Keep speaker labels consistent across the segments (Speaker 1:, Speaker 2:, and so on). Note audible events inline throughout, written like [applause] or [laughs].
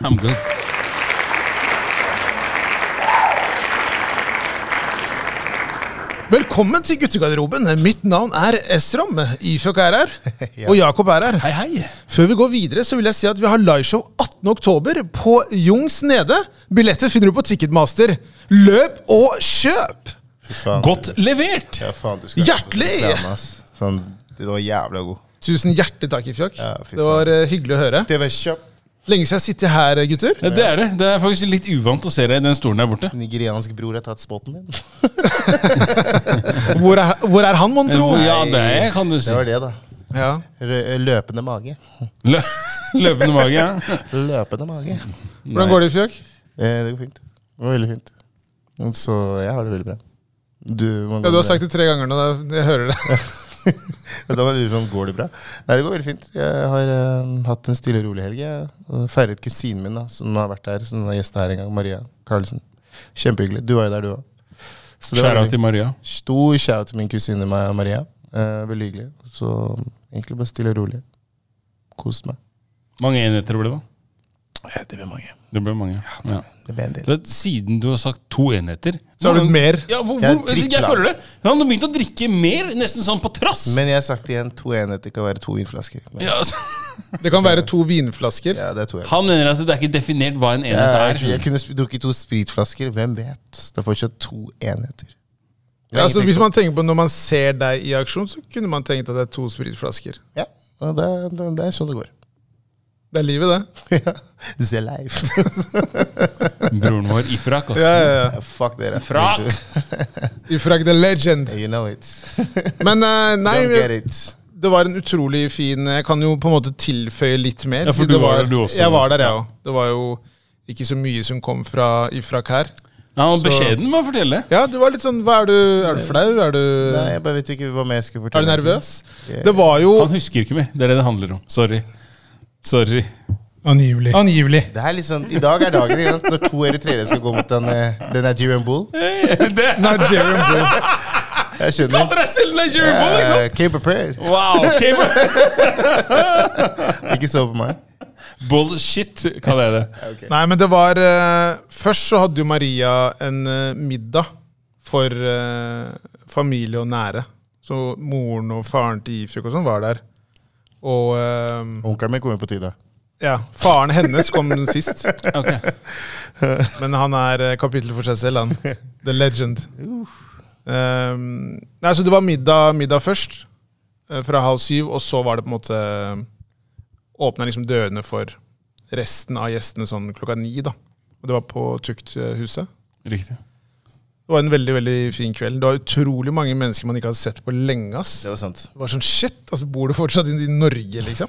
Speaker 1: I'm good.
Speaker 2: Velkommen til guttegarderoben. Mitt navn er Esrom. Ifjok er her.
Speaker 3: Ja.
Speaker 2: Og Jakob er her.
Speaker 1: Hei, hei.
Speaker 2: Før vi går videre, så vil jeg si at vi har liveshow 18.10. på Jungs Nede. Billetter finner du på Ticketmaster. Løp og kjøp!
Speaker 3: Faen.
Speaker 1: Godt levert!
Speaker 3: Ja, faen, du skal
Speaker 2: Hjertelig!
Speaker 3: Glemme, ass. Sånn, du var jævla god.
Speaker 2: Tusen hjertelig takk, Ifjok.
Speaker 3: Ja, fy faen.
Speaker 2: det var eh, hyggelig å høre.
Speaker 3: Det var kjapt.
Speaker 2: Lenge siden jeg har sittet her, eh, gutter.
Speaker 1: [laughs] Ja, Det er det. Det er faktisk litt uvant å se deg i den stolen der borte.
Speaker 3: Nigeriansk bror har tatt spotten din. Det
Speaker 2: Hvor er, hvor er han, mon tro?
Speaker 1: Ja, det kan du si.
Speaker 3: var det, da.
Speaker 2: Ja.
Speaker 3: Rø løpende mage.
Speaker 1: Lø løpende mage, ja.
Speaker 3: Løpende mage.
Speaker 2: Hvordan går det, Ifjok?
Speaker 3: Eh, det går fint. Det var veldig fint. Så jeg har det veldig bra. Du, man
Speaker 2: Ja, du har sagt det tre ganger nå. da- Jeg hører det.
Speaker 3: [laughs] Da var det liksom, går det bra? Nei, det går veldig fint. Jeg har eh, hatt en stille og rolig helg. Jeg og feiret kusinen min, da, som har vært her, som var gjest her en gang. Maria Karlsen. Kjempehyggelig. Du var jo der, du òg.
Speaker 1: Skjæra til Maria.
Speaker 3: Stor shout til min kusine Ma- Maria. Eh, veldig hyggelig. Så egentlig bare stille og rolig. Kost meg.
Speaker 1: Mange enheter ble det, da?
Speaker 3: Det ble mange.
Speaker 1: Det ble mange. Ja.
Speaker 3: Det ble en
Speaker 1: Du
Speaker 3: del.
Speaker 1: vet, Siden du har sagt to enheter
Speaker 2: Så har du mer.
Speaker 1: Ja, hvor,
Speaker 3: Jeg er
Speaker 1: hvor, jeg,
Speaker 3: drittglad.
Speaker 1: føler det. Han har begynt å drikke mer, nesten sånn på trass.
Speaker 3: Men jeg har sagt det igjen, to enheter kan være to vinflasker. Men,
Speaker 1: Ja, altså,
Speaker 2: Det kan være to vinflasker.
Speaker 3: ja, det er to enheter.
Speaker 1: han mener at det er ikke definert hva en enhet
Speaker 3: Jeg,
Speaker 1: er.
Speaker 3: jeg kunne sp- drukket to spritflasker, hvem vet? Det er fortsatt to enheter.
Speaker 2: Ja, altså, hvis man tenker på Når man ser deg i aksjon, så kunne man tenkt at det er to spritflasker.
Speaker 3: Ja, og det, er- det, er- det er sånn det går. [laughs]
Speaker 2: Det er livet, det.
Speaker 3: The life.
Speaker 1: Broren vår Ifrak. Altså.
Speaker 2: Ja, ja, ja.
Speaker 3: [laughs] Ja, Fuck dere.
Speaker 1: Frak!
Speaker 2: Ifrak the legend.
Speaker 3: You know it.
Speaker 2: Men eh, nei,
Speaker 3: Don't get it.
Speaker 2: det var en utrolig fin eh, Jeg kan jo på en måte tilføye litt mer.
Speaker 1: Ja, for
Speaker 2: siden
Speaker 1: du
Speaker 2: det
Speaker 1: var der, du også.
Speaker 2: Jeg var der, jeg òg. Det var jo ikke så mye som kom fra Ifrak her.
Speaker 1: Ja, Han var
Speaker 2: Så-
Speaker 1: beskjeden med å fortelle.
Speaker 2: Ja, du var litt sånn Hva er du? Er du flau? Er du,
Speaker 3: Nei, jeg bare vet ikke hva mer jeg skulle
Speaker 2: er
Speaker 3: fortelle.
Speaker 2: du nervøs?
Speaker 3: Jeg-
Speaker 2: Det var jo
Speaker 1: Han husker ikke mer. Det er det det handler om. Sorry. Sorry. [laughs]
Speaker 2: Angivelig.
Speaker 3: Det er litt sånn, I dag er dagen ikke sant, når to eritreere skal gå mot den, eh, den Nigerian bull.
Speaker 1: Det
Speaker 2: Nigerian blue.
Speaker 3: Jeg skjønner.
Speaker 1: kalte deg selv Nigerian Bull, liksom. ikke sant?
Speaker 3: Uh, came prepared.
Speaker 1: Eh, Wow! ok.
Speaker 2: [laughs]
Speaker 3: Ikke så på meg.
Speaker 1: Bullshit, kaller jeg det.
Speaker 2: Nei, men det var eh, Først så hadde jo Maria en eh, middag for eh, familie og nære. Så moren og faren til Ifjok og sånn var der. Og eh,
Speaker 3: Onkelen min kommer på tide.
Speaker 2: ja, faren hennes kom sist.
Speaker 1: Ok.
Speaker 2: Men han er eh, kapittel for seg selv, han. The legend. Um, nei, så det var middag, middag først, eh, fra halv syv, og så var det på en måte Åpna liksom dørene for resten av gjestene sånn klokka ni, da. Og det var på Tukthuset.
Speaker 1: Riktig.
Speaker 2: Det var en veldig veldig fin kveld. Det var utrolig mange mennesker man ikke hadde sett på lenge. ass.
Speaker 3: var sant.
Speaker 2: Det var sånn shit, altså bor du fortsatt i i Norge, liksom?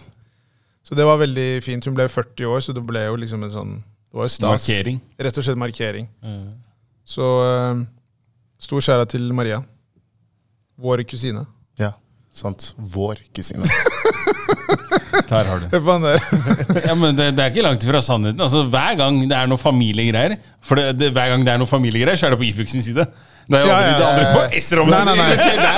Speaker 2: Så det var veldig fint. Hun ble 40 år, så det ble jo liksom en sånn Det var jo stas.
Speaker 1: Markering. Mm.
Speaker 2: Rett og slett markering. Så eh, stor skjæra til Maria. Vår kusine.
Speaker 3: Ja, sant. Vår kusine.
Speaker 1: Der har du
Speaker 2: Hør på han der.
Speaker 1: Ja, men det, det er ikke langt fra sannheten. Altså, Hver gang det er noe familiegreier, For det, det, hver gang det er noe familiegreier, så er det på Ifuk sin side. Det er jo
Speaker 2: Ja,
Speaker 1: aldri,
Speaker 2: ja,
Speaker 1: det er aldri
Speaker 3: ja,
Speaker 1: på Esrom
Speaker 2: Nei,
Speaker 1: sin
Speaker 2: nei, nei.
Speaker 1: side. [laughs]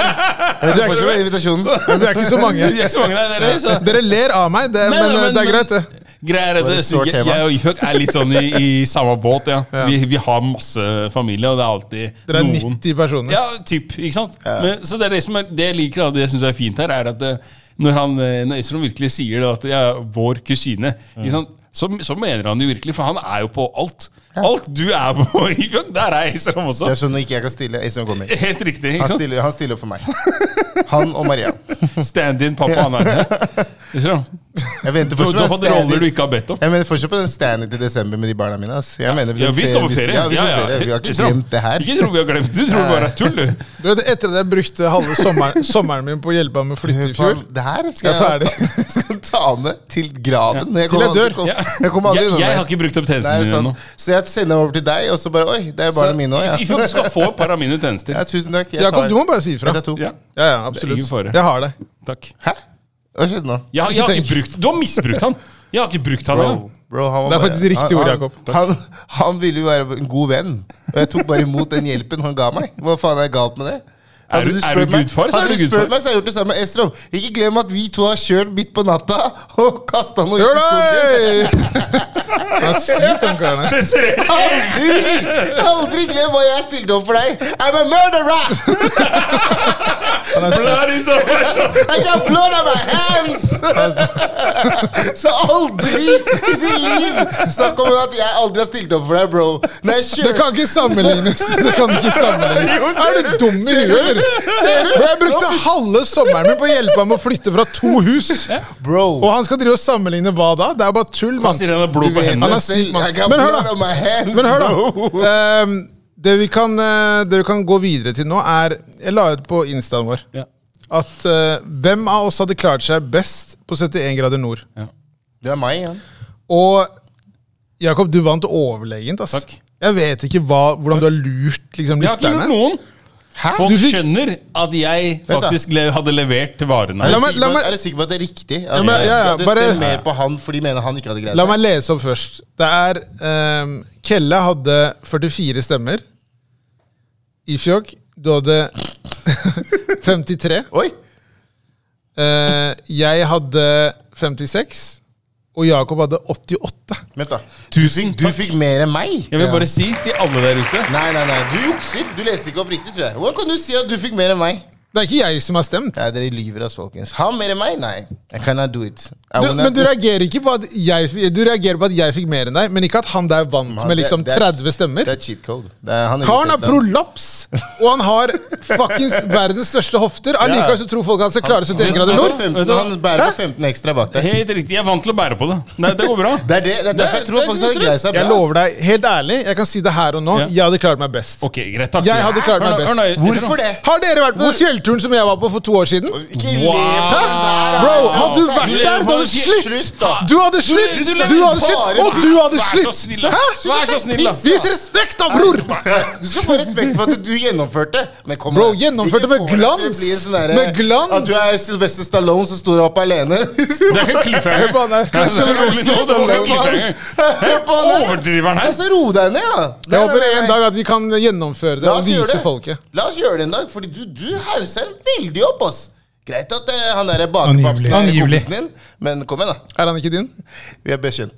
Speaker 3: Du får ikke med invitasjonen.
Speaker 2: Men Det er ikke så
Speaker 1: [laughs]
Speaker 2: mange.
Speaker 1: Det er ikke så mange der, dere, så.
Speaker 2: Dere ler av meg, det,
Speaker 1: Nei,
Speaker 2: men,
Speaker 1: nei,
Speaker 2: eh, det er greit, det.
Speaker 1: Greia er at
Speaker 3: Var det
Speaker 1: det-
Speaker 3: et sårt
Speaker 1: jeg,
Speaker 3: tema?
Speaker 1: jeg og Ifjok er litt sånn i, i samme båt. ja. Vi, vi har masse familie, og det er alltid
Speaker 2: Dere er
Speaker 1: noen
Speaker 2: 90 personer.
Speaker 1: Ja, typ, ikke sant? Men, så det er det som er, det jeg liker, da, det jeg syns er fint her, er at eh, når, han, eh, når Øystein virkelig sier det, at jeg er vår kusine, ikke sant? Så, så mener han det jo virkelig, for han er jo på alt. Alt du er på, [laughs] Ifjok, der er Øystein også.
Speaker 3: Det er sånn når ikke jeg kan stille. Øystein kommer.
Speaker 1: Helt riktig. ikke
Speaker 3: Han
Speaker 1: sant?
Speaker 3: stiller, han stiller for meg. Han og Maria.
Speaker 1: Stand-in pappa han er her. Øystein,
Speaker 3: Jeg venter
Speaker 1: Du, du
Speaker 3: fortsatt
Speaker 1: har
Speaker 3: på
Speaker 1: fått
Speaker 3: den
Speaker 1: roller du
Speaker 3: stand-in.
Speaker 1: ikke har bedt om.
Speaker 3: Jeg mener fortsatt på den stand-in til desember med de barna mine. ass. Jeg mener
Speaker 1: Ja, vi skal på ferie.
Speaker 3: Ja, vi, skal
Speaker 1: Ja, ja.
Speaker 3: på ferie. vi har ikke
Speaker 1: Øystein,
Speaker 3: glemt det her.
Speaker 1: Ikke tro vi har glemt det. Du tror det bare er tull, du.
Speaker 2: Du vet, Etter at jeg brukte halve sommer, sommeren min på å hjelpe ham med å flytte i fjor
Speaker 3: Det her
Speaker 2: Jeg
Speaker 3: skal
Speaker 2: er
Speaker 3: jeg, [laughs] skal ta med til graven. når
Speaker 2: Til jeg
Speaker 3: Jeg kommer aldri-
Speaker 2: dør.
Speaker 3: kom-
Speaker 1: Ja.
Speaker 3: Jeg kommer aldri
Speaker 1: Jeg,
Speaker 3: unna
Speaker 1: jeg
Speaker 3: det.
Speaker 1: har ikke brukt opp
Speaker 3: Det
Speaker 1: tjenestene
Speaker 3: er
Speaker 1: dine
Speaker 3: sant.
Speaker 1: ennå.
Speaker 3: Så jeg sender over til deg, og så bare Oi, det er barna mine òg, ja.
Speaker 1: Ifjok skal få et par av mine tjenester.
Speaker 3: [laughs] ja. Tusen takk. Jeg
Speaker 2: Jakob,
Speaker 3: tar-
Speaker 2: du må bare si ifra.
Speaker 3: Jeg tar to.
Speaker 1: Ja,
Speaker 2: Ja, ja, absolutt.
Speaker 1: ingen fare.
Speaker 2: Jeg har det.
Speaker 1: takk.
Speaker 3: Hæ? Hva skjedde nå?
Speaker 1: Jeg, har- jeg har ikke brukt, du har misbrukt han. Jeg har ikke brukt han. ennå.
Speaker 3: Bro, han var
Speaker 2: Det er
Speaker 3: bare-
Speaker 2: faktisk riktig ord,
Speaker 3: han-
Speaker 2: Jakob.
Speaker 3: Han, han, han ville jo være en god venn, og jeg tok bare imot den hjelpen han ga meg. Hva faen er galt med det?
Speaker 1: Er
Speaker 3: Hadde
Speaker 1: du, er
Speaker 3: spurt
Speaker 1: du
Speaker 3: meg-
Speaker 1: gudfar, så er
Speaker 3: Hadde
Speaker 1: du
Speaker 3: du spurt
Speaker 1: gudfar.
Speaker 3: meg, så hadde jeg gjort det samme. Estrøm, ikke glem at vi to har kjørt midt på natta og kasta noe ut i skogen.
Speaker 2: Hurray! Han er syk, han karen her.
Speaker 1: Sensurere!
Speaker 3: [laughs] Aldri! Aldri glem hva jeg stilte opp for deg! I'm a murderer!
Speaker 2: Han er syk.
Speaker 1: Blood is over!
Speaker 3: I got blood on my hands! [laughs] Så aldri i ditt liv snakk om at jeg aldri har stilt opp for deg, bro. Når jeg
Speaker 2: Det
Speaker 3: kjører
Speaker 2: kan ikke sammenlignes! Det kan ikke sammenlignes. Er du dum i huet, eller? Bro, Jeg brukte halve sommeren min på å hjelpe ham med å flytte fra to hus! Og
Speaker 3: Bro,
Speaker 2: han skal drive og sammenligne hva da? Det er bare tull,
Speaker 1: Han
Speaker 2: mann.
Speaker 1: sier han har blod på
Speaker 2: Han
Speaker 1: hendene.
Speaker 2: er syk, mann.
Speaker 3: I got
Speaker 2: Men hør
Speaker 3: blood
Speaker 2: da.
Speaker 3: on my hands,
Speaker 2: Men hør,
Speaker 3: bro.
Speaker 2: da. Ehm, det, vi kan, eh, det vi kan gå videre til nå, er Jeg la ut på instaen vår
Speaker 1: Ja.
Speaker 2: at eh, hvem av oss hadde klart seg best på 71 grader nord?
Speaker 1: Ja.
Speaker 3: Det er meg igjen.
Speaker 2: Og Jakob, du vant overlegent. ass.
Speaker 1: Takk.
Speaker 2: Jeg vet ikke hva, hvordan du har lurt liksom,
Speaker 1: Jeg har ikke lurt
Speaker 2: lytterne.
Speaker 1: noen. Folk
Speaker 2: Du fikk-
Speaker 1: skjønner at jeg
Speaker 3: da.
Speaker 1: faktisk le hadde levert varene.
Speaker 2: La
Speaker 3: Er du
Speaker 2: meg-
Speaker 3: sikker
Speaker 2: la
Speaker 3: på at-
Speaker 2: meg-
Speaker 3: er du sikker på at det er riktig? At,
Speaker 2: Ja, men- ja, ja,
Speaker 3: at det
Speaker 2: bare-
Speaker 3: stemmer mer på han fordi de mener han ikke hadde greid
Speaker 2: La
Speaker 3: seg?
Speaker 2: meg lese opp først. Det er ehm, Kelle hadde 44 stemmer. Ifjok, du hadde [laughs] 53.
Speaker 3: Oi!
Speaker 2: Eh, jeg hadde 56, og Jakob hadde 88.
Speaker 3: Vent, da.
Speaker 1: Tusen
Speaker 3: Du fikk mer enn meg!
Speaker 1: Jeg vil
Speaker 2: Ja.
Speaker 1: bare si til alle der ute
Speaker 3: Nei, nei, nei. Du jukser! Du leste ikke opp riktig, tror jeg. Hvordan kan du si at du fikk mer enn meg?
Speaker 2: Det er ikke jeg som har stemt.
Speaker 3: Nei, dere lyver, ass, folkens. Han mer enn meg? Nei. I cannot do it. I
Speaker 2: Du,
Speaker 3: will not
Speaker 2: men du
Speaker 3: do it.
Speaker 2: reagerer ikke på at jeg, f- du reagerer på at jeg fikk mer enn deg, men ikke at han der vant
Speaker 3: Han-
Speaker 2: med
Speaker 3: det-
Speaker 2: liksom
Speaker 3: det er-
Speaker 2: 30 stemmer.
Speaker 3: Det er cheat code. Det er, han er
Speaker 2: Karen har
Speaker 3: ute etter-
Speaker 2: prolaps, og han har fuckings verdens største hofter. Allikevel så tror folk han skal klare 71 grader
Speaker 3: Han,
Speaker 2: nord.
Speaker 3: får 15,
Speaker 1: Vet du hva?
Speaker 3: han bærer på 15 ekstra bak deg.
Speaker 1: Helt riktig, jeg er vant til å bære på det. Nei, det
Speaker 2: [laughs]
Speaker 1: går bra.
Speaker 3: Det er det, det er derfor jeg
Speaker 1: Det-
Speaker 3: tror
Speaker 1: det er
Speaker 3: faktisk
Speaker 1: ikke
Speaker 3: han greier seg bra.
Speaker 2: Jeg lover deg, helt ærlig, jeg kan si det her og nå,
Speaker 1: Ja.
Speaker 2: jeg hadde klart meg best.
Speaker 1: Ok, greit, takk.
Speaker 2: Jeg hadde klart meg
Speaker 1: Hør nå, hør nå,
Speaker 2: best.
Speaker 1: hør nå.
Speaker 3: Hvorfor det?
Speaker 2: Har dere vært på den fjellturen som jeg var på for to år siden?
Speaker 3: Ikke
Speaker 1: Wow.
Speaker 3: le på den der,
Speaker 2: Bro,
Speaker 3: ass.
Speaker 2: hadde du vært der, da hadde du
Speaker 3: altså- Slutt,
Speaker 2: slitt!
Speaker 3: da.
Speaker 2: Du hadde slitt!
Speaker 1: Du
Speaker 2: Du hadde slitt! Og du hadde
Speaker 1: Vær så
Speaker 2: slitt!
Speaker 1: snill, da. Vær så snill, da.
Speaker 2: Vis respekt, da, bror!
Speaker 3: Du skal få respekt for at du gjennomførte. Men kom
Speaker 2: Bro,
Speaker 3: igjen.
Speaker 2: gjennomførte
Speaker 3: Ikke
Speaker 2: med
Speaker 3: få det til å
Speaker 2: glans.
Speaker 3: bli en sånn derre-
Speaker 2: Med glans.
Speaker 3: At du er Sylvester Stallone som står opp alene.
Speaker 1: Det er ikke en
Speaker 2: Hør
Speaker 1: cliffhanger.
Speaker 2: på han
Speaker 1: Det er ikke en cliffhanger.
Speaker 2: her.
Speaker 1: Det var ikke en cliffhanger.
Speaker 3: Hør på han der.
Speaker 1: Overdriveren
Speaker 3: Ja,
Speaker 1: her.
Speaker 3: Så ro deg ned, da.
Speaker 2: Jeg håper en dag at vi kan gjennomføre det
Speaker 3: La
Speaker 2: og
Speaker 3: oss gjøre
Speaker 2: vise
Speaker 3: det.
Speaker 2: folket.
Speaker 3: La oss gjøre det en dag, fordi du, du hauser den veldig opp, ass. Greit at eh, han derre bakepapsen er
Speaker 2: Angivelig.
Speaker 3: kompisen din, men kom igjen, da.
Speaker 2: Er han ikke din?
Speaker 3: Vi er bekjent.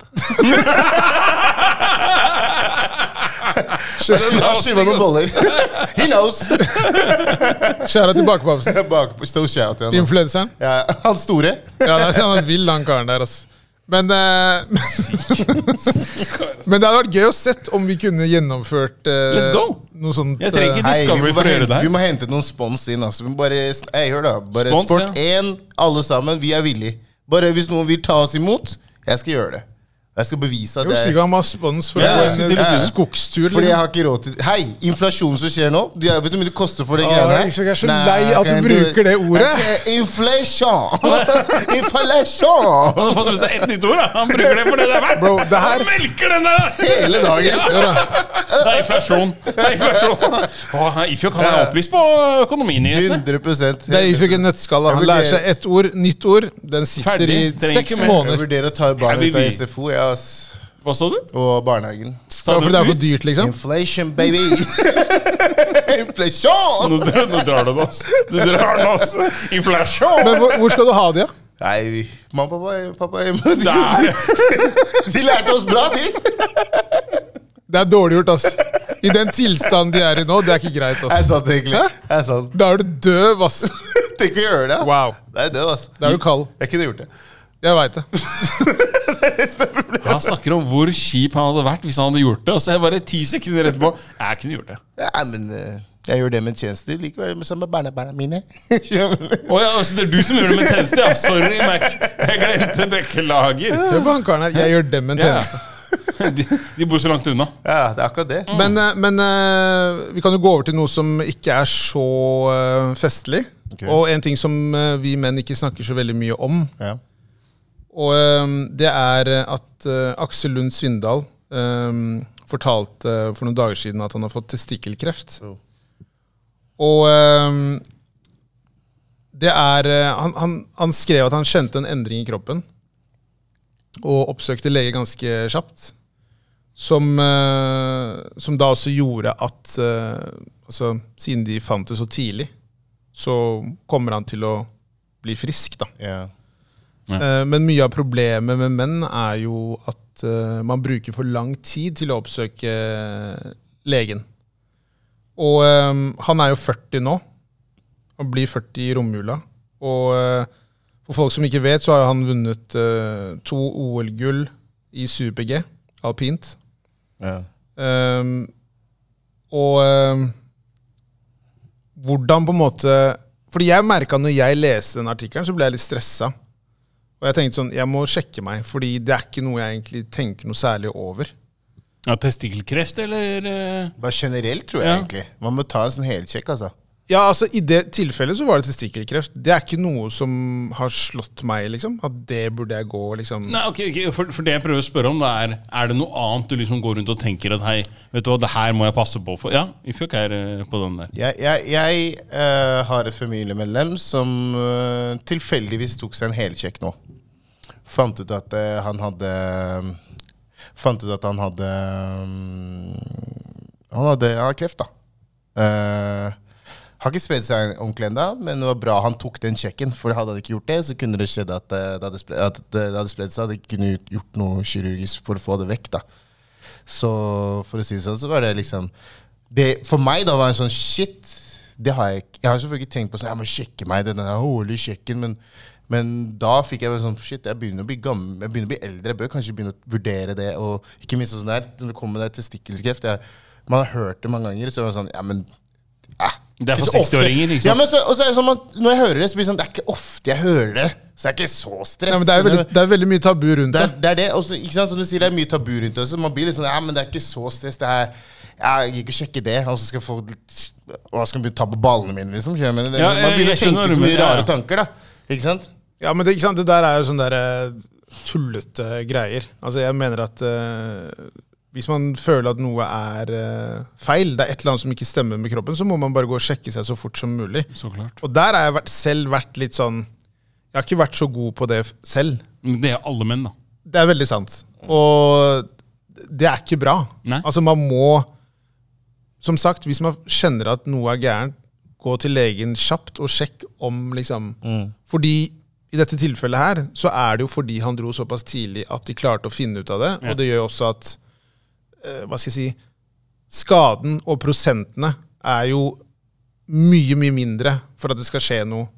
Speaker 3: La oss skyve
Speaker 2: Kjære
Speaker 3: noen boller. [laughs] He knows.
Speaker 2: til bakepapsen.
Speaker 3: Bakpå, so shout, ja, nå.
Speaker 2: Influenseren.
Speaker 3: ja, han store.
Speaker 2: Ja, det er sånn han vill, han karen der, altså. Men, eh, [laughs]
Speaker 1: [laughs]
Speaker 2: men det hadde vært gøy å sett om vi kunne gjennomført eh,
Speaker 1: Let's go.
Speaker 2: noe sånt.
Speaker 1: Jeg trenger
Speaker 2: eh,
Speaker 1: ikke
Speaker 3: vi, må
Speaker 1: Discovery for å
Speaker 3: bare
Speaker 1: gjøre
Speaker 3: hente,
Speaker 1: det
Speaker 3: vi
Speaker 1: her.
Speaker 3: må hente noen spons inn. Altså. Vi må bare, ei, hør da, bare
Speaker 1: Spons,
Speaker 3: Sport 1, alle sammen. Vi er villige. Bare hvis noen vil ta oss imot, jeg skal gjøre det. Jeg skal bevise at
Speaker 2: Jeg er
Speaker 3: jeg
Speaker 2: sikker han må ha spons for
Speaker 1: eh. Ja,
Speaker 2: å gå
Speaker 1: jeg skulle til
Speaker 2: en eh,
Speaker 1: å si det.
Speaker 2: skogstur.
Speaker 3: Fordi jeg
Speaker 2: liksom.
Speaker 3: har ikke råd til Hei, inflasjonen som skjer nå de, Vet du hvor mye det koster for det
Speaker 2: Åh,
Speaker 3: greiene
Speaker 2: jeg er så lei at du
Speaker 3: kan
Speaker 2: bruker det ordet.
Speaker 3: Ok, Inflasjon! [laughs] inflasjon!
Speaker 2: [laughs]
Speaker 1: Han har fått med seg ett nytt ord. da. Han bruker det for det det er verdt.
Speaker 2: Bro, det her-
Speaker 1: Han melker den der! da.
Speaker 3: Hele
Speaker 2: [laughs]
Speaker 3: dagen.
Speaker 1: Det er inflasjon. Det er inflasjon. Åh, Ifjok han er opplyst på økonominyhetene.
Speaker 3: 100
Speaker 2: Det er ikke en nøttskall. da. Han
Speaker 3: Jeg
Speaker 2: lærer
Speaker 3: vurderer-
Speaker 2: seg ett ord, nytt ord. Den sitter
Speaker 1: Ferdig.
Speaker 2: i
Speaker 1: Trenger
Speaker 2: seks
Speaker 1: ikke mer.
Speaker 3: Jeg
Speaker 2: måneder.
Speaker 3: vurderer å ta barna
Speaker 1: Nei,
Speaker 3: ut av
Speaker 1: vi-
Speaker 3: SFO jeg, ass.
Speaker 1: Hva sa du?
Speaker 3: og barnehagen.
Speaker 1: Ta
Speaker 2: Bare fordi det er for
Speaker 1: ut.
Speaker 2: dyrt, liksom.
Speaker 3: Inflation, baby! [laughs] inflasjon!
Speaker 1: Nå, drar- nå drar du den, altså. Du drar den, altså. Inflasjon!
Speaker 2: Men hvor, hvor skal du ha det, da?
Speaker 3: Nei, vi- mamma og pappa, pappa er hjemme. De,
Speaker 1: Der.
Speaker 3: [laughs] de lærte oss bra, de!
Speaker 2: Det er dårlig gjort, ass. I den tilstanden de er i nå, det er ikke greit,
Speaker 3: Det er
Speaker 2: ass.
Speaker 3: sant, egentlig. Det er sant.
Speaker 2: Da er du døv, ass.
Speaker 3: Tenk å gjøre det.
Speaker 2: Wow.
Speaker 3: Det er død, altså.
Speaker 2: Da er du kald.
Speaker 3: Jeg kunne gjort det. [laughs]
Speaker 2: Jeg veit det.
Speaker 1: Han snakker om hvor kjip han hadde vært hvis han hadde gjort det. Og så er jeg bare ti sekunder etterpå. Jeg kunne gjort det.
Speaker 3: Ja, men eh, jeg gjør det med en tjeneste likevel, men sammen med barnebarna mine. [laughs] Hva
Speaker 1: Å ja, altså, det er du som gjør det med tjeneste, ja. Sorry, Mac. Jeg glemte beklager.
Speaker 2: Hør på han karen her. Jeg gjør dem en
Speaker 1: Ja.
Speaker 2: tjeneste.
Speaker 1: De, de bor så langt unna.
Speaker 3: ja, det er akkurat det.
Speaker 2: Men, eh, men eh, vi kan jo gå over til noe som ikke er så eh, festlig.
Speaker 3: Ok.
Speaker 2: Og en ting som eh, vi menn ikke snakker så veldig mye om.
Speaker 3: Ja.
Speaker 2: Og eh, det er eh, at eh, Aksel Lund Svindal eh, fortalte eh, for noen dager siden at han har fått testikkelkreft.
Speaker 3: Oh.
Speaker 2: Og eh, det er eh, han, han, han skrev at han kjente en endring i kroppen. Og oppsøkte lege ganske kjapt. Som, eh, som da også gjorde at eh, Altså, siden de fant det så tidlig, så kommer han til å bli frisk, da.
Speaker 3: Ja.
Speaker 2: Eh, Men mye av problemet med menn er jo at eh, man bruker for lang tid til å oppsøke legen. Og eh, han er jo 40 nå. Han blir 40 i romjula. Og eh, for folk som ikke vet, så har jo han vunnet eh, to OL-gull i super-G, alpint.
Speaker 3: Ja.
Speaker 2: Ehm, og ehm, hvordan på en måte Fordi jeg merka når jeg leste den artikkelen, så ble jeg litt stressa. Og jeg tenkte sånn, jeg må sjekke meg, fordi det er ikke noe jeg egentlig tenker noe særlig over.
Speaker 1: Ja, testikkelkreft, eller eh,
Speaker 3: Bare generelt, tror jeg
Speaker 1: Ja.
Speaker 3: egentlig. Man må ta en sånn helkjekk, altså.
Speaker 2: Ja, altså I det tilfellet så var det testikkelkreft. Det er ikke noe som har slått meg, liksom. At det burde jeg gå, liksom.
Speaker 1: Nei, ok, ok, for, for det jeg prøver å spørre om, det er Er det noe annet du liksom går rundt og tenker at Hei, vet du hva, det her må jeg passe på for Ja, vi fikk her eh, på den der.
Speaker 3: Jeg, jeg, jeg eh, har et familiemedlem som eh, tilfeldigvis tok seg en helkjekk nå. Fant ut at eh, han hadde Fant ut at han hadde mm, Han hadde han hadde kreft, da. Eh, har ikke spredd seg ordentlig ennå, men det var bra han tok den sjekken. For hadde han ikke gjort det, så kunne det skjedd at eh, det hadde spre- at det hadde spredd seg. Det kunne gjort noe kirurgisk for å få det vekk. da. Så for å si det sånn, så var det liksom det, For meg da var det en sånn shit. Det har jeg ikke Jeg har selvfølgelig ikke tenkt på sånn Jeg må sjekke meg, denne her årlige sjekken. Men, men da fikk jeg bare sånn Shit, jeg begynner å bli gammel Jeg begynner å bli eldre. Jeg bør kanskje begynne å vurdere det. Og ikke minst sånn der Når det kommer der testikkelkreft jeg- Man har hørt det mange ganger, så var det sånn Ja, men eh,
Speaker 1: Det er for
Speaker 3: så ofte-
Speaker 1: 60-åringer, ikke sant?
Speaker 3: Ja, men så, og så er det sånn at Når jeg hører det, så blir det sånn Det er ikke ofte jeg hører det. Så det er ikke så stress.
Speaker 2: Nei, men det er, veldig, det er veldig mye tabu rundt
Speaker 3: Det
Speaker 2: det.
Speaker 3: er det. Er det. Også, ikke sant? Som du sier, det er mye tabu rundt det. også. Man blir litt sånn, ja, men det er ikke så stress. Det er, ja, jeg gidder ikke å sjekke det. Og så skal jeg få litt, og jeg skal begynne å ta på ballene mine, liksom. skjønner du hva
Speaker 1: Ja,
Speaker 3: jeg mener? Det, man
Speaker 1: jeg- jeg
Speaker 3: begynner å
Speaker 1: skjønner hva
Speaker 3: tenke
Speaker 1: du
Speaker 3: så mye
Speaker 1: mener, ja, ja.
Speaker 3: rare tanker, da. Ikke sant?
Speaker 2: Ja, men det, ikke sant? det der er jo sånne der, eh, tullete greier. Altså, jeg mener at eh, hvis man føler at noe er eh, feil, det er et eller annet som ikke stemmer med kroppen, så må man bare gå og sjekke seg så fort som mulig.
Speaker 1: Så klart.
Speaker 2: Og der har jeg vært, selv vært litt sånn Jeg har ikke vært så god på det f- selv.
Speaker 1: Men Det er alle menn, da.
Speaker 2: Det er veldig sant. Og det er ikke bra.
Speaker 1: Nei.
Speaker 2: Altså, man må Som sagt, hvis man kjenner at noe er gærent, gå til legen kjapt og sjekk om liksom
Speaker 3: Mm.
Speaker 2: Fordi i dette tilfellet her, så er det jo fordi han dro såpass tidlig at de klarte å finne ut av det.
Speaker 1: Ja.
Speaker 2: Og det gjør også at eh, Hva skal jeg si Skaden og prosentene er jo mye, mye mindre for at det skal skje noe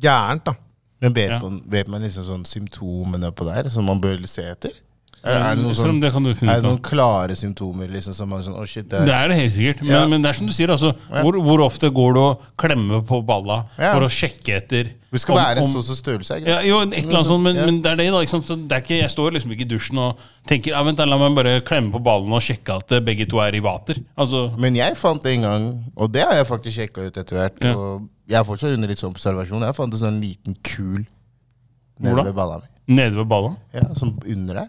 Speaker 2: gærent, da.
Speaker 3: Men vet,
Speaker 1: Ja.
Speaker 3: man, vet man liksom sånn symptomene på der, som man bør se etter? Er, er det noen
Speaker 1: Selv om
Speaker 3: sånn,
Speaker 1: det kan du
Speaker 3: er
Speaker 1: finne
Speaker 3: det
Speaker 1: ut av.
Speaker 3: noen klare symptomer liksom, som man sånn Å, shit, det
Speaker 1: Det
Speaker 3: er
Speaker 1: er det helt sikkert. Men,
Speaker 3: Ja.
Speaker 1: men det er som du sier, altså. Hvor, hvor ofte går du og klemmer på balla
Speaker 3: Ja.
Speaker 1: for å sjekke etter
Speaker 3: Vi skal
Speaker 1: om-
Speaker 3: være en
Speaker 1: om-
Speaker 3: så så størrelse, ikke sant?
Speaker 1: ja, jo, et eller annet sånt, men,
Speaker 3: Ja.
Speaker 1: men det er det, da. Ikke sant? Så det er ikke, jeg står liksom ikke i dusjen og tenker ja, vent, da, la meg bare klemme på ballen og sjekke at eh, begge to er i vater. Altså,
Speaker 3: Men jeg fant en gang, og det har jeg faktisk sjekka ut etter hvert
Speaker 1: Ja.
Speaker 3: og Jeg er fortsatt under litt sånn observasjon. Jeg fant en sånn liten kul
Speaker 1: Hvor da?
Speaker 3: nede ved balla mi.
Speaker 1: nede ved balla.
Speaker 3: Ja, som under der.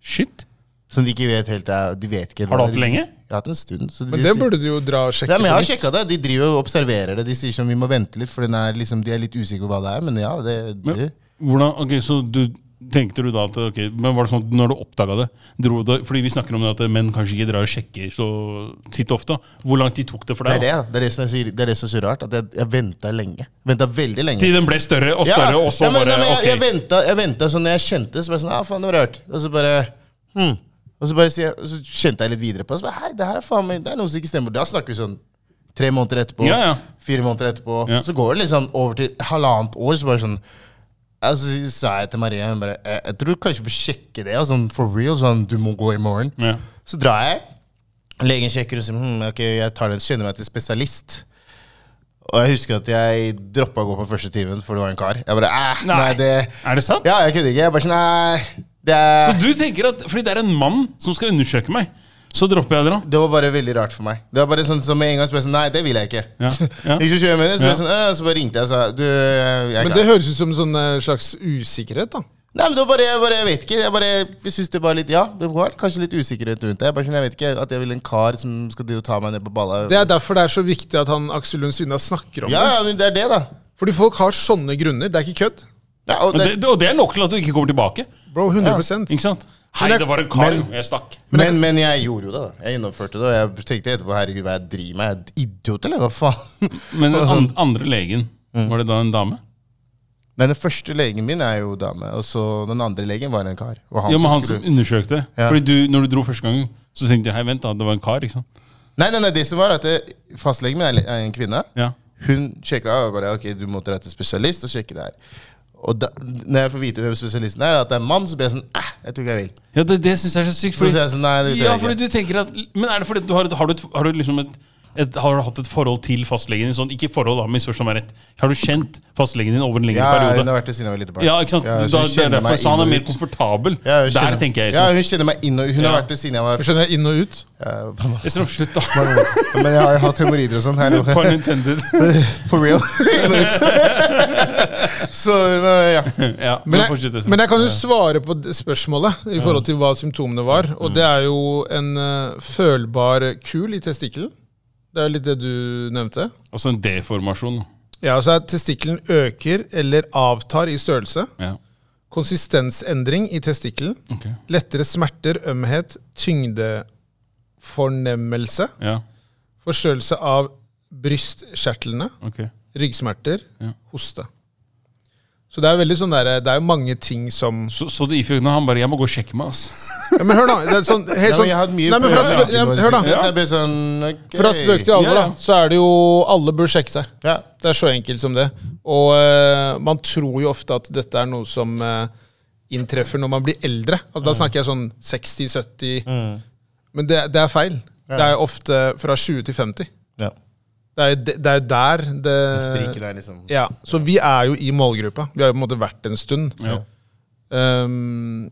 Speaker 1: Shit.
Speaker 3: Som de ikke vet helt er- de vet ikke helt
Speaker 1: Har du
Speaker 3: hva
Speaker 1: hatt det
Speaker 3: det er.
Speaker 1: lenge?
Speaker 3: Jeg har hatt en stund. Så de,
Speaker 2: Men det
Speaker 3: sier-
Speaker 2: burde du jo dra og sjekke.
Speaker 3: ja, men jeg har
Speaker 2: på nytt.
Speaker 3: sjekka det. De driver og observerer det. De sier som vi må vente litt, for den er liksom, de er litt usikre på hva det er. Men ja, det, det
Speaker 1: Men, hvordan, ok, så du tenkte du da at, ok, men var det sånn at når du oppdaga det dro du, Fordi vi snakker om det at menn kanskje ikke drar og sjekker så titt ofte. Hvor lang tid tok det for
Speaker 3: det er
Speaker 1: deg?
Speaker 3: det,
Speaker 1: da?
Speaker 3: ja. det, er det, som er så, det er det som er så rart. At jeg, jeg venta lenge. Venta veldig lenge.
Speaker 1: Til den ble større og større, og så
Speaker 3: ja, men,
Speaker 1: bare
Speaker 3: ja, men jeg, jeg
Speaker 1: ok.
Speaker 3: venta, jeg venta sånn når jeg kjente det, så ble jeg sånn, ah, faen, det var rart. Og så bare, hm. Og så bare sier jeg, og så kjente jeg litt videre på det. Så bare, hei, det her er faen meg, det er noe som ikke stemmer. Da snakker vi sånn tre måneder etterpå,
Speaker 1: Ja, ja.
Speaker 3: fire måneder etterpå.
Speaker 1: Ja.
Speaker 3: Så går det liksom over til halvannet år, så bare sånn, ja, så sa jeg til Maria, hun bare, jeg, jeg tror kanskje du bør sjekke det, og sånn for real, sånn, du må gå i morgen.
Speaker 1: Ja.
Speaker 3: Så drar jeg, legen sjekker og sier, hm, ok, jeg tar den, kjenner meg til spesialist. Og jeg husker at jeg droppa å gå på første timen, for det var en kar. Jeg bare, "Æ, nei,
Speaker 1: Nei.
Speaker 3: det...
Speaker 1: Er det sant?
Speaker 3: Ja, jeg kødder ikke. Jeg bare sånn, nei, det er...
Speaker 1: Så du tenker at fordi det er en mann som skal undersøke meg, så dropper jeg det da?
Speaker 3: Det var bare veldig rart for meg. Det var bare sånn som med en gang spør sånn, nei, det vil jeg ikke.
Speaker 1: Ja,
Speaker 3: [laughs]
Speaker 1: ja.
Speaker 3: Ikke kjøre med det, så, ble jeg
Speaker 1: Ja.
Speaker 3: sånn, «Æ», så bare ringte jeg og sa, du, jeg er
Speaker 2: Men
Speaker 3: klar.
Speaker 2: det høres ut som en sånn eh, slags usikkerhet, da.
Speaker 3: Nei, men det var bare, jeg bare, jeg vet ikke, jeg bare, jeg synes det var litt, ja, det var kanskje litt usikkerhet rundt det. Jeg bare sånn, jeg vet ikke at jeg vil en kar som skal drive og ta meg ned på balla.
Speaker 2: Det er derfor det er så viktig at han Aksel Lund Svinna snakker om
Speaker 3: Ja,
Speaker 2: det.
Speaker 3: ja, men det er det da.
Speaker 2: Fordi folk har sånne grunner. Det er ikke kødd.
Speaker 3: Ja, og
Speaker 1: Og
Speaker 3: det,
Speaker 1: det, og det er nok til at du ikke kommer tilbake.
Speaker 2: Bro, 100
Speaker 1: Ikke sant? Hei,
Speaker 3: Men-
Speaker 1: det var en kar,
Speaker 3: men-
Speaker 1: jo. Jeg stakk.
Speaker 3: Men, men jeg gjorde jo det, da. Jeg gjennomførte det. Og jeg tenkte etterpå herregud, hva jeg driver med? Jeg er idiot, eller hva faen? [laughs]
Speaker 1: Men den an andre legen, var det da en dame?
Speaker 3: Nei, den første legen min er jo dame, og så den andre legen var en kar. Og han
Speaker 1: Ja, men
Speaker 3: som
Speaker 1: han
Speaker 3: skulle...
Speaker 1: som undersøkte.
Speaker 3: Ja.
Speaker 1: Fordi du, når du dro første gangen, så tenkte jeg hei, vent, da, det var en kar. ikke sant?
Speaker 3: Nei, nei, nei, det som var at det- fastlegen min er le- er en kvinne.
Speaker 1: Ja.
Speaker 3: Hun sjekka og bare ok, du må dra til spesialist og sjekke det her. Og da, når jeg får vite hvem spesialisten er, at det er en mann, så blir jeg sånn eh, jeg tror ikke jeg vil.
Speaker 1: Ja, Det, det syns jeg er så sykt.
Speaker 3: Så
Speaker 1: Fordi,
Speaker 3: sier jeg sånn, nei, det vet jeg
Speaker 1: ja,
Speaker 3: ikke.
Speaker 1: fordi du tenker at, Men er det fordi at du har, et, har, du et, har du liksom et, et Har du hatt et forhold til fastlegen din? Sånn, ikke forhold, da, misforstå meg rett. Har du kjent fastlegen din over en lengre
Speaker 3: Ja, hun
Speaker 1: periode?
Speaker 3: har vært det siden jeg var lite barn.
Speaker 1: Ja, ikke sant?
Speaker 3: Ja, så
Speaker 1: da,
Speaker 3: hun
Speaker 1: det er
Speaker 3: kjenner
Speaker 1: derfor,
Speaker 3: meg
Speaker 1: så han
Speaker 3: inn
Speaker 1: er
Speaker 3: og
Speaker 1: mer
Speaker 3: ut.
Speaker 1: komfortabel.
Speaker 3: Ja, hun
Speaker 1: Der
Speaker 3: kjenner-
Speaker 1: tenker jeg
Speaker 3: Ja,
Speaker 1: sånn.
Speaker 3: hun kjenner meg inn og Hun har
Speaker 1: Ja.
Speaker 3: vært det siden jeg var
Speaker 2: Skjønner jeg, inn og ut?
Speaker 3: ja,
Speaker 1: Esrom,
Speaker 3: [laughs]
Speaker 1: Slutt, da.
Speaker 3: Men jeg har jo hatt hemoroider og sånn her. og-
Speaker 1: Pun intended. [laughs]
Speaker 3: [laughs] For real. så nei, ja.
Speaker 1: ja, men
Speaker 2: Men
Speaker 1: fortsett,
Speaker 2: jeg,
Speaker 1: Esrom.
Speaker 2: men jeg kan jo svare på d- spørsmålet i forhold til hva symptomene var. Og det er jo en eh, følbar kul i testikkelen. Det er jo litt det du nevnte.
Speaker 1: Altså en deformasjon.
Speaker 2: Ja, altså at Testikkelen øker eller avtar i størrelse.
Speaker 1: Ja.
Speaker 2: Konsistensendring i testikkelen.
Speaker 1: ok.
Speaker 2: Lettere smerter, ømhet, tyngdefornemmelse.
Speaker 1: Ja,
Speaker 2: Forstørrelse av brystkjertlene.
Speaker 1: ok.
Speaker 2: Ryggsmerter.
Speaker 1: Ja.
Speaker 2: Hoste. Så det er veldig sånn der, det er jo mange ting som
Speaker 1: Så, så du ifølge han bare 'jeg må gå og sjekke meg', ass.
Speaker 2: ja, Men hør, da. Det er sånn, helt
Speaker 3: Ja,
Speaker 2: sånn
Speaker 3: men jeg har hatt mye
Speaker 2: Nei, men fra, spø,
Speaker 3: problemer
Speaker 2: ja,
Speaker 3: med
Speaker 2: hør da.
Speaker 3: det siste, så jeg blir sånn, ok.
Speaker 2: fra spøk til alvor,
Speaker 1: Ja,
Speaker 2: da.
Speaker 1: ja.
Speaker 2: Så er det jo Alle bør sjekke seg.
Speaker 3: Ja.
Speaker 2: Det er så enkelt som det. Og eh, man tror jo ofte at dette er noe som eh, inntreffer når man blir eldre. Altså,
Speaker 3: Mm.
Speaker 2: da snakker jeg sånn 60-70 Men det, det er feil.
Speaker 3: Ja.
Speaker 2: Det er ofte fra 20 til 50.
Speaker 3: ja.
Speaker 2: Det er, det, det er der det
Speaker 3: Spriker der, liksom.
Speaker 2: Ja, Så vi er jo i målgruppa. Vi har jo på en måte vært en stund.
Speaker 1: Ja.
Speaker 2: Um,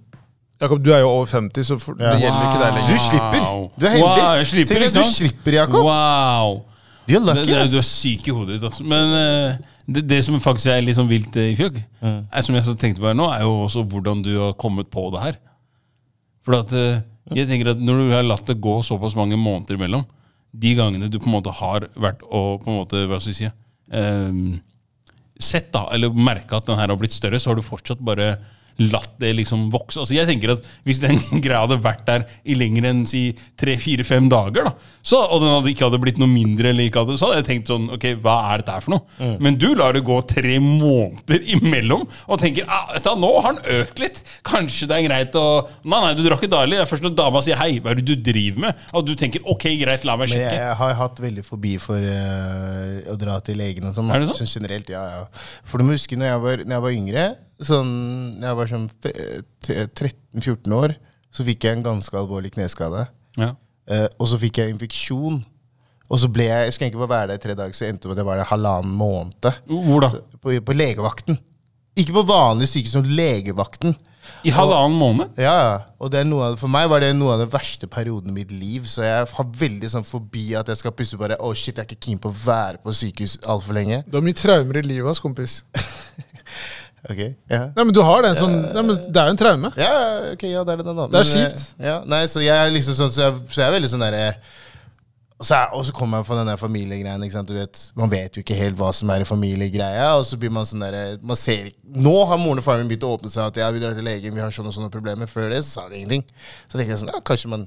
Speaker 2: Jakob, du er jo over 50, så for,
Speaker 3: Ja.
Speaker 2: det gjelder ikke deg
Speaker 3: Du
Speaker 2: lenger.
Speaker 3: slipper. Du er heldig.
Speaker 1: Wow, jeg slipper,
Speaker 3: Tenk deg,
Speaker 1: ikke
Speaker 3: du
Speaker 1: sant?
Speaker 3: slipper, Jakob.
Speaker 1: Wow.
Speaker 3: Du er
Speaker 1: Det,
Speaker 3: lucky,
Speaker 1: det,
Speaker 3: ass.
Speaker 1: du er syk i hodet ditt, altså. Men eh, det, det som faktisk er litt sånn vilt eh, i fjøk,
Speaker 3: Mm.
Speaker 1: er, som jeg så tenkte på her nå, er jo også hvordan du har kommet på det her. For at eh, jeg tenker at når du har latt det gå såpass mange måneder imellom, de gangene du på en måte har vært og på en måte, hva skal jeg si, eh, sett da, eller merka at den her har blitt større, så har du fortsatt bare latt det liksom vokse. Altså jeg tenker at Hvis den [laughs] greia hadde vært der i lenger enn si tre-fire-fem dager, da, så, og den hadde ikke hadde blitt noe mindre, eller ikke hadde, så hadde jeg tenkt sånn Ok, hva er dette her for noe? Men du lar det gå tre måneder [laughs] imellom og tenker ah, vet du, hva, nå har den økt litt. Kanskje det er greit å Nei, nei, du drar ikke daglig. Det er først når dama sier hei, hva er det du driver med? Og du tenker ok, greit, la meg
Speaker 3: Men jeg,
Speaker 1: sjekke.
Speaker 3: jeg har hatt veldig forbi for eh, å dra til legen og sånn. da.
Speaker 1: Er det sånn?
Speaker 3: Sånn generelt, ja, ja. For du må huske, når jeg var, når jeg var yngre, sånn, når jeg var sånn fe- t- 13-14 år, så fikk jeg en ganske alvorlig kneskade.
Speaker 1: Ja.
Speaker 3: Eh, og så fikk jeg infeksjon. Og så ble jeg, jeg skulle egentlig bare være der i tre dager, så endte det med at jeg var der halvannen måned.
Speaker 1: Hvor da?
Speaker 3: Så, på, på legevakten. Ikke på vanlig sykehus, men legevakten.
Speaker 1: I halvannen måned?
Speaker 3: Ja, ja. og det er noe av, For meg var det noe av den verste perioden i mitt liv. Så jeg har veldig sånn forbi at jeg skal pusse bare Å, shit, jeg er ikke keen på å være på sykehus altfor lenge.
Speaker 2: Du har mye traumer i livet, ass, kompis.
Speaker 3: Ok, ja.
Speaker 2: Nei, men du har det. Sånn, nei, men det er jo en traume.
Speaker 3: Ja, ok, ja, det er det. da, da.
Speaker 2: Det er
Speaker 3: Men, eh,
Speaker 2: kjipt.
Speaker 3: Ja, nei, så jeg er liksom sånn, så jeg, så jeg er veldig sånn derre og så, er, og så kommer jeg fra den der familiegreien. ikke sant, du vet, Man vet jo ikke helt hva som er i familiegreia. og så blir Man sånn der, man ser ikke, Nå har moren og faren min begynt å åpne seg at ja, vi drar til legen, vi har sånne og sånne problemer. Før det så sa de ingenting. Så tenkte jeg sånn, ja, kanskje man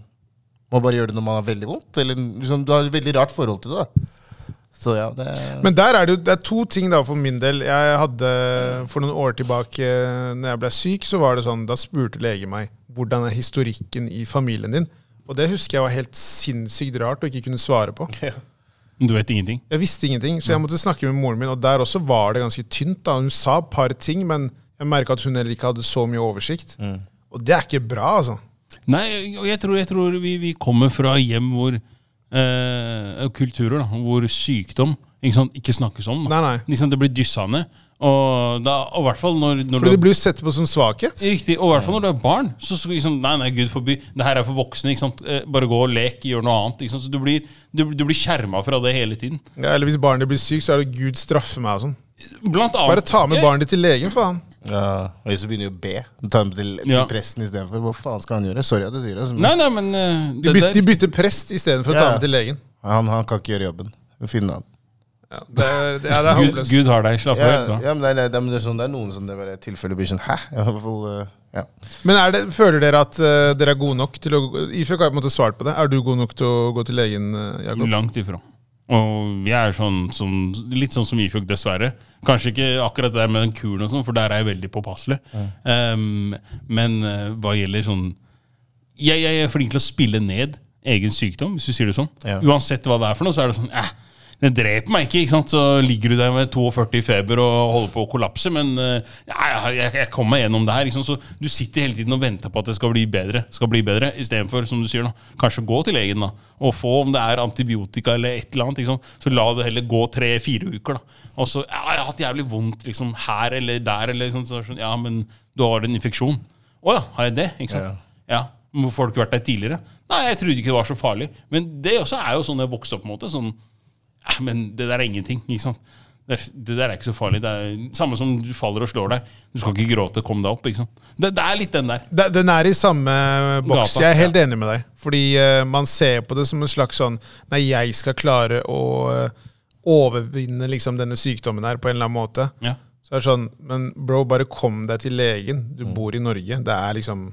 Speaker 3: må bare gjøre det når man har veldig vondt. eller liksom, Du har et veldig rart forhold til det. da. Så ja, det
Speaker 2: Men der er det, jo, det er to ting da for min del. Jeg hadde For noen år tilbake eh, Når jeg ble syk, så var det sånn Da spurte lege meg hvordan er historikken i familien din. Og det husker jeg var helt sinnssykt rart å ikke kunne svare på.
Speaker 1: Du vet ingenting?
Speaker 2: Jeg visste ingenting, så jeg måtte snakke med moren min. Og der også var det ganske tynt. da Hun sa et par ting, men jeg merka at hun heller ikke hadde så mye oversikt. Og det er ikke bra, altså.
Speaker 1: Nei, og jeg tror, jeg tror vi, vi kommer fra hjem hvor eh, Kulturer da, hvor sykdom ikke, sant, ikke snakkes om. Da.
Speaker 2: Nei, nei.
Speaker 1: Ikke sant, det blir dyssa ned. Og, da, og i hvert fall når, når
Speaker 2: Fordi det
Speaker 1: du,
Speaker 2: blir jo sett på som svakhet.
Speaker 1: Riktig, og i hvert fall når du er barn. Så skal liksom, Nei, nei, gud forby. Det her er for voksne. Ikke sant? Eh, Bare gå og lek, gjør noe annet. Ikke sant? Så du blir, du, du blir skjerma fra det hele tiden.
Speaker 2: Ja, eller hvis barnet blir sykt, så er det Gud straffer meg og sånn.
Speaker 1: Blant annet
Speaker 2: Bare ta med barnet ditt til legen, faen.
Speaker 3: ja, Og så begynner jo å be. Ta dem til, til
Speaker 1: Ja.
Speaker 3: presten istedenfor. Hva faen skal han gjøre? Sorry at jeg sier det. men-
Speaker 1: Nei, nei, men eh,
Speaker 2: De
Speaker 1: det
Speaker 2: bytter, de
Speaker 1: der,
Speaker 2: bytter prest istedenfor å
Speaker 3: Ja,
Speaker 2: ta
Speaker 3: ja.
Speaker 2: med til legen.
Speaker 3: Han, han kan ikke gjøre jobben. Finne han.
Speaker 2: Ja, det er, det er, det er
Speaker 1: Gud,
Speaker 2: håpløst.
Speaker 1: Gud har deg. Slapp av.
Speaker 3: Ja,
Speaker 1: helt bra.
Speaker 3: ja, men det er, det er, men det er sånn, det er noen som det bare tilfellet blir sånn Hæ? Jeg, har i hvert fall, eh, Ja.
Speaker 2: Men er det, føler dere at eh, dere er gode nok til å Ifjøk har på en måte svart på det. Er du god nok til å gå til legen, eh, Jakob?
Speaker 1: Langt ifra. Og jeg er sånn som, litt sånn som Ifjok, dessverre. Kanskje ikke akkurat det der med den kuren, og sånn, for der er jeg veldig påpasselig. Ehm, men eh, hva gjelder sånn jeg, jeg er flink til å spille ned egen sykdom, hvis du sier det sånn.
Speaker 3: Ja.
Speaker 1: Uansett hva det er for noe, så er det sånn eh, Den dreper meg ikke, ikke sant? Så ligger du der med 42 i feber og holder på å kollapse, men eh, ja, ja, jeg, jeg kommer meg gjennom det her. Ikke sant? Så du sitter hele tiden og venter på at det skal bli bedre, skal bli bedre istedenfor, som du sier, da, kanskje gå til legen da, og få om det er antibiotika eller et eller annet. Ikke sant? Så la det heller gå tre-fire uker. da. Og så ja, 'Jeg har hatt jævlig vondt liksom, her eller der', eller sånn, så, er det sånn, 'Ja, men du har en infeksjon'. 'Å ja, har jeg det?' Ikke sant? Ja, men Hvorfor har du ikke vært der tidligere? Nei, jeg trodde ikke det var så farlig. Men det også er jo sånn jeg vokste opp. på en måte sånn, «Eh, Men det der er ingenting. ikke sant? Det, er- det der er ikke så farlig. Det er Samme som du faller og slår deg. Du skal ikke gråte. Kom deg opp. ikke sant? Det, det er litt den der.
Speaker 2: De- Den er i samme boks.
Speaker 1: Gata,
Speaker 2: Jeg er helt enig med deg. Fordi eh, man ser på det som en slags sånn Nei, jeg skal klare å eh, overvinne liksom denne sykdommen her på en eller annen måte.
Speaker 1: Ja.
Speaker 2: Så er det sånn Men bro, bare kom deg til legen.
Speaker 1: Mm.
Speaker 2: Du bor i Norge. Det er liksom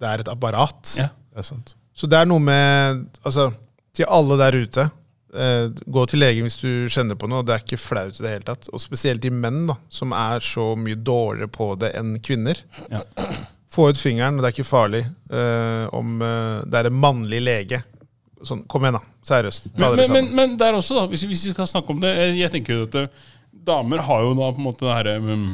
Speaker 2: Det er et apparat.
Speaker 1: ja.
Speaker 3: Det er sant.
Speaker 2: Så det er noe med Altså, til alle der ute. Eh, gå til legen hvis du kjenner på noe. Det er ikke flaut i det hele tatt. Og spesielt de menn, da, som er så mye dårligere på det enn kvinner.
Speaker 1: Ja.
Speaker 2: Få ut fingeren, det er ikke farlig eh, om eh, det er en mannlig lege. Sånn, kom igjen, da. Seriøst. Ta
Speaker 1: Men,
Speaker 2: dere
Speaker 1: men,
Speaker 2: sammen.
Speaker 1: men, men der også, da, hvis, hvis vi skal snakke om det Jeg, jeg tenker jo at eh, damer har jo da på en måte det herre mm,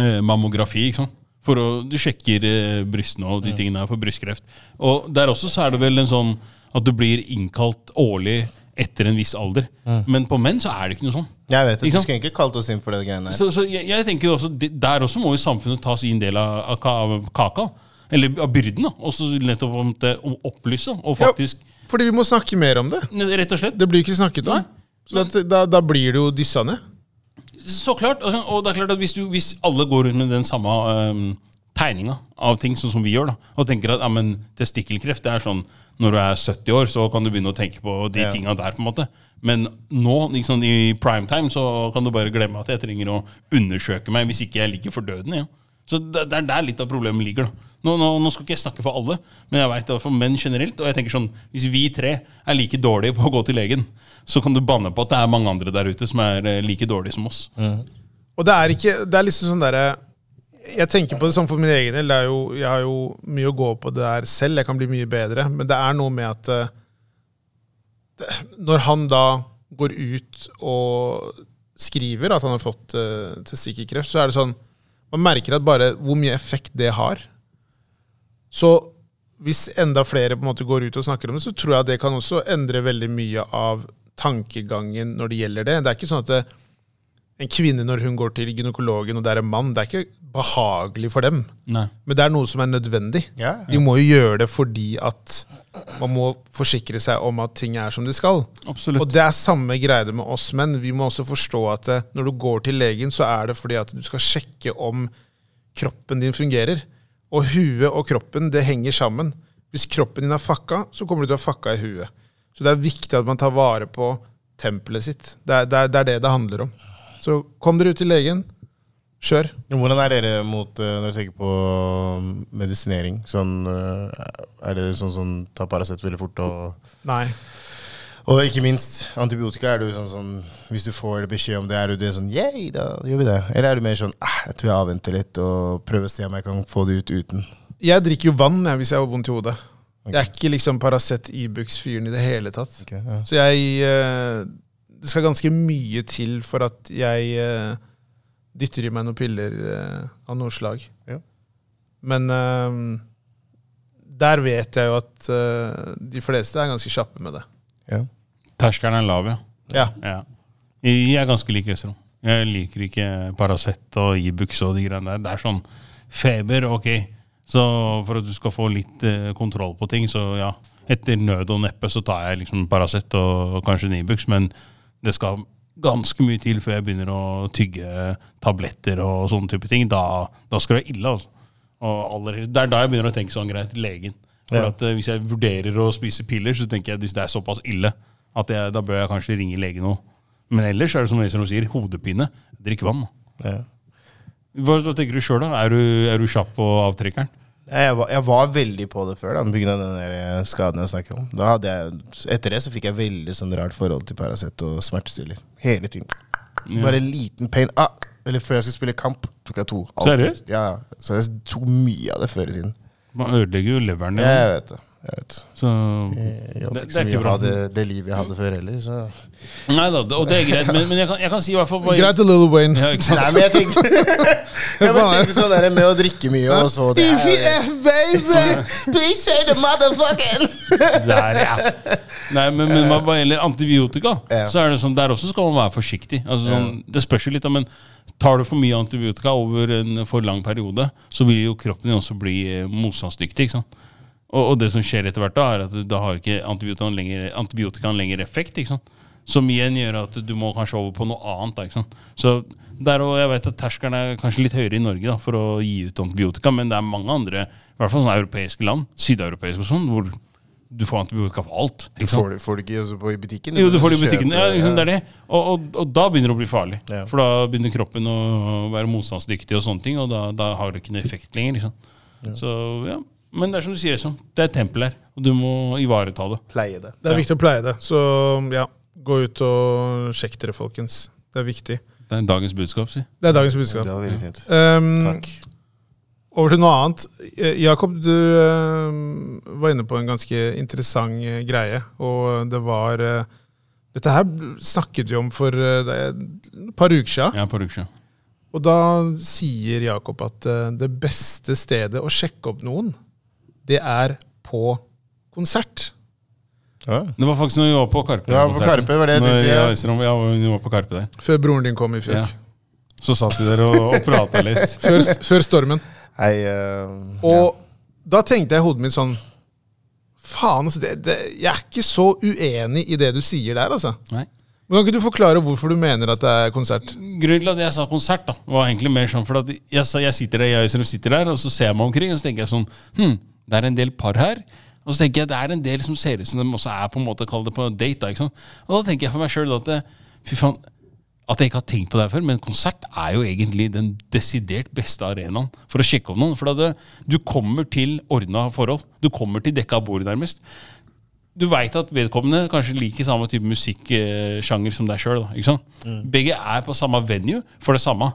Speaker 1: eh, mammografi. ikke sant? For å, Du sjekker eh, brystene og de tingene her for brystkreft. Og der også så er det vel en sånn at du blir innkalt årlig etter en viss alder. Men på menn så er det ikke noe sånn.
Speaker 3: Jeg vet det.
Speaker 1: Ikke
Speaker 3: Du
Speaker 1: sant?
Speaker 3: skulle ikke kalt oss inn for det greiene her.
Speaker 1: Så, så jeg, jeg tenker jo også, de- Der også må jo samfunnet ta sin del av, av ka- av kaka. Eller av byrden. da, Og så nettopp om det, om opplyse. Og
Speaker 2: Ja,
Speaker 1: faktisk,
Speaker 2: fordi vi må snakke mer om det.
Speaker 1: rett og slett
Speaker 2: Det blir ikke snakket om.
Speaker 1: Nei.
Speaker 2: Så at, da, da blir det jo dissa ned.
Speaker 1: Så klart. altså, Og, så- og det er klart at hvis, du, hvis alle går rundt med den samme øhm, tegninga av ting, sånn som vi gjør, da, og tenker at ja, men testikkelkreft det er sånn når du er 70 år, så kan du begynne å tenke på de
Speaker 3: Ja.
Speaker 1: tinga der. på en måte. Men nå, liksom, i prime time, så kan du bare glemme at jeg trenger å undersøke meg hvis ikke jeg ligger for døden. Ja. Så det, det er der litt av problemet ligger. da. Nå, nå, nå skal ikke jeg snakke for alle, men jeg vet det for menn generelt. Og jeg tenker sånn, Hvis vi tre er like dårlige på å gå til legen, så kan du banne på at det er mange andre der ute som er eh, like dårlige som oss.
Speaker 2: Og det er ikke Det er liksom sånn derre Jeg tenker på det sånn for min egen del. Det er jo, jeg har jo mye å gå på der selv. Jeg kan bli mye bedre. Men det er noe med at eh, det, Når han da går ut og skriver at han har fått uh, testikkelkreft, så er det sånn Man merker at bare hvor mye effekt det har. Så hvis enda flere på en måte går ut og snakker om det, så tror jeg det kan også endre veldig mye av tankegangen når det gjelder det. Det er ikke sånn at det, en kvinne når hun går til gynekologen og det er en mann, det er ikke behagelig for dem.
Speaker 1: Nei.
Speaker 2: Men det er noe som er nødvendig.
Speaker 3: Ja, ja.
Speaker 2: De må jo gjøre det fordi at man må forsikre seg om at ting er som de skal.
Speaker 1: Absolutt.
Speaker 2: Og det er samme greie med oss menn. Vi må også forstå at eh, når du går til legen, så er det fordi at du skal sjekke om kroppen din fungerer. Og huet og kroppen, det henger sammen. Hvis kroppen din er fucka, så kommer du til å ha fucka i huet. Så det er viktig at man tar vare på tempelet sitt. Det er det, er, det, er det det handler om. Så kom dere ut til legen. Kjør.
Speaker 3: Men Hvordan er dere mot eh, når du tenker på mm, medisinering? Sånn, eh, er dere sånn som tar Paracet veldig fort? Og,
Speaker 2: Nei.
Speaker 3: og ikke minst antibiotika. Er du sånn som Hvis du får beskjed om det, er du det sånn Yeah, da gjør vi det. Eller er du mer sånn ah, Jeg tror jeg avventer litt og prøver å se om jeg kan få det ut uten.
Speaker 2: Jeg drikker jo vann jeg, hvis jeg har vondt i hodet. Jeg er ikke liksom Paracet Ibux-fyren i det hele tatt.
Speaker 3: Ok, ja.
Speaker 2: Så jeg eh, Det skal ganske mye til for at jeg eh, dytter i meg noen piller eh, av noe slag.
Speaker 3: Ja.
Speaker 2: Men eh, der vet jeg jo at eh, de fleste er ganske kjappe med det.
Speaker 3: Ja.
Speaker 1: Terskelen er lav, ja.
Speaker 2: Ja.
Speaker 1: ja. Jeg er ganske lik Øystein. Jeg liker ikke Paracet og Ibux og de greiene der. Det er sånn feber, ok. Så for at du skal få litt eh, kontroll på ting, så ja. Etter nød og neppe så tar jeg liksom Paracet og kanskje en Ibux, men det skal ganske mye til før jeg begynner å tygge tabletter og sånne type ting. Da, da skal det være ille, altså. Og allerede, det er da jeg begynner å tenke sånn greit, legen. For
Speaker 3: Ja.
Speaker 1: at eh, Hvis jeg vurderer å spise piller, så tenker jeg at hvis det er såpass ille, at jeg, da bør jeg kanskje ringe legen òg. Men ellers er det som Øystein sier, hodepine. Drikk vann. da.
Speaker 3: Ja.
Speaker 1: Hva, hva tenker du sjøl, da? Er du, er du kjapp på avtrekkeren?
Speaker 3: Nei, Jeg var, jeg var veldig på det før, da, på grunn av den der eh, skaden jeg snakker om. Da hadde jeg, etter det så fikk jeg veldig sånn rart forhold til Paracet og smertestiller. Hele tiden. Bare en liten pain. Ah, eller før jeg skulle spille kamp, tok jeg to.
Speaker 1: Seriøst?
Speaker 3: Ja, ja. så jeg tok mye av det før i tiden.
Speaker 1: Man ødelegger jo leveren din.
Speaker 3: Jeg vet det. Jeg vet.
Speaker 1: Så
Speaker 3: Jeg
Speaker 1: Det-
Speaker 3: håper
Speaker 1: det
Speaker 3: ikke
Speaker 1: er
Speaker 3: så
Speaker 1: ikke
Speaker 3: mye å ha
Speaker 1: bra.
Speaker 3: det, det livet jeg hadde før heller, så
Speaker 1: Nei da, det- og det er greit, men, men jeg, kan, jeg kan si i hvert fall bare-
Speaker 2: Greit til Little Wayne.
Speaker 1: Ja, ikke sant?
Speaker 3: Nei, men jeg
Speaker 2: [laughs]
Speaker 3: tenkte Jeg bare tenkte sånn der med å drikke mye og så det
Speaker 2: EVF,
Speaker 3: [laughs]
Speaker 2: baby!
Speaker 3: Please say the motherfucking
Speaker 1: Der, ja. Nei, men, men hva hva gjelder antibiotika,
Speaker 3: Ja.
Speaker 1: så er det sånn, der også skal man være forsiktig. Altså, sånn, det spørs jo litt, da, men tar du for mye antibiotika over en for lang periode, så vil jo kroppen din også bli eh, motstandsdyktig. ikke sant? Og, og det som skjer etter hvert, da, er at du- da har ikke antibiotikaen lenger, antibiotikaen lenger effekt. ikke sant? Som igjen gjør at du må kanskje over på noe annet. da, ikke sant? Så der og Jeg vet at terskelen er kanskje litt høyere i Norge da, for å gi ut antibiotika, men det er mange andre, i hvert fall sånne europeiske land, sydeuropeiske og sånn, hvor du får antibiotika for alt.
Speaker 3: Du
Speaker 1: Ikke sant?
Speaker 3: får det, får det ikke også på, i butikken?
Speaker 1: Jo, du får det i
Speaker 3: kjøper-
Speaker 1: butikken. Ja, liksom, det er det. Og, og, og da begynner det å bli farlig.
Speaker 3: Ja.
Speaker 1: For da begynner kroppen å være motstandsdyktig, og sånne ting, og da, da har du ikke noe effekt lenger. Liksom. Så, ja. Men det er som du sier, liksom. det er et tempel her, og du må ivareta det.
Speaker 3: Pleie det.
Speaker 2: Det er viktig å pleie det. Så ja, gå ut og sjekk dere, folkens. Det er viktig.
Speaker 1: Det er dagens budskap, si.
Speaker 2: Det er dagens
Speaker 3: Det
Speaker 2: budskap.
Speaker 3: var veldig fint.
Speaker 2: Um,
Speaker 3: Takk.
Speaker 2: Over til noe annet. Eh, Jakob, du eh, var inne på en ganske interessant eh, greie. Og det var eh, Dette her snakket vi om for eh, det er et par uker siden.
Speaker 1: Ja, på Rugsjø.
Speaker 2: Og da sier Jakob at eh, det beste stedet å sjekke opp noen, det er på konsert.
Speaker 3: Ja.
Speaker 1: Det var faktisk når vi var på Karpe.
Speaker 3: Ja, på Karpe, var det jeg tenkte, ja.
Speaker 1: tenkte. Ja, når vi var på Karpe der.
Speaker 2: Før broren din kom i fjor.
Speaker 1: Ja. Så satt vi der og, og prata litt.
Speaker 2: Før, før
Speaker 1: [laughs]
Speaker 2: stormen.
Speaker 3: Hei, eh,
Speaker 2: Og da tenkte jeg i hodet mitt sånn Faen, altså. Det, det, jeg er ikke så uenig i det du sier der, altså.
Speaker 1: Nei.
Speaker 2: Men Kan ikke du forklare hvorfor du mener at det er konsert?
Speaker 1: Grunnen til at jeg sa konsert, da var egentlig mer sånn For at jeg, sa- jeg sitter der, jeg og Øystein sitter der, og så ser jeg meg omkring, og så tenker jeg sånn Hm, det er en del par her. Og så tenker jeg det er en del som ser ut som de også er på en måte kall det på date. da, ikke sant? Og da tenker jeg for meg sjøl at det, fy faen, at jeg ikke har tenkt på det her før, men konsert er jo egentlig den desidert beste arenaen for å sjekke opp noen. For at det, du kommer til ordna forhold. Du kommer til dekka bord, nærmest du veit at vedkommende kanskje liker samme type musikksjanger som deg sjøl. Begge er på samme venue for det samme.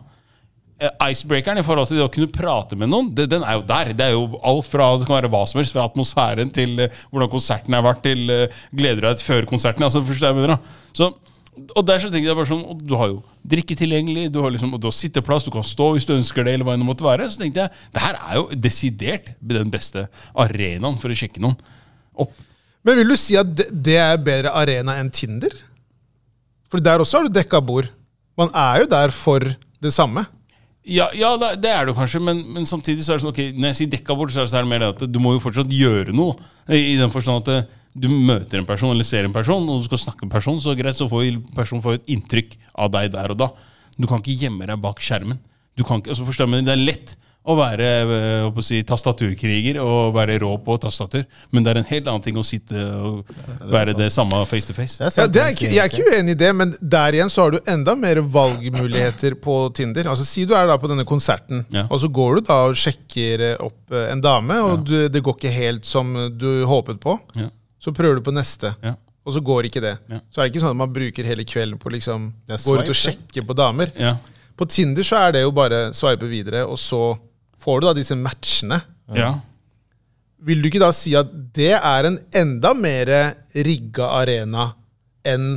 Speaker 1: Eh, Icebreakeren i forhold til det å kunne prate med noen, det, den er jo der. Det er jo alt fra det kan være hva som helst, fra atmosfæren til eh, hvordan konserten har vært, til eh, gleder deg til før konserten. Altså, forstår jeg hva jeg mener, da. Så, og der så tenker jeg bare sånn og Du har jo drikke tilgjengelig, du har, liksom, og du har sitteplass, du kan stå hvis du ønsker det, eller hva enn det måtte være. Så tenkte jeg det her er jo desidert den beste arenaen for å sjekke noen opp.
Speaker 2: Men vil du si at det, det er bedre arena enn Tinder? For der også har du dekka bord. Man er jo der for det samme.
Speaker 1: Ja, ja det, det er det jo kanskje, men, men samtidig så er det sånn, ok, når jeg sier dekka bort, så er det, så er det mer det at du må jo fortsatt gjøre noe. I, i den forstand at eh, du møter en person eller ser en person, og du skal snakke med en person, så greit, så får jo personen får jo et inntrykk av deg der og da. Du kan ikke gjemme deg bak skjermen. Du kan ikke, altså forstår jeg, men Det er lett å være eh, håper å si, tastaturkriger og være rå på tastatur, men det er en helt annen ting å sitte og være det samme face to face.
Speaker 2: Ja,
Speaker 3: sant,
Speaker 2: det er
Speaker 3: den
Speaker 2: ikke,
Speaker 3: sier
Speaker 2: jeg er ikke uenig i det, men der igjen så har du enda mer valgmuligheter på Tinder. Altså Si du er da på denne konserten,
Speaker 1: Ja.
Speaker 2: og så går du da og sjekker eh, opp eh, en dame, og du, det går ikke helt som du håpet på.
Speaker 1: Ja,
Speaker 2: Så prøver du på neste,
Speaker 1: ja.
Speaker 2: og så går ikke det.
Speaker 1: Ja.
Speaker 2: Så er det ikke sånn at man bruker hele kvelden på liksom
Speaker 3: Det er
Speaker 2: gå rundt og
Speaker 3: swipe,
Speaker 2: sjekke på damer.
Speaker 1: ja.
Speaker 2: På Tinder så er det jo bare sveipe videre, og så får du da disse matchene.
Speaker 1: ja.
Speaker 2: Vil du ikke da si at det er en enda mer rigga arena enn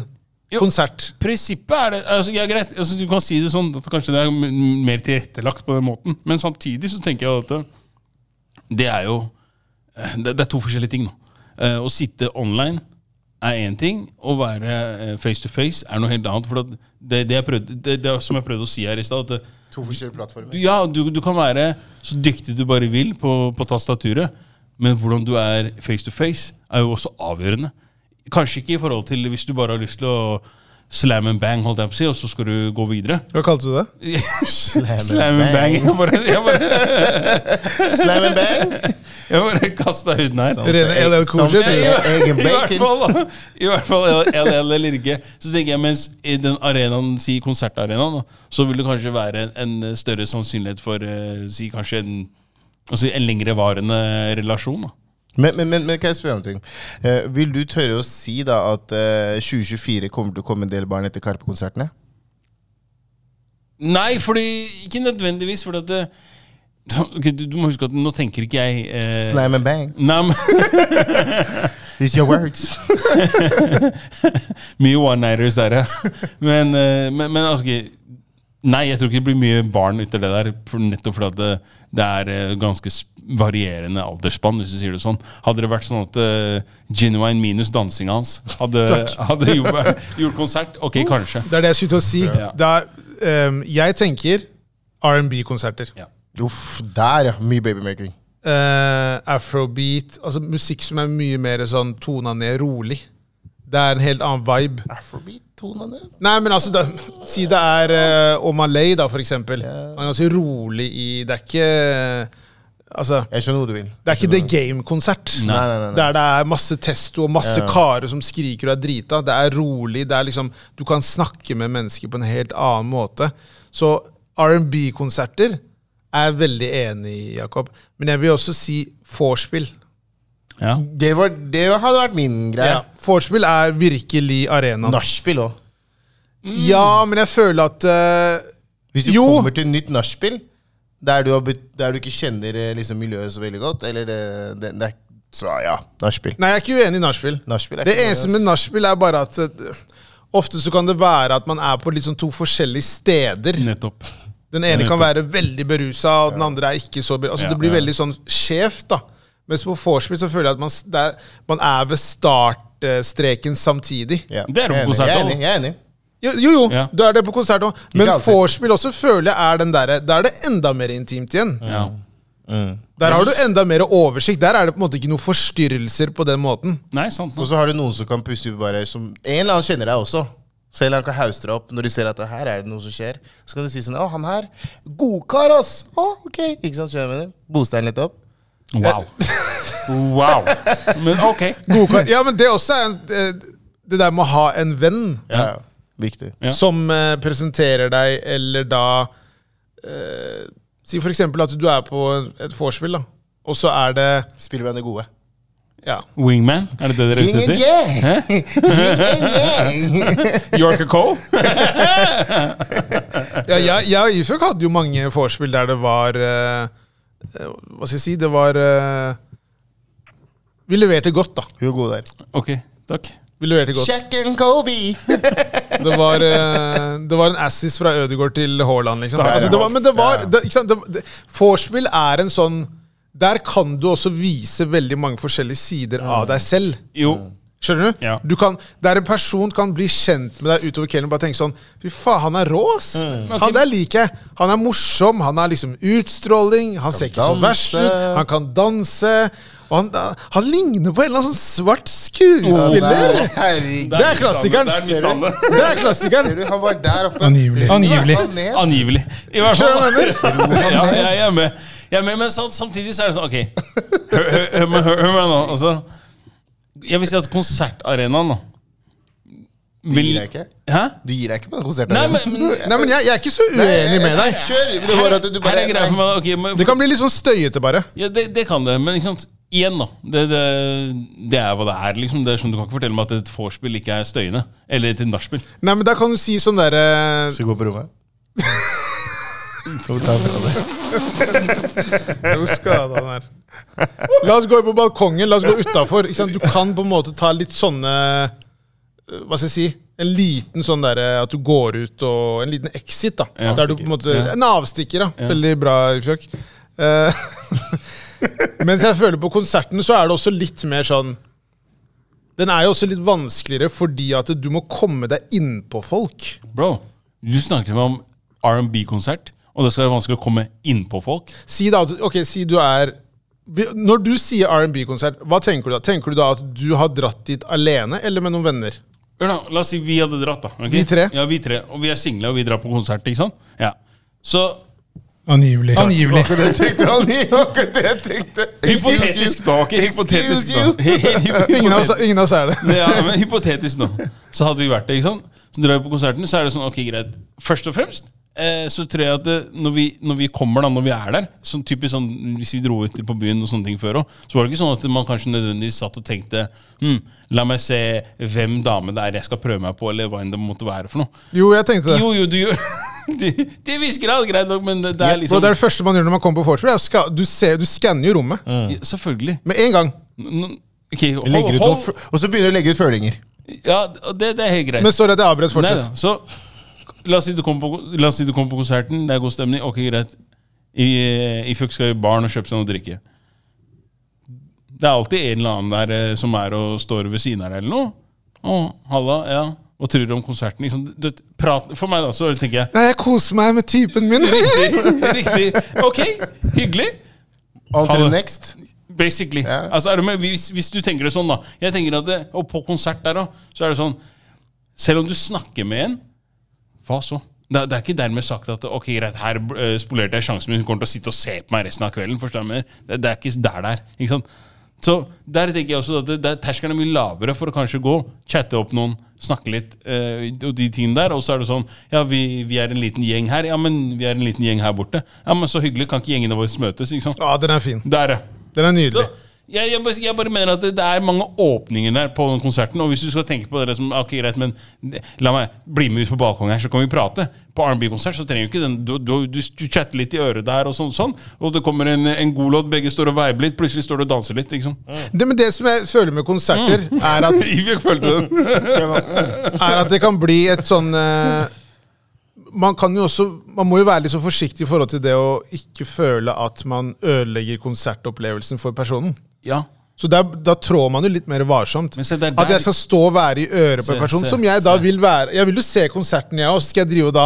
Speaker 1: Jo.
Speaker 2: konsert?
Speaker 1: Prinsippet er det altså, ja, greit, altså, Du kan si det sånn at kanskje det er m- mer tilrettelagt på den måten, men samtidig så tenker jeg at det, det er jo eh, det, det er to forskjellige ting. nå. Eh, Å sitte online er én ting, å være eh, face to face er noe helt annet. For at det, det, jeg prøvde, det, det er som jeg prøvde å si her i stad, at eh, det,
Speaker 3: To forskjellige plattformer.
Speaker 1: du- ja, du, du kan være så dyktig du bare vil på, på tastaturet, men hvordan du er face to face, er jo også avgjørende. Kanskje ikke i forhold til hvis du bare har lyst til å slam and bang, holdt jeg på å si, og så skal du gå videre. [laughs]
Speaker 2: Hva kalte du det?
Speaker 1: slam, and [laughs] bang. Jeg bare, jeg bare,
Speaker 3: Slam and bang!
Speaker 1: jeg bare kasta ut den her.
Speaker 3: Som
Speaker 2: Rene
Speaker 3: sier-
Speaker 2: LL Cool
Speaker 3: som
Speaker 2: J. [laughs]
Speaker 3: sier Egg and
Speaker 1: I hvert
Speaker 3: bacon.
Speaker 1: fall, da. I hvert fall LL eller ikke. Så tenker jeg, mens i den arenaen, si konsertarenaen, da, så vil det kanskje være en, en større sannsynlighet for eh, si kanskje en Altså en lengrevarende relasjon. da.
Speaker 3: Men, men, men, men kan jeg spørre om en ting? Eh, vil du tørre å si da at eh, 2024 kommer til å komme en del barn etter Karpe-konsertene?
Speaker 1: Nei, fordi, ikke nødvendigvis. Fordi at det, Ok, du, du må huske at nå tenker ikke jeg eh,
Speaker 3: Slam and bang.
Speaker 1: Nei, men
Speaker 3: It's your words.
Speaker 1: Mye one-nighters der, ja. [laughs] Men, eh, men, men altså, ikke- Nei, jeg tror ikke det blir mye barn ut av det der. for- Nettopp fordi at det, det er eh, ganske s- varierende aldersspann, hvis du sier det sånn. Hadde det vært sånn at eh, genuine minus dansinga hans hadde, hadde gjort, gjort konsert, ok, kanskje.
Speaker 2: Det er det jeg skulle til å si.
Speaker 1: Ja.
Speaker 2: Det er, ehm, jeg tenker R&B-konserter.
Speaker 1: Ja.
Speaker 3: [laughs] Uff, der, ja. Mye babymaking.
Speaker 2: Eh, afrobeat. Altså musikk som er mye mer sånn tona ned, rolig. Det er en helt annen vibe.
Speaker 3: Afrobeat, tonene.
Speaker 2: Nei, men altså, da, si det er uh, Omalay, da, for eksempel. Han er ganske rolig i Det er ikke Altså,
Speaker 3: Jeg skjønner hvor du vil.
Speaker 2: det er ikke The Game-konsert.
Speaker 3: Nei, nei, nei, nei.
Speaker 2: Der det er masse testo og masse karer som skriker og er drita. Det er rolig. det er liksom, Du kan snakke med mennesker på en helt annen måte. Så R&B-konserter er jeg veldig enig i, Jakob. Men jeg vil også si vorspiel.
Speaker 1: Ja.
Speaker 3: Det, var, det hadde vært min greie.
Speaker 2: Ja. Vorspiel er virkelig arenaen.
Speaker 3: Nachspiel òg.
Speaker 2: Ja, men jeg føler at eh,
Speaker 3: Hvis du
Speaker 2: Jo.
Speaker 3: kommer til nytt nachspiel, der, du har bet- der du ikke kjenner eh, liksom, miljøet så veldig godt, eller det, det, det er, Så ja, nachspiel.
Speaker 2: Nei, jeg er ikke uenig i nachspiel.
Speaker 3: Nachspiel er
Speaker 2: Det
Speaker 3: ikke noe,
Speaker 2: eneste med nachspiel er bare at eh, ofte så kan det være at man er på litt sånn to forskjellige steder.
Speaker 1: Nettopp.
Speaker 2: Den ene kan
Speaker 1: nettopp.
Speaker 2: være veldig berusa, og den andre er ikke så berusa. Altså,
Speaker 1: Ja,
Speaker 2: det blir
Speaker 1: ja.
Speaker 2: veldig sånn skjevt, da. Mens på vorspiel så føler jeg at man, s- det er, man er ved startstreken samtidig.
Speaker 3: Ja,
Speaker 1: Det er jo
Speaker 3: jeg
Speaker 1: på
Speaker 3: enig, Jeg er
Speaker 1: konsert
Speaker 3: enig. jeg er enig.
Speaker 2: Jo, jo, jo
Speaker 1: Ja.
Speaker 2: du er det på konsert òg. Men
Speaker 3: alltid.
Speaker 2: vorspiel også føler jeg er den derre Da er det enda mer intimt igjen.
Speaker 1: Ja.
Speaker 2: Der har du enda mer oversikt. Der er det på en måte ikke noen forstyrrelser på den
Speaker 3: [laughs]
Speaker 2: måten.
Speaker 1: Nei, sant.
Speaker 3: Og
Speaker 1: nå.
Speaker 3: så har du noen som kan puste ut bare som En eller annen kjenner deg også. Selv han kan hauste deg opp når de ser at her er det noe som skjer. Så kan du si sånn Å, han her. Godkar, ass! Å, ok. Ikke sant? Skjønner du hva jeg mener? Booste han litt opp.
Speaker 1: Wow. [laughs] Wow. Men ok.
Speaker 2: Godkar. Ja, men det også er en, eh, det der med å ha en venn
Speaker 3: Ja. Viktig.
Speaker 1: Ja.
Speaker 2: som eh, presenterer deg, eller da eh, Si for eksempel at du er på et vorspiel, da. Og så er det
Speaker 3: Spiller hverandre gode.
Speaker 2: Ja.
Speaker 1: Wingman, er det det dere er
Speaker 3: Yin
Speaker 1: ute
Speaker 3: and
Speaker 1: etter?
Speaker 3: yang! [laughs] Yin and yang!
Speaker 1: [laughs] Yorker Cole?
Speaker 2: ja jeg, jeg og Ifuk hadde jo mange vorspiel der det var eh, eh, Hva skal jeg si? Det var eh, Vi leverte godt, da.
Speaker 3: Hun er god der.
Speaker 1: Ok, takk.
Speaker 2: Vi leverte godt.
Speaker 3: Shaq and Kobe!
Speaker 2: Det var, eh, det var en assist fra Ødegaard til Haaland, liksom.
Speaker 3: ja.
Speaker 2: Altså, det var, men det var
Speaker 3: Ja.
Speaker 2: det, ikke sant? Det, det, Vorspiel er en sånn Der kan du også vise veldig mange forskjellige sider
Speaker 3: Mm.
Speaker 2: av deg selv.
Speaker 1: Jo.
Speaker 2: Skjønner du?
Speaker 1: Ja.
Speaker 2: du kan, der en person kan bli kjent med deg utover kvelden og bare tenke sånn Fy faen, han er rå, ass!
Speaker 1: Mm.
Speaker 2: Han der liker jeg. Han er morsom, han har liksom utstråling, han ser ikke så
Speaker 3: danse.
Speaker 2: verst ut, han kan danse. Og han, han ligner på en eller annen sånn svart skuespiller!
Speaker 3: Der, herregud.
Speaker 2: det er klassikeren!
Speaker 1: Det er Missanne.
Speaker 2: Det er klassikeren!
Speaker 3: Ser du, han var der oppe.
Speaker 2: Angivelig. Angivelig.
Speaker 3: Han ned.
Speaker 1: Angivelig. I hvert fall.
Speaker 2: Skjønner du hva
Speaker 1: ja, jeg, jeg er med. Jeg er med, men sam- samtidig så er det sånn Ok, hør, hør, hør, meg- hør, hør meg nå. Altså, jeg vil si at konsertarenaen da
Speaker 3: Du
Speaker 1: vil,
Speaker 3: gir deg ikke?
Speaker 1: Hæ?
Speaker 3: Du gir deg ikke på
Speaker 1: Nei,
Speaker 3: den konserten?
Speaker 1: men, men
Speaker 2: Nei, men jeg, jeg er ikke så uenig med deg.
Speaker 3: Kjør! men Det var at du
Speaker 1: her
Speaker 3: bare
Speaker 1: er greia for meg. da. Ok, men,
Speaker 2: Det kan bli litt sånn støyete, bare.
Speaker 1: Ja, det, det kan det, men ikke sant? igjen, da. Det, det, det er hva det er. liksom det er sånn, Du kan ikke fortelle meg at et vorspiel ikke er støyende. Eller et nachspiel.
Speaker 2: Nei, men da kan du si sånn derre
Speaker 3: Skal vi gå på rommet? Skal vi ta fra det?
Speaker 2: Hvor skada han er. La oss gå på balkongen. La oss gå utafor. Du kan på en måte ta litt sånne eh, Hva skal jeg si? En liten sånn derre at du går ut og En liten exit, da.
Speaker 1: Ja.
Speaker 2: Der du på en måte
Speaker 1: Ja.
Speaker 2: En avstikker, da. Veldig bra, Fjøk. Eh, [laughs] mens jeg føler på konserten, så er det også litt mer sånn Den er jo også litt vanskeligere fordi at du må komme deg innpå folk.
Speaker 1: Bro, du snakker til meg om R&B-konsert, og det skal være vanskelig å komme innpå folk.
Speaker 2: Si da at Ok, si du er vi- Når du sier R&B-konsert, hva tenker du da? Tenker du da at du har dratt dit alene, eller med noen venner?
Speaker 1: Hør da, La oss si vi hadde dratt, da. ok?
Speaker 2: Vi tre.
Speaker 1: Ja, vi tre, Og vi er single, og vi drar på konsert. ikke sant? Ja. Så
Speaker 4: Angivelig.
Speaker 2: Angivelig.
Speaker 3: Akkurat det jeg tenkte,
Speaker 2: [laughs]
Speaker 3: Anni! Akkurat det jeg tenkte!
Speaker 1: hypotetisk da, ok? Hypotetisk
Speaker 3: Excuse you.
Speaker 1: da.
Speaker 2: Ingen av oss, ingen av oss er det.
Speaker 1: ja, men hypotetisk nå. Så hadde vi vært det, ikke sant? Så drar vi på konserten, så er det sånn, ok, greit. Først og fremst, eh, så tror jeg at det, når, vi, når vi kommer, da, når vi er der sånn typisk sånn, Hvis vi dro ut på byen og sånne ting før òg, så var det ikke sånn at man kanskje nødvendigvis satt og tenkte hm, La meg se hvem dame det er jeg skal prøve meg på, eller hva enn det måtte være for noe.
Speaker 2: Jo, jeg [laughs] tenkte det.
Speaker 1: Jo, jo, du gjør [laughs] Til til en viss grad, greit nok, men det, det er
Speaker 2: Bro,
Speaker 1: liksom
Speaker 2: det er det første man gjør når man kommer på vorspiel. er å ska- Du, ser- du skanner jo rommet
Speaker 1: Ja, Selvfølgelig.
Speaker 2: med en gang.
Speaker 1: N- ok, hold,
Speaker 3: Legger ut noen,
Speaker 1: hold,
Speaker 3: fø- og så begynner du å legge ut følinger.
Speaker 1: ja, det, det er helt greit.
Speaker 2: Men sorry at jeg avbrøt.
Speaker 1: Nei,
Speaker 2: Fortsett.
Speaker 1: da. Så la oss, si du kommer på, la oss si du kommer på konserten, det er god stemning. Ok, greit. I, eh, i Fuck skal i baren og kjøpe seg noe å drikke. Det er alltid en eller annen der eh, som er og står ved siden av deg eller noe. Å, halla, ja. Hva tror du om konserten? Liksom, du, vet, prat, for meg, da, så tenker jeg [laughs]
Speaker 2: Nei, jeg koser meg med typen min. [laughs]
Speaker 1: Riktig. Ok, hyggelig.
Speaker 3: On to
Speaker 1: Ha
Speaker 3: the
Speaker 1: det.
Speaker 3: next.
Speaker 1: Basically.
Speaker 3: Ja.
Speaker 1: Altså, er du med? Hvis, hvis du tenker det sånn, da. Jeg tenker at det, Og på konsert der òg, så er det sånn Selv om du snakker med en, hva så? Det, det er ikke dermed sagt at Ok, greit, her eh, spolerte jeg sjansen min, hun kommer til å sitte og se på meg resten av kvelden. Forstår du hva jeg mener? Det, det er ikke der det er. Ikke sant? Så der tenker jeg også at det, der terskelen er mye lavere for å kanskje gå, chatte opp noen, snakke litt, eh, og de tingene der. Og så er det sånn Ja, vi, vi er en liten gjeng her. Ja, men vi er en liten gjeng her borte. Ja, men så hyggelig. Kan ikke gjengene våre møtes? Ikke sant?
Speaker 2: Ja, den er fin.
Speaker 1: Der, ja.
Speaker 2: Den er nydelig.
Speaker 1: Så, jeg, jeg, bare, jeg bare mener at det, det er mange åpninger der på den konserten. Og hvis du skal tenke på det som Ok, greit, men la meg bli med ut på balkongen her, så kan vi prate. På R&B-konsert så trenger du ikke den. Du, du, du, du chatter litt i øret der, og sånn, sånn og det kommer en, en god låt, begge står og veiber litt, plutselig står du og danser litt. Liksom. [laughs]
Speaker 2: Det, men det som jeg føler med konserter,
Speaker 1: Mm.
Speaker 2: er, at,
Speaker 1: Jeg følte den.
Speaker 2: er at det kan bli et sånn eh, man, kan jo også, man må jo være litt så forsiktig i forhold til det å ikke føle at man ødelegger konsertopplevelsen for personen.
Speaker 1: [laughs] Ja.
Speaker 2: Så der, da trår man jo litt mer varsomt.
Speaker 1: Men se, det er
Speaker 2: at
Speaker 1: der-
Speaker 2: jeg skal stå og være i øret på
Speaker 1: Se,
Speaker 2: en person
Speaker 1: se,
Speaker 2: som jeg da
Speaker 1: se.
Speaker 2: vil være Jeg vil jo se konserten, jeg òg, så skal jeg drive og da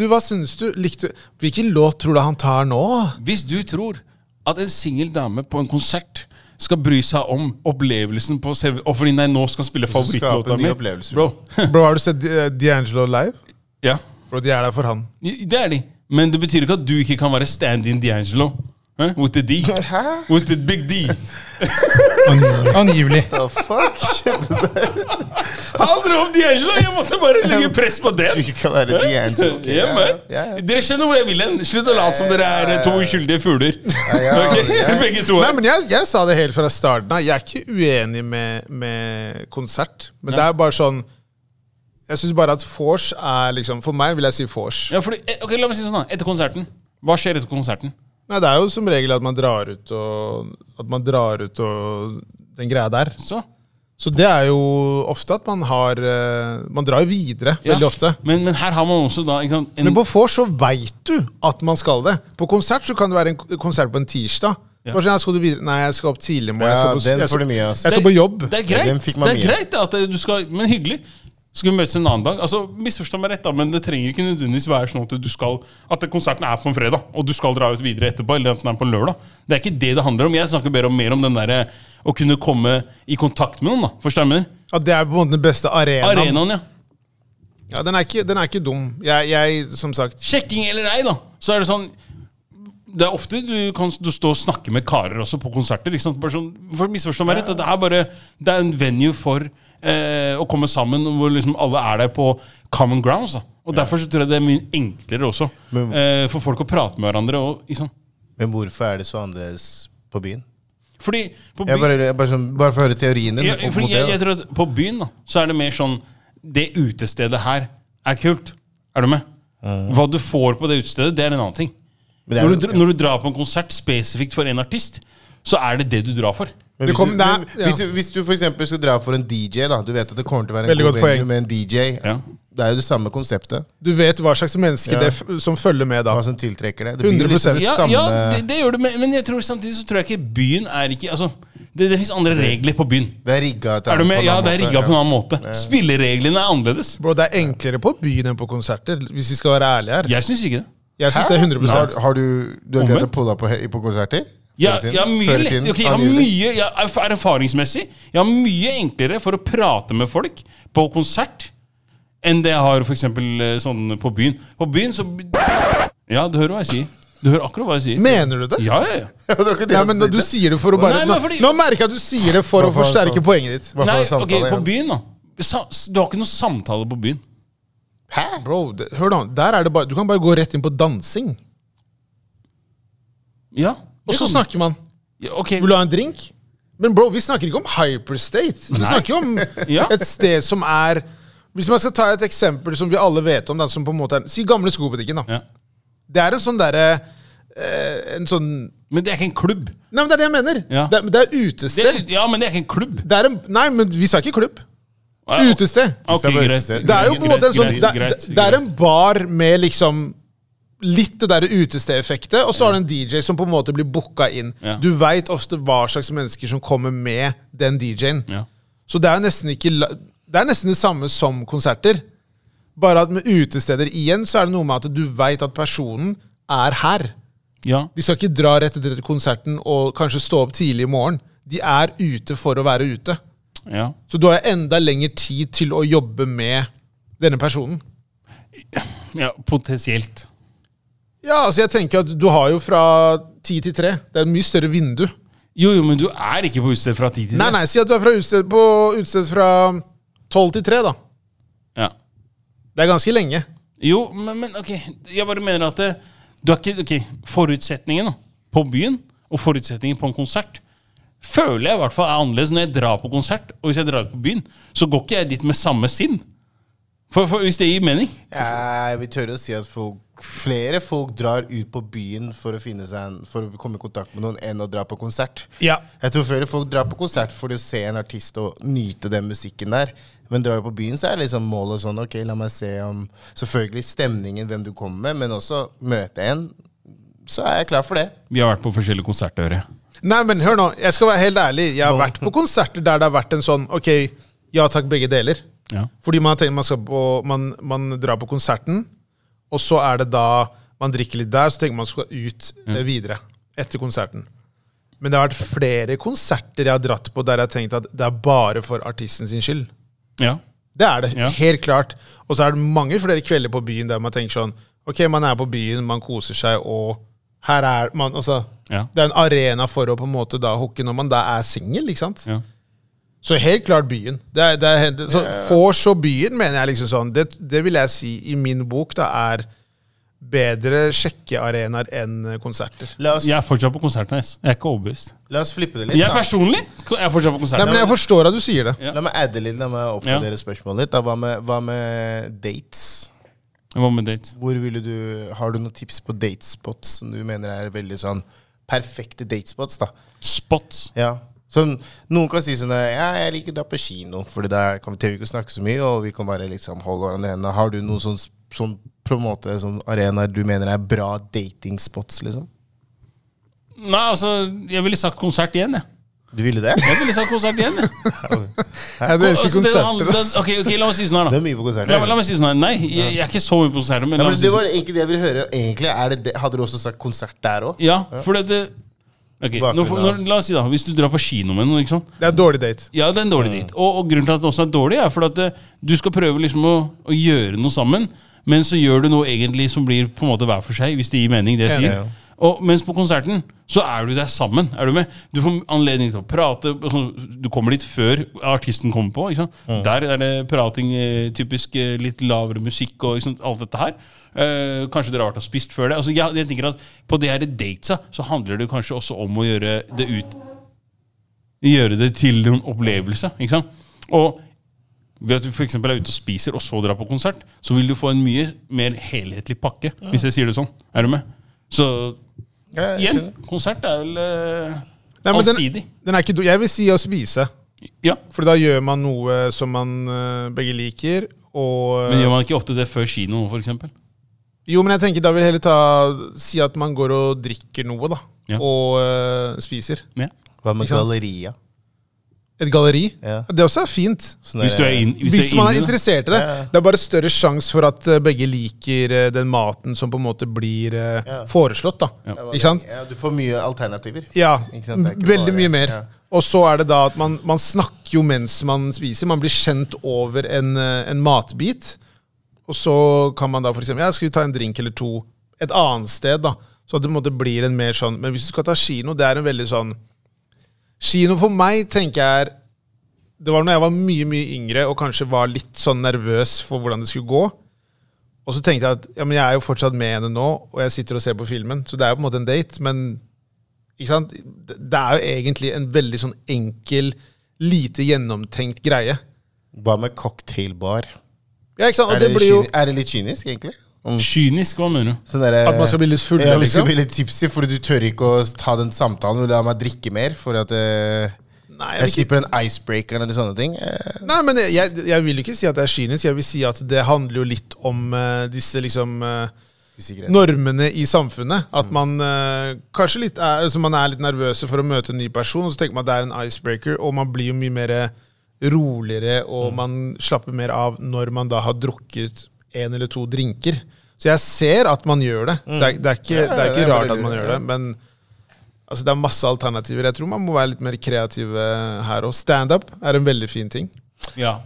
Speaker 2: Du, hva syns du? Likte du Hvilken låt tror du han tar
Speaker 1: [laughs]
Speaker 2: nå?
Speaker 1: Hvis du tror at en singel dame på en konsert skal bry seg om opplevelsen på selve Og fordi nei, nå skal spille
Speaker 3: skape
Speaker 1: favorittlåta
Speaker 3: nye
Speaker 1: mi.
Speaker 3: opplevelser.
Speaker 1: Bro.
Speaker 2: Bro, har du sett eh, D'Angelo live?
Speaker 1: Ja.
Speaker 2: Bro, de er der for han.
Speaker 1: Det er de. Men det betyr ikke at du ikke kan være stand-in D'Angelo. Hæ? With
Speaker 3: [laughs]
Speaker 1: the D. With the big D.
Speaker 2: [laughs] Angivelig.
Speaker 3: The fuck? [laughs] Shit,
Speaker 1: Aldri om D'Angelo! Jeg måtte bare
Speaker 3: [laughs]
Speaker 1: legge press på
Speaker 3: Du
Speaker 1: den.
Speaker 3: kan være D'Angelo. Okay,
Speaker 1: Ja, men.
Speaker 3: ja, ja.
Speaker 1: Dere skjønner hvor jeg vil hen. Slutt å late som dere er eh, to uskyldige fugler.
Speaker 3: ja,
Speaker 1: [laughs] Ok?
Speaker 3: ja.
Speaker 1: Begge to.
Speaker 2: Nei,
Speaker 1: her.
Speaker 2: men jeg, jeg sa det helt fra starten av. Jeg er ikke uenig med, med konsert. Men det er bare sånn Jeg syns bare at vors er liksom For meg vil jeg si vors.
Speaker 1: Ja, fordi, eh, ok, la meg si det sånn da Etter konserten. Hva skjer etter konserten?
Speaker 2: Nei, det er jo som regel at man drar ut og At man drar ut og den greia der.
Speaker 1: Så?
Speaker 2: Så det er jo ofte at man har eh, Man drar jo videre
Speaker 1: Ja.
Speaker 2: veldig ofte.
Speaker 1: Men, men her har man også da ikke sant, en,
Speaker 2: Men på vors så veit du at man skal det. På konsert så kan det være en k- konsert på en tirsdag.
Speaker 1: Ja.
Speaker 2: Bare sånn, ja, skal du videre? Nei, jeg skal opp tidlig i morgen.
Speaker 3: Ja,
Speaker 2: jeg, skal på,
Speaker 3: den
Speaker 2: jeg,
Speaker 3: får du
Speaker 2: skal,
Speaker 3: mye, ass.
Speaker 2: jeg skal Altså på jobb.
Speaker 1: Det er greit,
Speaker 3: Ja, den fikk man
Speaker 1: det er
Speaker 3: mye.
Speaker 1: greit at eh, du skal, men hyggelig. Skal vi møtes en annen dag? Altså, Misforstå meg rett, da, men det trenger ikke nødvendigvis være sånn at du skal At konserten er på en fredag, og du skal dra ut videre etterpå, eller at den er på en lørdag. Det er ikke det det handler om. Jeg snakker mer om, mer om den derre å kunne komme i kontakt med noen, da. Forstår du hva jeg mener?
Speaker 2: Ja, det er på en måte den beste arenaen.
Speaker 1: Arenaen, ja.
Speaker 2: Ja, den er ikke, den er ikke dum. Jeg, jeg, som sagt
Speaker 1: Sjekking eller ei, da. Så er det sånn Det er ofte du kan du stå og snakke med karer også på konserter. Ikke sant? Bare sånn, for misforstå meg rett, det er bare Det er en venue for eh, å komme sammen, hvor liksom alle er der på common grounds. da Og derfor så tror jeg det er mye enklere også
Speaker 3: Men-
Speaker 1: eh, for folk å prate med hverandre. Og, ikke sant?
Speaker 3: Men hvorfor er det så annerledes på byen?
Speaker 1: Fordi på
Speaker 3: Jeg bare, jeg bare, sånn, bare for å høre teorien din.
Speaker 1: Ja,
Speaker 3: opp
Speaker 1: for
Speaker 3: mot
Speaker 1: jeg,
Speaker 3: det,
Speaker 1: jeg
Speaker 3: da.
Speaker 1: tror at På byen da, så er det mer sånn Det utestedet her er kult. Er du med? Hva du får på det utestedet, det er en annen ting.
Speaker 3: Men det er
Speaker 1: når, du,
Speaker 3: jo-
Speaker 1: dra- når du drar på en konsert spesifikt for en artist, så er det det du drar for.
Speaker 3: Men
Speaker 2: Det
Speaker 3: hvis,
Speaker 2: kom-
Speaker 3: du,
Speaker 2: det er-
Speaker 3: men,
Speaker 2: ja.
Speaker 3: hvis, du- hvis du for eksempel skal dra for en DJ, da du vet at det kommer til å være en
Speaker 2: Veldig
Speaker 3: god
Speaker 2: godt
Speaker 3: venue
Speaker 2: poeng.
Speaker 3: med en DJ.
Speaker 1: Ja.
Speaker 3: Det er jo det samme konseptet.
Speaker 2: Du vet hva slags mennesker
Speaker 3: Ja.
Speaker 2: det f som følger med da.
Speaker 3: Hva som tiltrekker det. Det blir jo
Speaker 2: 100%
Speaker 3: liksom det
Speaker 1: Ja,
Speaker 3: samme
Speaker 1: ja det, det gjør det, men, men jeg tror samtidig så tror jeg ikke byen er ikke altså, Det, det fins andre regler på byen.
Speaker 3: Det er rigga til-
Speaker 1: Er du
Speaker 3: på
Speaker 1: med?
Speaker 3: en
Speaker 1: Ja,
Speaker 3: annen
Speaker 1: det er
Speaker 3: måte,
Speaker 1: rigga på en
Speaker 3: ja.
Speaker 1: annen måte. Spillereglene er annerledes.
Speaker 2: Bro, Det er enklere på byen enn på konserter, hvis vi skal være ærlige her.
Speaker 1: Jeg syns ikke det.
Speaker 2: Jeg synes det er 100
Speaker 3: Har, har du, du har greid å
Speaker 1: Omvendt.
Speaker 3: pulle opp på, he- på konserter?
Speaker 1: Ja,
Speaker 3: Før i tiden?
Speaker 1: jeg har mye,
Speaker 3: Før i
Speaker 1: lett-
Speaker 3: tiden,
Speaker 1: ok, jeg har
Speaker 3: angivelig.
Speaker 1: mye jeg er er Erfaringsmessig Jeg har mye enklere for å prate med folk på konsert enn det jeg har for eksempel, eh, sånn på byen. På byen så Ja, du hører hva jeg sier. Du hører akkurat hva jeg sier.
Speaker 2: Mener du det?
Speaker 1: Ja, ja, ja.
Speaker 3: Ja, [laughs] det var ikke det
Speaker 2: Nei,
Speaker 3: jeg
Speaker 2: men
Speaker 3: tenkte.
Speaker 2: Du sier det for å bare
Speaker 1: Nei,
Speaker 2: Nå,
Speaker 1: men fordi-
Speaker 2: nå merker jeg at du sier det for å
Speaker 3: Hva faen
Speaker 2: forsterke
Speaker 3: så?
Speaker 2: poenget ditt.
Speaker 3: Hva for
Speaker 1: Nei,
Speaker 3: samtale
Speaker 1: ok, på
Speaker 3: igjen?
Speaker 1: byen, da. Sa, s- du har ikke noen samtale på byen.
Speaker 3: Hæ?
Speaker 2: Bro, det, hør da, der er det bare, du kan bare gå rett inn på dansing.
Speaker 1: Ja.
Speaker 2: Og så snakker man.
Speaker 1: ja, Ok.
Speaker 2: Vil du ha en drink? Men bro, vi snakker ikke om hyperstate. Vi snakker om
Speaker 1: [laughs] Ja.
Speaker 2: et sted som er Hvis man skal ta et eksempel som vi alle vet om, da, som på en måte er Si gamle skobutikken, da.
Speaker 1: Ja.
Speaker 2: Det er en sånn derre eh, En sånn Nei,
Speaker 1: Men det er ikke en klubb.
Speaker 2: men det er det jeg mener!
Speaker 1: Ja.
Speaker 2: Det, er, det er
Speaker 1: Det
Speaker 2: utested.
Speaker 1: er, ja, men det er ikke en klubb.
Speaker 2: Det er en, nei, men vi sa ikke klubb. Utested.
Speaker 1: Ok,
Speaker 3: Det er bare
Speaker 1: greit.
Speaker 3: utested.
Speaker 2: Det er jo på en måte en sånn
Speaker 1: Greit,
Speaker 2: det,
Speaker 1: greit,
Speaker 2: det, det
Speaker 1: greit.
Speaker 2: er en bar med liksom Litt det der utestedeffektet, og så har du en DJ som på en måte blir booka inn.
Speaker 1: Ja.
Speaker 2: Du veit ofte hva slags mennesker som kommer med den DJ-en.
Speaker 1: Ja.
Speaker 2: Så det er jo nesten ikke la- Det er nesten det samme som konserter. Bare at med utesteder igjen så er det noe med at du veit at personen er her.
Speaker 1: ja.
Speaker 2: De skal ikke dra rett etter konserten og kanskje stå opp tidlig i morgen. De er ute for å være ute.
Speaker 1: ja.
Speaker 2: Så du har enda lengre tid til å jobbe med denne personen.
Speaker 1: ja. Potensielt.
Speaker 2: Ja, altså jeg tenker at du har jo fra ti til tre. Det er et mye større vindu.
Speaker 1: Jo, jo, men du er ikke på utested fra ti til
Speaker 2: Nei,
Speaker 1: tre.
Speaker 2: nei, si at du er fra utsted, på utested fra tolv til tre, da.
Speaker 1: Ja.
Speaker 2: Det er ganske lenge.
Speaker 1: Jo, men, men ok. Jeg bare mener at det, du har ikke ok, Forutsetningen da, på byen og forutsetningen på en konsert føler jeg i hvert fall er annerledes når jeg drar på konsert. Og hvis jeg drar på byen, så går ikke jeg dit med samme sinn. For, for Hvis det gir mening.
Speaker 3: Jeg vil tørre å si at folk, flere folk drar ut på byen for å, finne seg en, for å komme i kontakt med noen enn å dra på konsert.
Speaker 2: Ja.
Speaker 3: Jeg tror flere folk drar på konsert for å se en artist og nyte den musikken der. Men drar du på byen, så er liksom målet sånn Ok, la meg se om Selvfølgelig stemningen, hvem du kommer med, men også møte en. Så er jeg klar for det.
Speaker 1: Vi har vært på forskjellige konserter. Hører. jeg.
Speaker 2: Nei, men hør nå, jeg skal være helt ærlig. Jeg har vært på konserter der det har vært en sånn Ok, ja takk, begge deler.
Speaker 1: Ja.
Speaker 2: Fordi man har tenkt man, skal på, man, man drar på konserten, og så er det da man drikker litt der, så tenker man skal ut
Speaker 1: Mm.
Speaker 2: eh, videre etter konserten. Men det har vært flere konserter jeg har dratt på der jeg har tenkt at det er bare for artisten sin skyld.
Speaker 1: Ja.
Speaker 2: Det er det,
Speaker 1: Ja.
Speaker 2: helt klart. Og så er det mange flere kvelder på byen der man tenker sånn Ok, man er på byen, man koser seg, og her er man Altså,
Speaker 1: Ja.
Speaker 2: det er en arena for å på en måte da hooke når man da er singel, ikke sant?
Speaker 1: Ja.
Speaker 2: Så helt klart byen. Det er, det er, helt- så Fors og byen, mener jeg liksom sånn Det, det vil jeg si i min bok da er bedre sjekkearenaer enn konserter.
Speaker 3: La oss,
Speaker 1: Jeg er fortsatt på konserten. ass. Jeg er ikke overbevist.
Speaker 3: la oss flippe det litt.
Speaker 1: Jeg
Speaker 3: da.
Speaker 1: personlig jeg er fortsatt på
Speaker 2: Nei,
Speaker 1: konserten.
Speaker 2: men jeg forstår at du sier det.
Speaker 1: Ja.
Speaker 3: La meg adde litt, la meg oppgradere spørsmålet litt. Da, hva, med, hva med dates?
Speaker 1: Hva med date?
Speaker 3: Hvor ville du, Har du noen tips på datespots som du mener er veldig sånn perfekte datespots? da?
Speaker 1: Spots.
Speaker 3: Ja. Sånn, noen kan si sånn Ja, jeg liker å dra på kino, for der kan vi trenger vi ikke å snakke så mye, og vi kan bare liksom holde hverandre i hendene. Har du noen sånn, sånn, på en måte, sånn arenaer du mener er bra datingspots, liksom?
Speaker 1: Nei, altså, jeg ville sagt konsert igjen, jeg.
Speaker 3: Du ville det?
Speaker 1: Jeg ville sagt konsert igjen, jeg.
Speaker 2: Jeg elsker
Speaker 1: Altså, det-
Speaker 2: konserter,
Speaker 1: det-
Speaker 2: ass.
Speaker 1: ok, ok, la meg si sånn her,
Speaker 3: Det
Speaker 1: da.
Speaker 3: er mye på konserter.
Speaker 1: La, meg- la meg si sånn her. Nei, jeg, jeg er ikke så mye på konserter, men
Speaker 3: ja,
Speaker 1: la
Speaker 3: men
Speaker 1: meg si
Speaker 3: det
Speaker 1: sånn.
Speaker 3: var egentlig det jeg ville høre. egentlig er det det. Hadde du også sagt konsert der òg?
Speaker 1: Ja, for det, det Ok, nå, får-
Speaker 3: Bakgrunnen av-
Speaker 1: når, la oss si da, hvis du drar på kino med noen, ikke sant.
Speaker 2: Det er dårlig date.
Speaker 1: Ja, det er en dårlig date. Og, og grunnen til at det også er dårlig, er fordi at eh, du skal prøve liksom å, å gjøre noe sammen, men så gjør du noe egentlig som blir på en måte hver for seg, hvis det gir mening, det jeg
Speaker 2: Ja,
Speaker 1: sier.
Speaker 2: ja, ja.
Speaker 1: Og mens på konserten så er du der sammen. Er du med? Du får anledning til å prate. og sånn, Du kommer dit før artisten kommer på. Ikke sant? Der er det prating, eh, typisk eh, litt lavere musikk og ikke sant? alt dette her. Eh, kanskje dere har vært og spist før det. Altså, jeg, jeg tenker at På det her datesa så handler det kanskje også om å gjøre det ut gjøre det til en opplevelse. Ikke sant? Og ved at du f.eks. er ute og spiser, og så drar på konsert, så vil du få en mye mer helhetlig pakke, hvis jeg sier det sånn. Er du med? Så igjen, konsert er vel eh,
Speaker 2: Nei, men den,
Speaker 1: allsidig.
Speaker 2: den er ikke, do- jeg vil si å spise.
Speaker 1: Ja.
Speaker 2: For da gjør man noe som man eh, begge liker, og eh,
Speaker 1: Men gjør man ikke ofte det før kino, f.eks.?
Speaker 2: Jo, men jeg tenker da vil jeg heller ta, si at man går og drikker noe, da.
Speaker 1: Ja.
Speaker 2: Og eh, spiser.
Speaker 1: Ja.
Speaker 3: Hva med
Speaker 2: Ikke sant?
Speaker 3: galleria?
Speaker 2: Et galleri.
Speaker 3: Ja.
Speaker 2: Det også er fint.
Speaker 3: Sånn
Speaker 1: Hvis du er, inn, hvis
Speaker 2: Hvis,
Speaker 1: du er,
Speaker 2: man
Speaker 1: inne i
Speaker 2: er
Speaker 1: det.
Speaker 2: interessert i det.
Speaker 3: Ja, ja.
Speaker 2: Det er bare større sjanse for at eh, begge liker eh, den maten som på en måte blir eh,
Speaker 3: Ja.
Speaker 2: foreslått, da. Ikke sant?
Speaker 3: Ja, du får mye alternativer.
Speaker 2: Ja,
Speaker 3: Ikke sant, det er ikke
Speaker 2: veldig
Speaker 3: bare-
Speaker 2: mye mer.
Speaker 3: ja.
Speaker 2: Og så er det da at man, man snakker jo mens man spiser. Man blir kjent over en, eh, en matbit. Og så kan man da f.eks. Ja, skal vi ta en drink eller to et annet sted, da. Så at det på en måte blir en mer sånn Men hvis du skal ta kino, det er en veldig sånn Kino for meg tenker jeg er Det var når jeg var mye, mye yngre og kanskje var litt sånn nervøs for hvordan det skulle gå. Og så tenkte jeg at ja, men jeg er jo fortsatt med henne nå, og jeg sitter og ser på filmen. Så det er jo på en måte en date, men ikke sant? Det det er jo egentlig en veldig sånn enkel, lite gjennomtenkt greie.
Speaker 3: Hva med cocktailbar?
Speaker 2: Ja, ikke sant? Og
Speaker 3: Er
Speaker 2: det
Speaker 3: det,
Speaker 2: blir jo
Speaker 3: kyni- er det litt kynisk, egentlig? Om
Speaker 1: Kynisk, hva mener du?
Speaker 3: sånn derre-
Speaker 2: At man skal bli litt full,
Speaker 3: Ja, du
Speaker 2: liksom?
Speaker 3: skal bli litt tipsy, for du tør ikke å ta den samtalen. Du lar meg drikke mer, for at eh,
Speaker 2: Nei,
Speaker 3: jeg
Speaker 2: jeg, vil ikke,
Speaker 3: slipper den icebreakeren eller sånne ting. Eh,
Speaker 2: nei men jeg- jeg, jeg vil ikke si at det er kynisk. Jeg vil si at det handler jo litt om eh, disse liksom eh,
Speaker 3: usikkerhet.
Speaker 2: normene i samfunnet. At man eh, kanskje litt er, altså man er litt nervøse for å møte en ny person, og så tenker man at det er en icebreaker, og man blir jo mye mer roligere,
Speaker 3: Mm.
Speaker 2: og man slapper mer av når man da har drukket en eller to drinker. Så jeg ser at man gjør det. Det, er, det er ikke,
Speaker 3: Mm. Ja,
Speaker 2: det er
Speaker 3: det
Speaker 2: ikke
Speaker 3: er
Speaker 2: rart
Speaker 3: veldig
Speaker 2: at man
Speaker 3: lurt,
Speaker 2: gjør
Speaker 3: ja.
Speaker 2: det, men altså, det er masse alternativer. Jeg tror man må være litt mer kreative her òg. Standup er en veldig fin ting.
Speaker 1: Ja.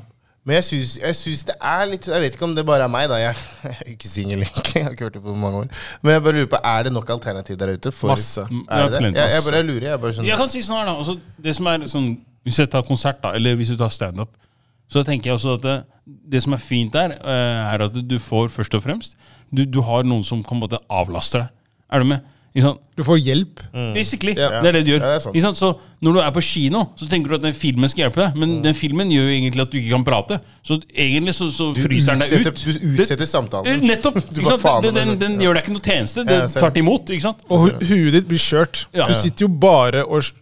Speaker 3: Men jeg syns, jeg syns det er litt Jeg vet ikke om det bare er meg, da. Jeg, [laughs] jeg er jo ikke singel, egentlig. Jeg har ikke hørt det på mange år. Men jeg bare lurer på, er det nok alternativ der ute? For,
Speaker 2: Masse.
Speaker 3: Er det det?
Speaker 1: Ja, plenty.
Speaker 3: Jeg, jeg bare lurer. Jeg bare sånn,
Speaker 1: Jeg kan si sånn her da altså, Det som er sånn Hvis jeg tar konsert da Eller hvis du tar stand-up Så tenker jeg også at det, det som er fint der eh, Er at du får først og fremst Du, du har noen som kan på en måte avlaste deg Er du med? Ikke sant?
Speaker 2: Du får hjelp.
Speaker 1: Basically,
Speaker 2: Ja.
Speaker 1: det er det du gjør.
Speaker 3: Mm. Ja, det er sant.
Speaker 1: Ikke sant? Så når du er på kino, så tenker du at den filmen skal hjelpe deg,
Speaker 3: Mm.
Speaker 1: men den filmen gjør jo egentlig at du ikke kan prate. Så egentlig så, så fryser den deg
Speaker 3: utsetter,
Speaker 1: ut. Eh,
Speaker 3: du utsetter samtalen.
Speaker 1: Nettopp!
Speaker 3: [laughs] Du
Speaker 1: Ikke
Speaker 3: bare
Speaker 1: sant?
Speaker 3: faen
Speaker 1: Den, den,
Speaker 3: med det.
Speaker 1: den gjør deg ikke noe tjeneste. Det
Speaker 3: Ja, jeg ser
Speaker 1: tvert
Speaker 3: det.
Speaker 1: imot. ikke sant?
Speaker 2: Og hu huet ditt blir skjørt.
Speaker 1: Ja.
Speaker 2: Du sitter jo bare og s-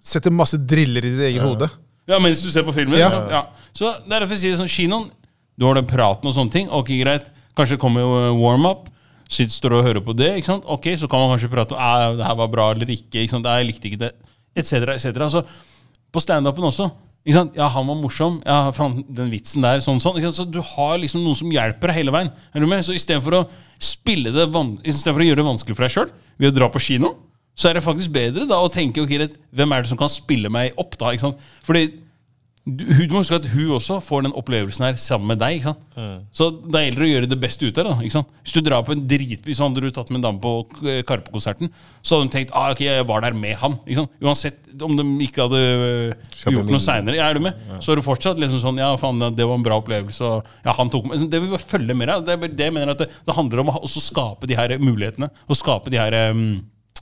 Speaker 2: setter masse driller i ditt eget hode.
Speaker 1: Ja, mens du ser på filmen.
Speaker 2: Ja.
Speaker 1: Ja. Ja. Så det er derfor jeg sier sånn, kinoen, du har den praten og sånne ting, ok, greit. Kanskje kommer jo eh, warm-up, sitter står og hører på det, ikke sant? Ok, så kan man kanskje prate om, «Æ, det her var bra eller ikke, ikke sant? «Æ, Jeg likte ikke det, et cetera, et cetera. Så på stand-upen også, ikke sant? Ja, han var morsom, ja, faen, den vitsen der, sånn, sånn. Ikke sant? Så du har liksom noen som hjelper deg hele veien. Er du med? Så i stedet for å spille det, van i stedet for å gjøre det vanskelig for deg selv, ved å dra på kino, så er det faktisk bedre da å tenke, ok, greit, hvem er det som kan spille meg opp da, ikke sant? Fordi du, hun- du må huske at hun også får den opplevelsen her sammen med deg. ikke sant? Så det gjelder å gjøre det beste ut av det. da, ikke sant? Hvis du drar på en dritby, så hadde du tatt med en dame på eh, Karpe-konserten, så hadde hun tenkt ah, ok, jeg var der med han. ikke sant? Uansett om de ikke hadde eh,
Speaker 3: Kjøpe
Speaker 1: gjort
Speaker 3: min-
Speaker 1: noe seinere. Er du med? Så er du fortsatt liksom sånn ja, faen, det var en bra opplevelse. og ja, han tok meg. Det vil vi følge med deg. Det, er bare det jeg mener at det, det handler om å ha- også skape de her mulighetene. Og skape de her eh,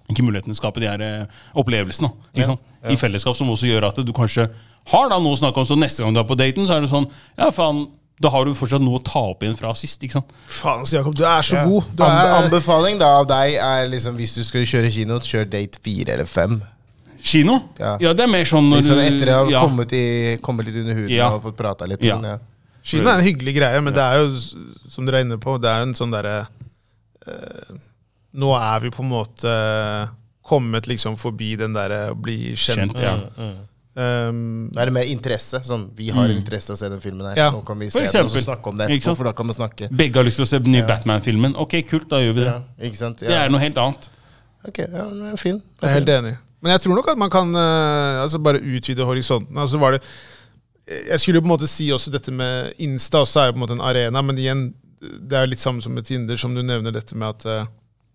Speaker 1: ikke mulighetene, skape de her eh, opplevelsene da, ikke sant? i fellesskap, som også gjør at du kanskje har da noe å snakke om. Så neste gang du er på daten, så er det sånn Ja, faen, da har du fortsatt noe å ta opp igjen fra sist. ikke sant?
Speaker 2: Faen, så Jakob, du er så god. Du
Speaker 3: Anbe
Speaker 2: er,
Speaker 3: anbefaling da av deg er liksom hvis du skal kjøre kino, kjør date fire eller fem.
Speaker 1: Kino?
Speaker 3: Ja.
Speaker 1: det er mer sånn når
Speaker 3: Liksom etter å ha
Speaker 1: ja.
Speaker 3: kommet, i, kommet litt under huden
Speaker 1: Ja.
Speaker 3: og fått prata litt.
Speaker 1: Ja.
Speaker 3: Sånn, ja.
Speaker 2: Kina er en hyggelig greie, men det er jo, s- som dere er inne på, det er jo en sånn derre eh, Nå er vi på en måte kommet liksom forbi den derre å bli kjent.
Speaker 1: Kjent, ja.
Speaker 2: Um,
Speaker 3: Da er det mer interesse. Sånn, vi har interesse av å se den filmen her.
Speaker 2: Ja.
Speaker 3: Nå kan vi
Speaker 1: Mm. For
Speaker 3: se den og så
Speaker 1: eksempel.
Speaker 3: snakke om det
Speaker 1: Ikke
Speaker 3: etterpå,
Speaker 1: sant?
Speaker 3: for da kan vi snakke.
Speaker 1: Begge har lyst til å se den nye Batman-filmen. Ok, kult, da gjør vi det.
Speaker 3: Ja, ikke sant?
Speaker 1: Det
Speaker 3: Ja.
Speaker 1: er noe helt annet.
Speaker 3: Ok, ja, men det er fin.
Speaker 2: Jeg er helt enig. Men jeg tror nok at man kan eh, altså bare utvide horisonten. Altså var det, jeg skulle jo på en måte si også dette med Insta også er jo på en måte en arena, men igjen, det er jo litt samme som med Tinder, som du nevner dette med at eh,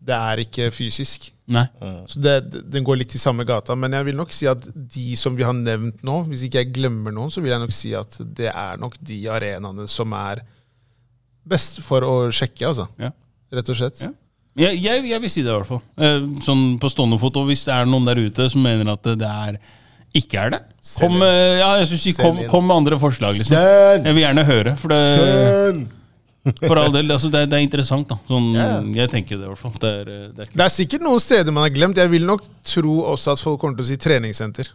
Speaker 2: det er ikke fysisk.
Speaker 1: Nei.
Speaker 2: Så det, Den går litt i samme gata. Men jeg vil nok si at de som vi har nevnt nå, hvis ikke jeg glemmer noen, så vil jeg nok si at det er nok de arenaene som er best for å sjekke, altså.
Speaker 1: Ja.
Speaker 2: Rett og slett.
Speaker 1: Ja. Jeg, jeg, jeg vil si det, i hvert fall. Eh, sånn på stående fot. Og hvis det er noen der ute som mener at det er ikke er det, kom,
Speaker 3: inn.
Speaker 1: eh, ja, jeg synes, ikke-
Speaker 3: Send
Speaker 1: kom,
Speaker 3: inn.
Speaker 1: kom med andre forslag. Liksom.
Speaker 3: Send!
Speaker 1: Jeg vil gjerne høre. For, det, for all del, altså, det, er- det er interessant. Da. Sånn, Jeg tenker det, i hvert fall. Det er, eh, det er kult.
Speaker 2: Det er sikkert noen steder man har glemt. Jeg vil nok tro også at folk kommer til å si treningssenter.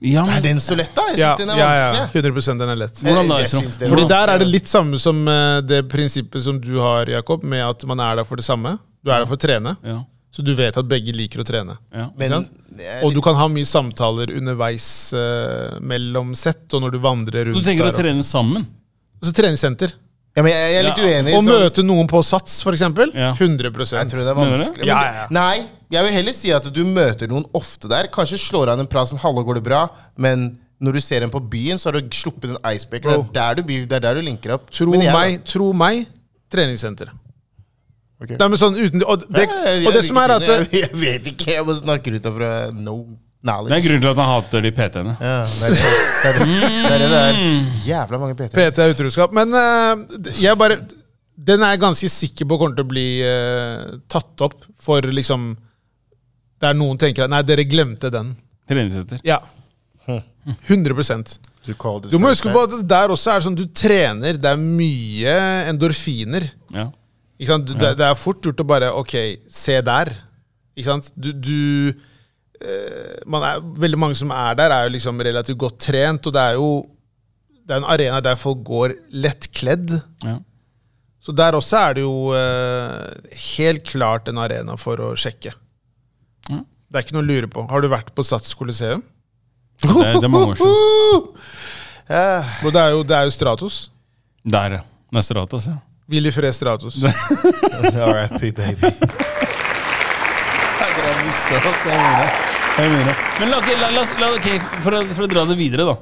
Speaker 1: Ja,
Speaker 3: Er
Speaker 1: men,
Speaker 3: den så lett, da? Jeg syns den er vanskelig.
Speaker 2: 100 den er lett. Eh,
Speaker 3: Jeg-
Speaker 1: hvordan da? liksom?
Speaker 3: jeg
Speaker 1: Isra?
Speaker 3: synes det er
Speaker 2: Fordi
Speaker 1: Hvordan?
Speaker 2: Der er det litt samme som eh, det prinsippet som du har, Jakob, med at man er der for det samme. Du er der for å trene,
Speaker 1: Ja,
Speaker 2: så du vet at begge liker å trene.
Speaker 1: ja.
Speaker 3: Men
Speaker 2: Ikke sant?
Speaker 3: det er
Speaker 2: Og du kan ha mye samtaler underveis eh, mellom sett, og når du vandrer
Speaker 1: Du
Speaker 2: rundt
Speaker 1: tenker å
Speaker 2: der.
Speaker 1: trene sammen?
Speaker 2: og- Så treningssenter.
Speaker 3: ja, men jeg, jeg er litt
Speaker 1: Ja.
Speaker 3: uenig.
Speaker 2: Å
Speaker 3: sånn-
Speaker 2: møte noen på Sats, for eksempel.
Speaker 1: Ja.
Speaker 2: 100
Speaker 3: Jeg tror det er
Speaker 1: Mener du?
Speaker 3: vanskelig.
Speaker 2: Ja,
Speaker 3: Men
Speaker 2: ja.
Speaker 3: det- Nei, jeg vil heller si at du møter noen ofte der. Kanskje slår han en prat som 'hallo, går det bra', men når du ser en på byen, så har du sluppet en icebreaker.
Speaker 2: Bro.
Speaker 3: Det er der du, blir- det er der du linker opp.
Speaker 2: Tro
Speaker 3: Men jeg-
Speaker 2: meg, tro meg, treningssenteret.
Speaker 3: Ok.
Speaker 2: Nei, men sånn uten Og det,
Speaker 3: Ja, jeg-
Speaker 2: og det
Speaker 3: jeg
Speaker 2: som er
Speaker 3: liker
Speaker 2: at eh,
Speaker 3: siden. [laughs] jeg, jeg vet ikke, jeg bare snakker ut fra no knowledge.
Speaker 1: Det er grunnen til at han hater de PT-ene.
Speaker 3: Ja, det er det det er det det er. Det er, det det er. Jævla mange PT.
Speaker 2: PT er utroskap. Men eh, d- jeg bare Den er jeg ganske sikker på kommer til å bli eh, tatt opp for liksom Der noen tenker at Nei, dere glemte den.
Speaker 1: Treningssenter.
Speaker 2: Ja.
Speaker 3: Hm.
Speaker 2: 100
Speaker 3: Du, call this
Speaker 2: Du må
Speaker 3: right
Speaker 2: huske
Speaker 3: there.
Speaker 2: på at det der også er sånn du trener. Det er mye endorfiner.
Speaker 1: Ja.
Speaker 2: Ikke sant? Du, det, det er fort gjort å bare Ok, se der. Ikke sant? Du, du eh, man er, Veldig mange som er der, er jo liksom relativt godt trent, og det er jo det er en arena der folk går lettkledd.
Speaker 1: ja.
Speaker 2: Så der også er det jo eh, helt klart en arena for å sjekke.
Speaker 1: Mm.
Speaker 2: Det er ikke noe å lure på. Har du vært på Sats Coliseum?
Speaker 1: Det, er- det er mange år siden.
Speaker 3: Eh,
Speaker 2: Og Det er jo, det er jo Stratos.
Speaker 1: Der, ja. Neste rat, altså.
Speaker 2: Willy Fred Stratos.
Speaker 3: R.I.P. baby.
Speaker 1: Jeg drar den i stad, så jeg mener det. Jeg mener det. Men la, ok, la, la, la, ok, for, å, for å dra det videre, da.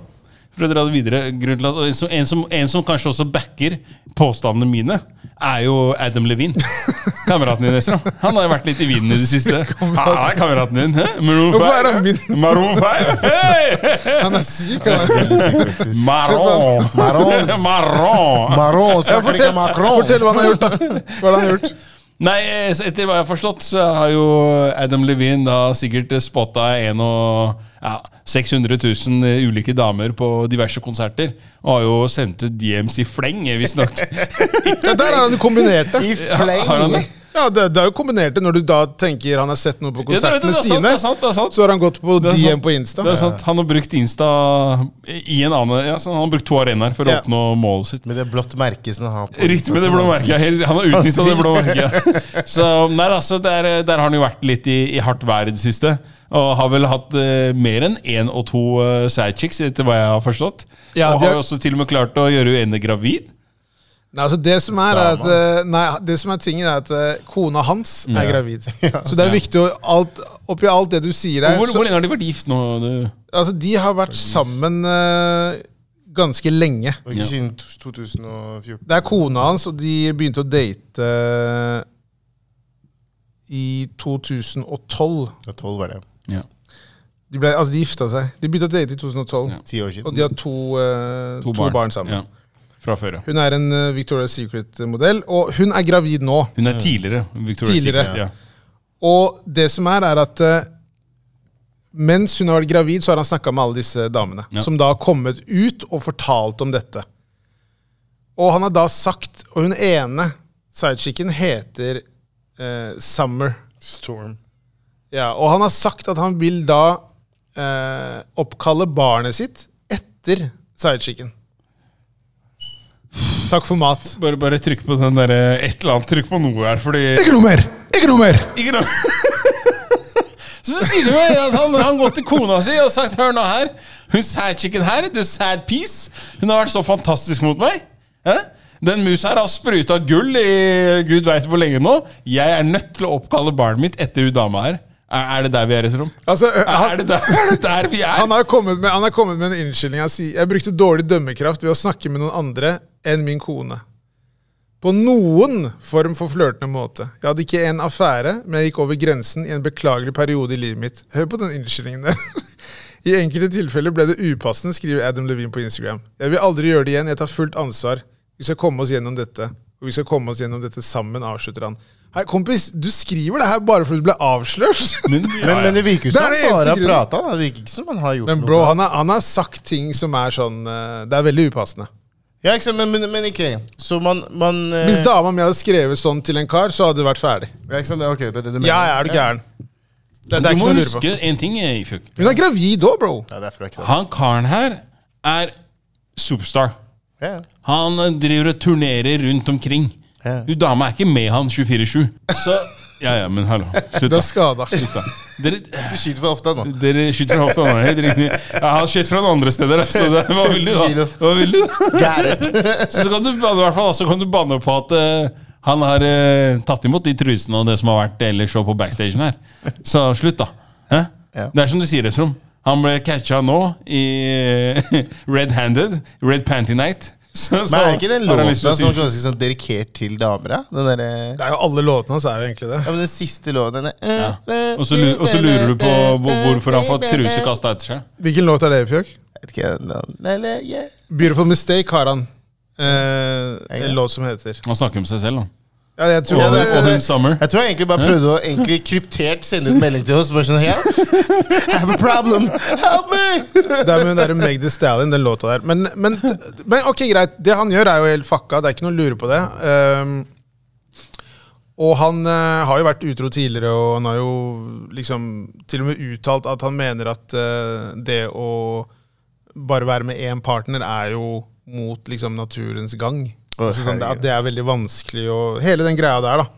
Speaker 1: For å dra det videre, grunnen til at, og en, som, en, som, en som kanskje også backer påstandene mine, er jo Adam Levine. Kameraten din, Esra. Han har jo vært litt i vinden i det siste. Han er kameraten din. hæ? Maroon
Speaker 2: Hvorfor er han
Speaker 1: 5.
Speaker 2: min?
Speaker 1: Maroon 5.
Speaker 2: [laughs]
Speaker 1: Hey!
Speaker 2: Han er
Speaker 3: [laughs]
Speaker 2: syk, han.
Speaker 3: Veldig sikkert, faktisk.
Speaker 1: Maroon.
Speaker 3: Maroon.
Speaker 1: Maroon.
Speaker 3: Maron, snakker ikke
Speaker 2: Fortell,
Speaker 3: Macron.
Speaker 2: fortell hva han har gjort, da. Hva har han gjort?
Speaker 1: Nei, eh, så etter hva jeg har forstått, så har jo Adam Levine da sikkert spotta en og ja, 600 000 eh, ulike damer på diverse konserter. Og har jo sendt ut DMs i fleng, eh, visstnok.
Speaker 2: Ja, der har han jo kombinert det.
Speaker 1: Har han det?
Speaker 2: Ja, det, det er jo kombinert det når du da tenker han har sett noe på
Speaker 1: Ja, det er- det
Speaker 2: konsertene
Speaker 1: er sant,
Speaker 2: sine.
Speaker 1: det er sant, det er sant.
Speaker 2: Så har han gått på
Speaker 1: Det er
Speaker 2: DM
Speaker 1: sant.
Speaker 2: på Insta.
Speaker 1: Det er sant, Han har brukt Insta i en annen Ja, så han har brukt to arenaer for å
Speaker 2: Ja.
Speaker 1: oppnå målet sitt.
Speaker 3: Med det blått merket som han har på.
Speaker 1: Riktig med det blå merket. ja, helt- Han har utnytta det blå merket. [laughs] Så nei, altså, der, der har han jo vært litt i, i hardt vær i det siste. Og har vel hatt eh, mer enn én og to eh, side chicks, etter hva jeg har forstått.
Speaker 2: Ja,
Speaker 1: og
Speaker 2: det-
Speaker 1: har jo også til og med klart å gjøre henne gravid.
Speaker 2: Nei, altså det som er, er at eh, Nei, det som er tingen, er at eh, kona hans er gravid. Så det er viktig å alt, Oppi alt det du sier der
Speaker 1: Hvor,
Speaker 2: Eh, så,
Speaker 1: hvor lenge har de vært gift nå? Du?
Speaker 2: Altså, de har vært sammen eh, ganske lenge.
Speaker 3: Og ikke siden to- 2014.
Speaker 2: Det er kona hans, og de begynte å date eh, i 2012.
Speaker 3: Ja, 12 var det.
Speaker 1: Ja.
Speaker 2: De, ble, altså, de gifta seg. De begynte å date i 2012.
Speaker 1: Ja.
Speaker 3: 10 år
Speaker 2: Og
Speaker 3: siden.
Speaker 2: de har to, eh, to, barn.
Speaker 1: Ja.
Speaker 2: sammen.
Speaker 1: Fra før, ja.
Speaker 2: Hun er en eh, Victoria's Secret-modell, og hun er gravid nå.
Speaker 1: Hun er tidligere. Victoria's
Speaker 2: Tidligere.
Speaker 1: Secret, Ja.
Speaker 2: Og det som er, er at eh, mens hun har vært gravid, så har han snakka med alle disse damene.
Speaker 1: Ja.
Speaker 2: Som da har kommet ut og fortalt om dette. Og han har da sagt Og hun ene sidechicken heter eh, Summer.
Speaker 3: Storm.
Speaker 2: Ja, og han har sagt at han vil da eh, oppkalle barnet sitt etter sidechicken. Takk for mat.
Speaker 1: Bare, bare trykk på den derre Et eller annet trykk på noe her, fordi
Speaker 2: Ikke noe mer! Ikke noe mer!
Speaker 1: Ikke noe. [laughs] Så sier de meg at han har gått til kona si og sagt Hør nå her, hun sad chicken her, the sad piece. Hun har vært så fantastisk mot meg. Hæ? Den musa her har spruta gull i gud veit hvor lenge nå. Jeg er nødt til å oppkalle barnet mitt etter hun dama her. Er, er det der vi er, Esrom?
Speaker 2: Altså, ø,
Speaker 1: Er, er
Speaker 2: han,
Speaker 1: det der, er det der vi er?
Speaker 2: han, har kommet med, han har kommet med en unnskyldning. Han sier jeg brukte dårlig dømmekraft ved å snakke med noen andre enn min kone. På noen form for flørtende måte. Jeg hadde ikke en affære, men jeg gikk over grensen i en beklagelig periode i livet mitt. Hør på den unnskyldningen der. [laughs] I enkelte tilfeller ble det upassende, skriver Adam Levine på Instagram. Jeg vil aldri gjøre det igjen. Jeg tar fullt ansvar. Vi skal komme oss gjennom dette. Og vi skal komme oss gjennom dette sammen, avslutter han. Hei, kompis, du skriver det her bare fordi du ble avslørt.
Speaker 1: Men,
Speaker 3: Men, men det virker jo
Speaker 2: Det
Speaker 3: som
Speaker 2: er det
Speaker 3: han bare
Speaker 2: eneste
Speaker 3: har
Speaker 2: grunnen.
Speaker 3: prata. Det virker ikke som han har gjort
Speaker 2: Men
Speaker 3: noe.
Speaker 2: bro, han har, han har sagt ting som er sånn eh, Det er veldig upassende.
Speaker 3: Ja, ikke sant, men, men, men ikke Så man, man eh,
Speaker 2: Hvis dama mi hadde skrevet sånn til en kar, så hadde det vært ferdig.
Speaker 3: ja, ikke sant, det- ok, det, er det, du mener.
Speaker 2: Ja, ja, er du gæren? Det, det er
Speaker 1: du
Speaker 2: ikke
Speaker 1: må
Speaker 2: noe å lure på.
Speaker 1: huske en ting, eh, Ifjok.
Speaker 2: Hun er gravid òg, bro.
Speaker 3: Ja, derfor er det ikke det.
Speaker 1: Han karen her er superstar.
Speaker 3: Ja, ja.
Speaker 1: Han driver og turnerer rundt omkring.
Speaker 3: Ja.
Speaker 1: Hun dama er ikke med han 24-7. Så Ja, ja, men hallo. Slutt,
Speaker 2: Du
Speaker 1: da.
Speaker 2: er skada.
Speaker 1: Slutt da. Dere,
Speaker 3: Du skyter for ofte nå.
Speaker 1: dere skyter fra hofta. nå, Helt riktig. Ja, han skyter fra noen andre steder. Så det, hva vil du, da? Hva vil du, da? Så kan du, banne- i hvert fall, da, så kan du banne på at eh, han har eh, tatt imot de trusene og det som har vært ellers og på backstagen her. Så slutt, da. Hæ?
Speaker 3: Ja.
Speaker 1: Det er som du sier, Esrom. Han ble catcha nå i eh, [laughs] red-handed, red panty night. Så, så
Speaker 3: [laughs] Men er ikke den
Speaker 1: har han
Speaker 3: låta
Speaker 1: lyst til å
Speaker 3: som
Speaker 1: si-
Speaker 3: ganske sånn dedikert til damer, da? Den derre
Speaker 2: Det er jo alle låtene hans er jo egentlig det.
Speaker 3: ja, men den siste låten den er- Eh,
Speaker 1: Og så, lu- og så lurer du på hvor- hvorfor han får truse kasta etter seg.
Speaker 2: Hvilken låt er det, Fjøk?
Speaker 3: Jeg vet ikke, den- den- eller, yeah.
Speaker 2: 'Beautiful Mistake' har han. eh, en låt som heter
Speaker 1: Han snakker med seg selv, da.
Speaker 2: Ja, jeg tror
Speaker 1: Og,
Speaker 2: det,
Speaker 1: og hun
Speaker 2: det,
Speaker 1: Summer.
Speaker 3: Jeg tror jeg egentlig bare prøvde å egentlig kryptert sende ut melding til oss. Bare sånn, yeah, I have a problem, help me!
Speaker 2: det, er med hun derre Meg Thee Stallion, den låta der. Men, men, t- men ok, greit. Det han gjør, er jo helt fucka. Det er ikke noe å lure på det. Ehm, og han eh, har jo vært utro tidligere, og han har jo liksom til og med uttalt at han mener at eh, det å bare være med én partner er jo mot liksom naturens gang.
Speaker 3: Å,
Speaker 2: altså, sånn, det,
Speaker 3: herregud.
Speaker 2: at det er veldig vanskelig og Hele den greia der, da.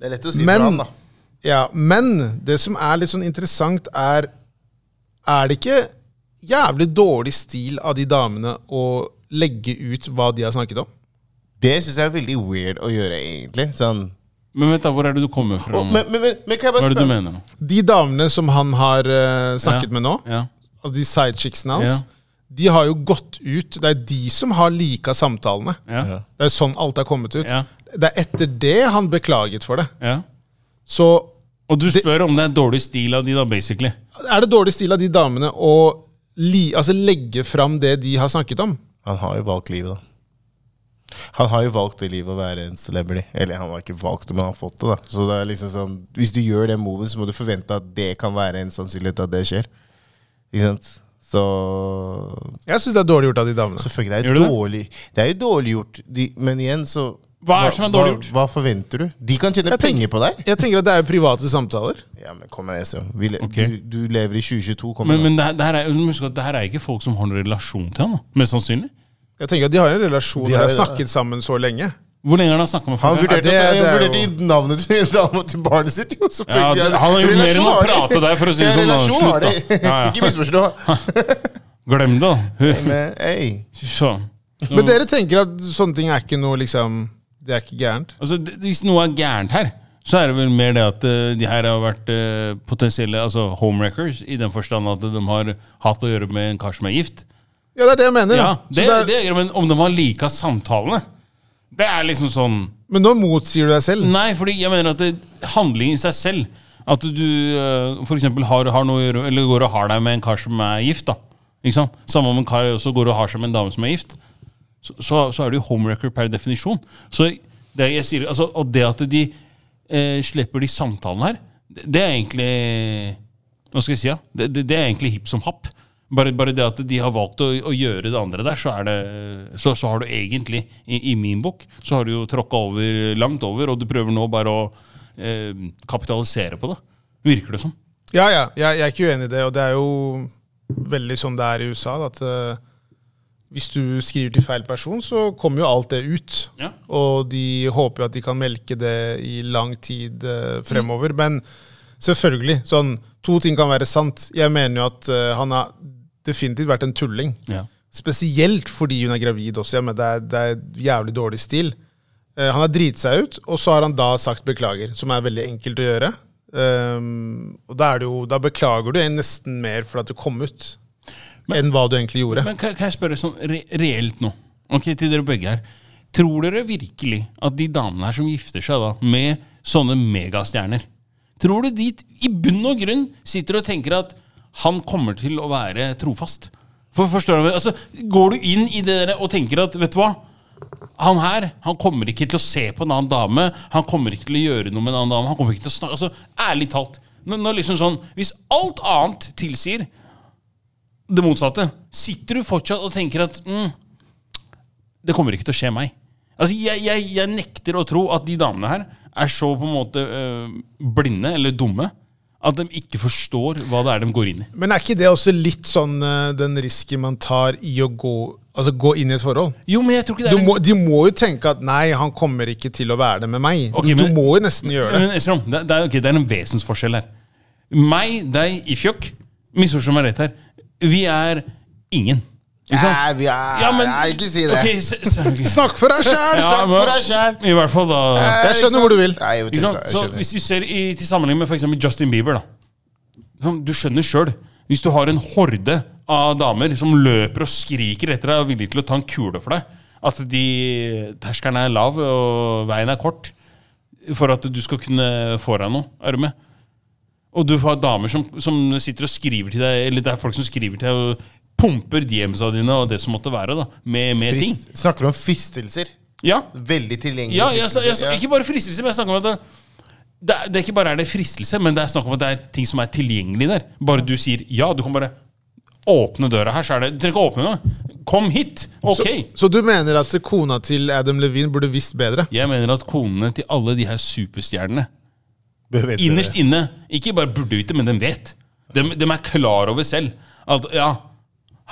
Speaker 3: Det er lett å si
Speaker 2: Men-
Speaker 3: fra han, da.
Speaker 2: Ja, men det som er litt sånn interessant, er Er det ikke jævlig dårlig stil av de damene å legge ut hva de har snakket om?
Speaker 3: Det syns jeg er veldig weird å gjøre, egentlig. Sånn.
Speaker 1: Men vent da, hvor er det du kommer fra? nå?
Speaker 3: Men, men, men, men kan jeg
Speaker 1: Hva
Speaker 3: bare
Speaker 1: er det du
Speaker 3: spørre
Speaker 1: mener nå?
Speaker 2: De damene som han har eh, snakket med nå,
Speaker 1: Ja.
Speaker 2: altså de sidechicksene hans,
Speaker 1: Ja.
Speaker 2: de har jo gått ut. Det er de som har lika samtalene.
Speaker 1: Ja. Ja.
Speaker 2: Det er sånn alt har kommet ut.
Speaker 1: Ja.
Speaker 2: Det er etter det han beklaget for det. Så
Speaker 1: Og du spør om det er dårlig stil av de, da, basically.
Speaker 2: er det dårlig stil av de damene å li, altså legge fram det de har snakket om?
Speaker 3: Han har jo valgt livet, da. Han har jo valgt det livet å være en celebrity. Eller han har ikke valgt det, men han har fått det. da Så det er liksom sånn Hvis du gjør den moven, så må du forvente at det kan være en sannsynlighet at det skjer. Ikke sant? Så
Speaker 2: Jeg syns det er dårlig gjort av de damene.
Speaker 3: Selvfølgelig, det
Speaker 1: Gjør
Speaker 3: er
Speaker 1: du det?
Speaker 3: dårlig Det er jo dårlig gjort, de, men igjen, så
Speaker 1: Hva er det som er dårlig gjort?
Speaker 3: Hva, hva forventer du? De kan tjene
Speaker 2: Jeg tenker-
Speaker 3: penger på deg.
Speaker 2: Jeg tenker at det er jo private samtaler.
Speaker 3: Ja, men kom igjen, Esrom. Vi le-
Speaker 1: Ok.
Speaker 3: Du, du lever i 2022, kom
Speaker 1: Men,
Speaker 3: igjen.
Speaker 1: men det her, det her er, du må huske at det her er ikke folk som har noen relasjon til han, da. mest sannsynlig.
Speaker 2: Jeg tenker at De har en relasjon
Speaker 3: De
Speaker 2: og de har
Speaker 3: har-
Speaker 2: snakket sammen så lenge.
Speaker 1: Hvor lenge har han snakka med
Speaker 3: Han
Speaker 1: folk?
Speaker 3: vurderte,
Speaker 2: Ja, det-
Speaker 3: at- han
Speaker 2: det er
Speaker 3: vurderte
Speaker 2: jo-
Speaker 3: i navnet til dama til barnet sitt, jo.
Speaker 1: Ja,
Speaker 3: selvfølgelig.
Speaker 1: han har gjort mer
Speaker 3: Relasjon
Speaker 1: enn å
Speaker 3: har de.
Speaker 1: prate der, for å si det
Speaker 3: Ja,
Speaker 1: sånn, da.
Speaker 3: Relasjon
Speaker 1: Slutt,
Speaker 3: har de.
Speaker 1: da. Ja, ja.
Speaker 3: [laughs] Ikke misforstå.
Speaker 1: Glem det, da. Fy
Speaker 3: Men hey,
Speaker 1: faen.
Speaker 2: Men dere tenker at sånne ting er ikke noe liksom Det er ikke gærent?
Speaker 1: Altså, det- hvis noe er gærent her, så er det vel mer det at eh, de her har vært eh, potensielle altså homewreckers, i den forstand at de har hatt å gjøre med en kar som er gift.
Speaker 2: Ja, det er det jeg mener.
Speaker 1: Ja,
Speaker 2: da. Så
Speaker 1: det,
Speaker 2: det er,
Speaker 1: det, er- Men om de har lika samtalene Det er liksom sånn
Speaker 2: Men nå motsier du deg selv.
Speaker 1: Nei, fordi jeg mener at det, handling i seg selv At du eh, for eksempel har, har noe å gjøre Eller går og har deg med en kar som er gift da Ikke sant? Samme om en kar også går og har seg med en dame som er gift Så, så, så er du jo homewrecker per definisjon Så det jeg sier altså, Og det at de eh, slipper de samtalene her Det, det er egentlig Hva skal jeg si ja? Det, det, det er egentlig hipp som happ bare, bare det at de har valgt å, å gjøre det andre der, så, er det, så, så har du egentlig, i, i min bok, så har du jo tråkka over, langt over, og du prøver nå bare å eh, kapitalisere på det. Virker det som.
Speaker 2: Ja, ja, jeg, jeg er ikke uenig i det, og det er jo veldig sånn det er i USA. da, At eh, hvis du skriver til feil person, så kommer jo alt det ut.
Speaker 1: Ja.
Speaker 2: Og de håper jo at de kan melke det i lang tid eh, fremover. Men selvfølgelig, sånn to ting kan være sant. Jeg mener jo at eh, han har definitivt vært en tulling.
Speaker 1: Ja.
Speaker 2: Spesielt fordi hun er gravid også. Ja, men det, er, det er jævlig dårlig stil. Eh, han har driti seg ut, og så har han da sagt beklager, som er veldig enkelt å gjøre. Ehm, og da, er det jo, da beklager du nesten mer for at du kom ut, enn hva du egentlig gjorde.
Speaker 1: Men kan, kan jeg spørre sånn re reelt nå, Ok, til dere begge her. Tror dere virkelig at de damene her som gifter seg da, med sånne megastjerner Tror du de t- i bunn og grunn sitter og tenker at han kommer til å være trofast? For forstår du, hva- altså, Går du inn i det der og tenker at vet du hva? Han her han kommer ikke til å se på en annen dame. Han kommer ikke til å gjøre noe med en annen dame. Han kommer ikke til å snakke, altså, Ærlig talt. Nå, nå liksom sånn, Hvis alt annet tilsier det motsatte. Sitter du fortsatt og tenker at mm, det kommer ikke til å skje meg? Altså, jeg, jeg, jeg nekter å tro at de damene her er så på en måte øh, blinde eller dumme at de ikke forstår hva det er de går inn i.
Speaker 2: Men er ikke det også litt sånn eh, den risken man tar i å gå, altså gå inn i et forhold?
Speaker 1: Jo, men jeg tror ikke det
Speaker 2: Du
Speaker 1: er
Speaker 2: må, de må jo tenke at 'nei, han kommer ikke til å være det med meg'.
Speaker 1: Ok,
Speaker 2: du,
Speaker 1: men-
Speaker 2: du må jo nesten gjøre det.
Speaker 1: Men Esrom, det, det, er, ok, det er en vesensforskjell her. Meg, deg, i fjøkk. Misforstå meg rett her. Vi er ingen. Ikke sant?
Speaker 3: Nei, vi er Nei, ikke si det.
Speaker 1: Ok, se- se-
Speaker 2: Snakk for deg sjæl!
Speaker 1: Ja,
Speaker 3: Snakk for deg selv. Eh,
Speaker 1: I hvert fall da
Speaker 2: Jeg skjønner hvor du vil.
Speaker 3: Nei, jeg vet
Speaker 1: Ikke
Speaker 3: ikke,
Speaker 1: sant?
Speaker 3: jeg
Speaker 1: Så
Speaker 3: skjønner.
Speaker 1: hvis du ser i, til sammenligning med for eksempel Justin Bieber, da. Sånn, Du skjønner sjøl. Hvis du har en horde av damer som løper og skriker etter deg og er villige til å ta en kule for deg, at de terskelen er lav og veien er kort for at du skal kunne få deg noe, er du med? Og du får damer som, som sitter og skriver til deg, eller det er folk som skriver til deg og pumper DMs-a dine og det som måtte være, da, med, med ting.
Speaker 3: Frist, snakker om fristelser.
Speaker 1: Ja,
Speaker 3: Veldig tilgjengelig.
Speaker 1: ja jeg, sa- jeg, sa- ikke bare fristelse, men jeg snakker om at det, det, er- det er ikke bare er det fristelse, men det er snakk om at det er ting som er tilgjengelig der. Bare du sier ja, du kan bare åpne døra her, så er det Du trenger ikke åpne engang. Kom hit! Ok.
Speaker 2: Så du mener at kona til Adam Levine burde visst bedre?
Speaker 1: jeg mener at konene til alle de her superstjernene
Speaker 3: Bør vite
Speaker 1: innerst
Speaker 3: det.
Speaker 1: inne ikke bare burde vite, men de vet. De, de er klar over selv at ja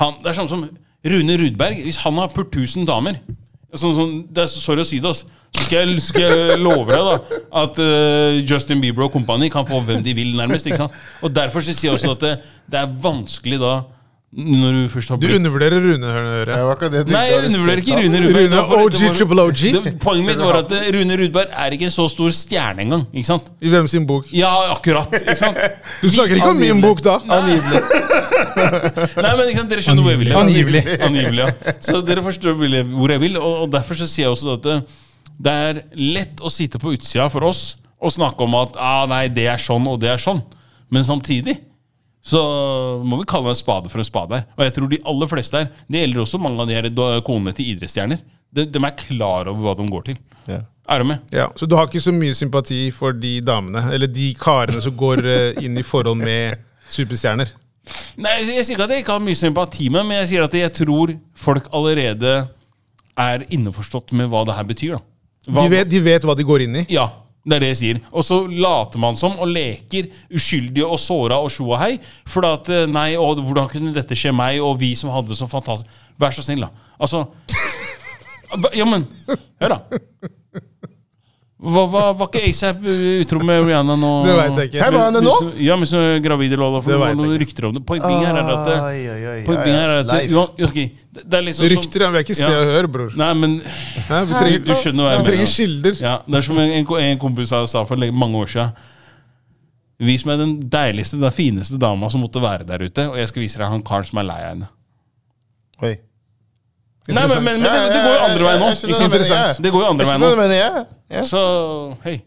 Speaker 1: han, Det er sånn som Rune Rudberg. Hvis han har pult 1000 damer sånn, sånn, det er, Sorry å si det, ass. Så skal jeg, skal jeg love deg da at eh, Justin Bieber og company kan få hvem de vil, nærmest. ikke sant? Og Derfor så sier jeg også at det, det er vanskelig da, når du først har
Speaker 2: Du
Speaker 1: blitt
Speaker 2: undervurderer Rune, hører
Speaker 3: Det
Speaker 2: jeg.
Speaker 3: var akkurat det jeg
Speaker 1: Nei,
Speaker 3: tenkte.
Speaker 1: jeg undervurderer ikke Rune
Speaker 2: Rune
Speaker 1: Rudberg. Det var-
Speaker 2: OG,
Speaker 1: det var-
Speaker 2: triple OG.
Speaker 1: Det, poenget mitt var at eh, Rune Rudberg er ikke en så stor stjerne engang. Ikke sant?
Speaker 2: I hvem sin bok?
Speaker 1: Ja, akkurat. Ikke sant?
Speaker 2: Du snakker ikke om min bok, da!
Speaker 1: Angivelig. [laughs] Nei, men ikke sant, Dere skjønner hvor jeg vil. hen.
Speaker 2: Angivelig.
Speaker 1: Angivelig, ja. Så dere forstår hvor jeg- hvor jeg vil, og og derfor så sier jeg også at det, det er lett å sitte på utsida for oss og snakke om at ah, nei, det er sånn og det er sånn, men samtidig så må vi kalle en spade for en spade her. Og jeg tror de aller fleste her, det gjelder også mange av de her da- konene til idrettsstjerner, de, de er klar over hva de går til.
Speaker 3: Ja.
Speaker 1: Er du med?
Speaker 2: Ja, Så du har ikke så mye sympati for de damene, eller de karene som går eh, inn i forhold med superstjerner?
Speaker 1: Nei, jeg, jeg sier ikke at jeg ikke har mye sympati med, men jeg sier at jeg tror folk allerede er innforstått med hva det her betyr. Da. Hva, Sånn
Speaker 2: De vet, de vet hva de går inn i.
Speaker 1: Ja, det er det jeg sier. Og så later man som og leker uskyldige og såra og sjo og hei. For at eh, nei, og hvordan kunne dette skje meg, og vi som hadde det så fantastisk Vær så snill, da. Altså Ja, men hør, da. Hva, hva, var ikke ASAP utro med Rihanna nå?
Speaker 2: Det vet jeg ikke.
Speaker 3: Hei, hva er det
Speaker 1: Men-
Speaker 3: nå?
Speaker 1: men så- Ja, men så er gravid eller hva, for
Speaker 2: Det
Speaker 1: det var
Speaker 2: vet jeg
Speaker 1: noen rykter om det. Poenget her er at det,
Speaker 3: Ai, ai, ai,
Speaker 1: Poenget
Speaker 3: ai,
Speaker 1: her er at det,
Speaker 3: life.
Speaker 1: uan- ok, det, det er liksom som-
Speaker 2: Rykter, ja. Vi er ikke se
Speaker 1: Ja.
Speaker 2: og hør, bror.
Speaker 1: Nei, men
Speaker 2: Hæ? Vi
Speaker 1: du,
Speaker 2: trenger,
Speaker 1: du skjønner hva jeg
Speaker 2: vi
Speaker 1: mener.
Speaker 2: trenger kilder.
Speaker 1: Ja, det er som en, en, en kompis sa- sa for lenge- mange år siden. Vis meg den deiligste, den fineste dama som måtte være der ute, og jeg skal vise deg han karen som er lei av henne.
Speaker 3: Oi.
Speaker 1: Nei, men, men, men det,
Speaker 3: Ja,
Speaker 1: det
Speaker 3: ja,
Speaker 1: går jo
Speaker 3: ja,
Speaker 1: andre veien nå.
Speaker 3: jeg skjønner
Speaker 1: ikke
Speaker 3: hva du
Speaker 1: sant?
Speaker 3: mener, ja.
Speaker 1: Det går jo andre
Speaker 3: Jeg
Speaker 1: veien
Speaker 3: skjønner
Speaker 1: nå.
Speaker 3: hva du mener, ja. ja.
Speaker 1: Så hei.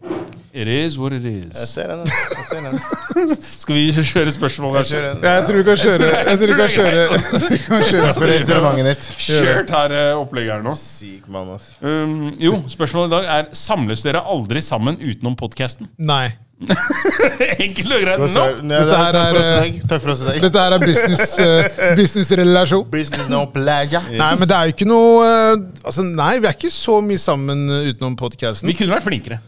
Speaker 1: It is what it
Speaker 3: Jeg
Speaker 1: is.
Speaker 3: ser den, jeg. Jeg ser den.
Speaker 1: Skal vi kjøre spørsmål,
Speaker 3: Jeg
Speaker 1: kanskje?
Speaker 3: ser den.
Speaker 2: Ja, jeg tror vi kan kjøre. Jeg
Speaker 1: tror
Speaker 2: tror vi kan
Speaker 1: det [laughs] er
Speaker 2: kjøre. Vi kan kjøre.
Speaker 3: For restauranten ditt.
Speaker 1: Kjørt her eh, opplegget her nå.
Speaker 3: Syk mann, ass.
Speaker 1: Um, jo, spørsmålet i dag er Samles dere aldri sammen utenom podkasten?
Speaker 2: Nei.
Speaker 1: [laughs] Enkelt og greit.
Speaker 3: Hva sa
Speaker 1: Nope.
Speaker 3: du? Nei,
Speaker 2: Dette her
Speaker 3: Takk for
Speaker 2: er,
Speaker 3: oss i dag. Takk for oss i dag.
Speaker 2: Dette her er business, eh, businessrelasjon.
Speaker 3: Business no pleasure.
Speaker 2: Nei, men det er jo ikke noe eh, Altså, nei, vi er ikke så mye sammen eh, utenom podkasten.
Speaker 1: Vi kunne vært flinkere.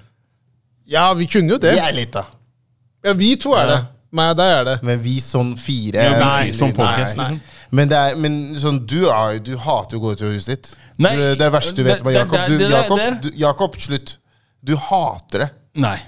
Speaker 2: Ja, vi kunne jo det.
Speaker 3: Vi er litt, da.
Speaker 2: Ja, vi to er det. Meg og deg er det.
Speaker 3: Men vi sånn fire
Speaker 1: Ja, vi
Speaker 3: Nei,
Speaker 1: fire som
Speaker 3: nei,
Speaker 1: podcast,
Speaker 3: nei.
Speaker 1: liksom.
Speaker 3: Men, det er, men sånn, du, er, du hater å gå ut av huset ditt.
Speaker 1: Nei,
Speaker 3: du, det er det verste du vet
Speaker 1: det-
Speaker 3: om
Speaker 1: det-
Speaker 3: Jakob.
Speaker 1: det-
Speaker 3: Du,
Speaker 1: det-
Speaker 3: Jakob,
Speaker 1: det-
Speaker 3: du, Jakob, slutt. Du hater det.
Speaker 1: Nei.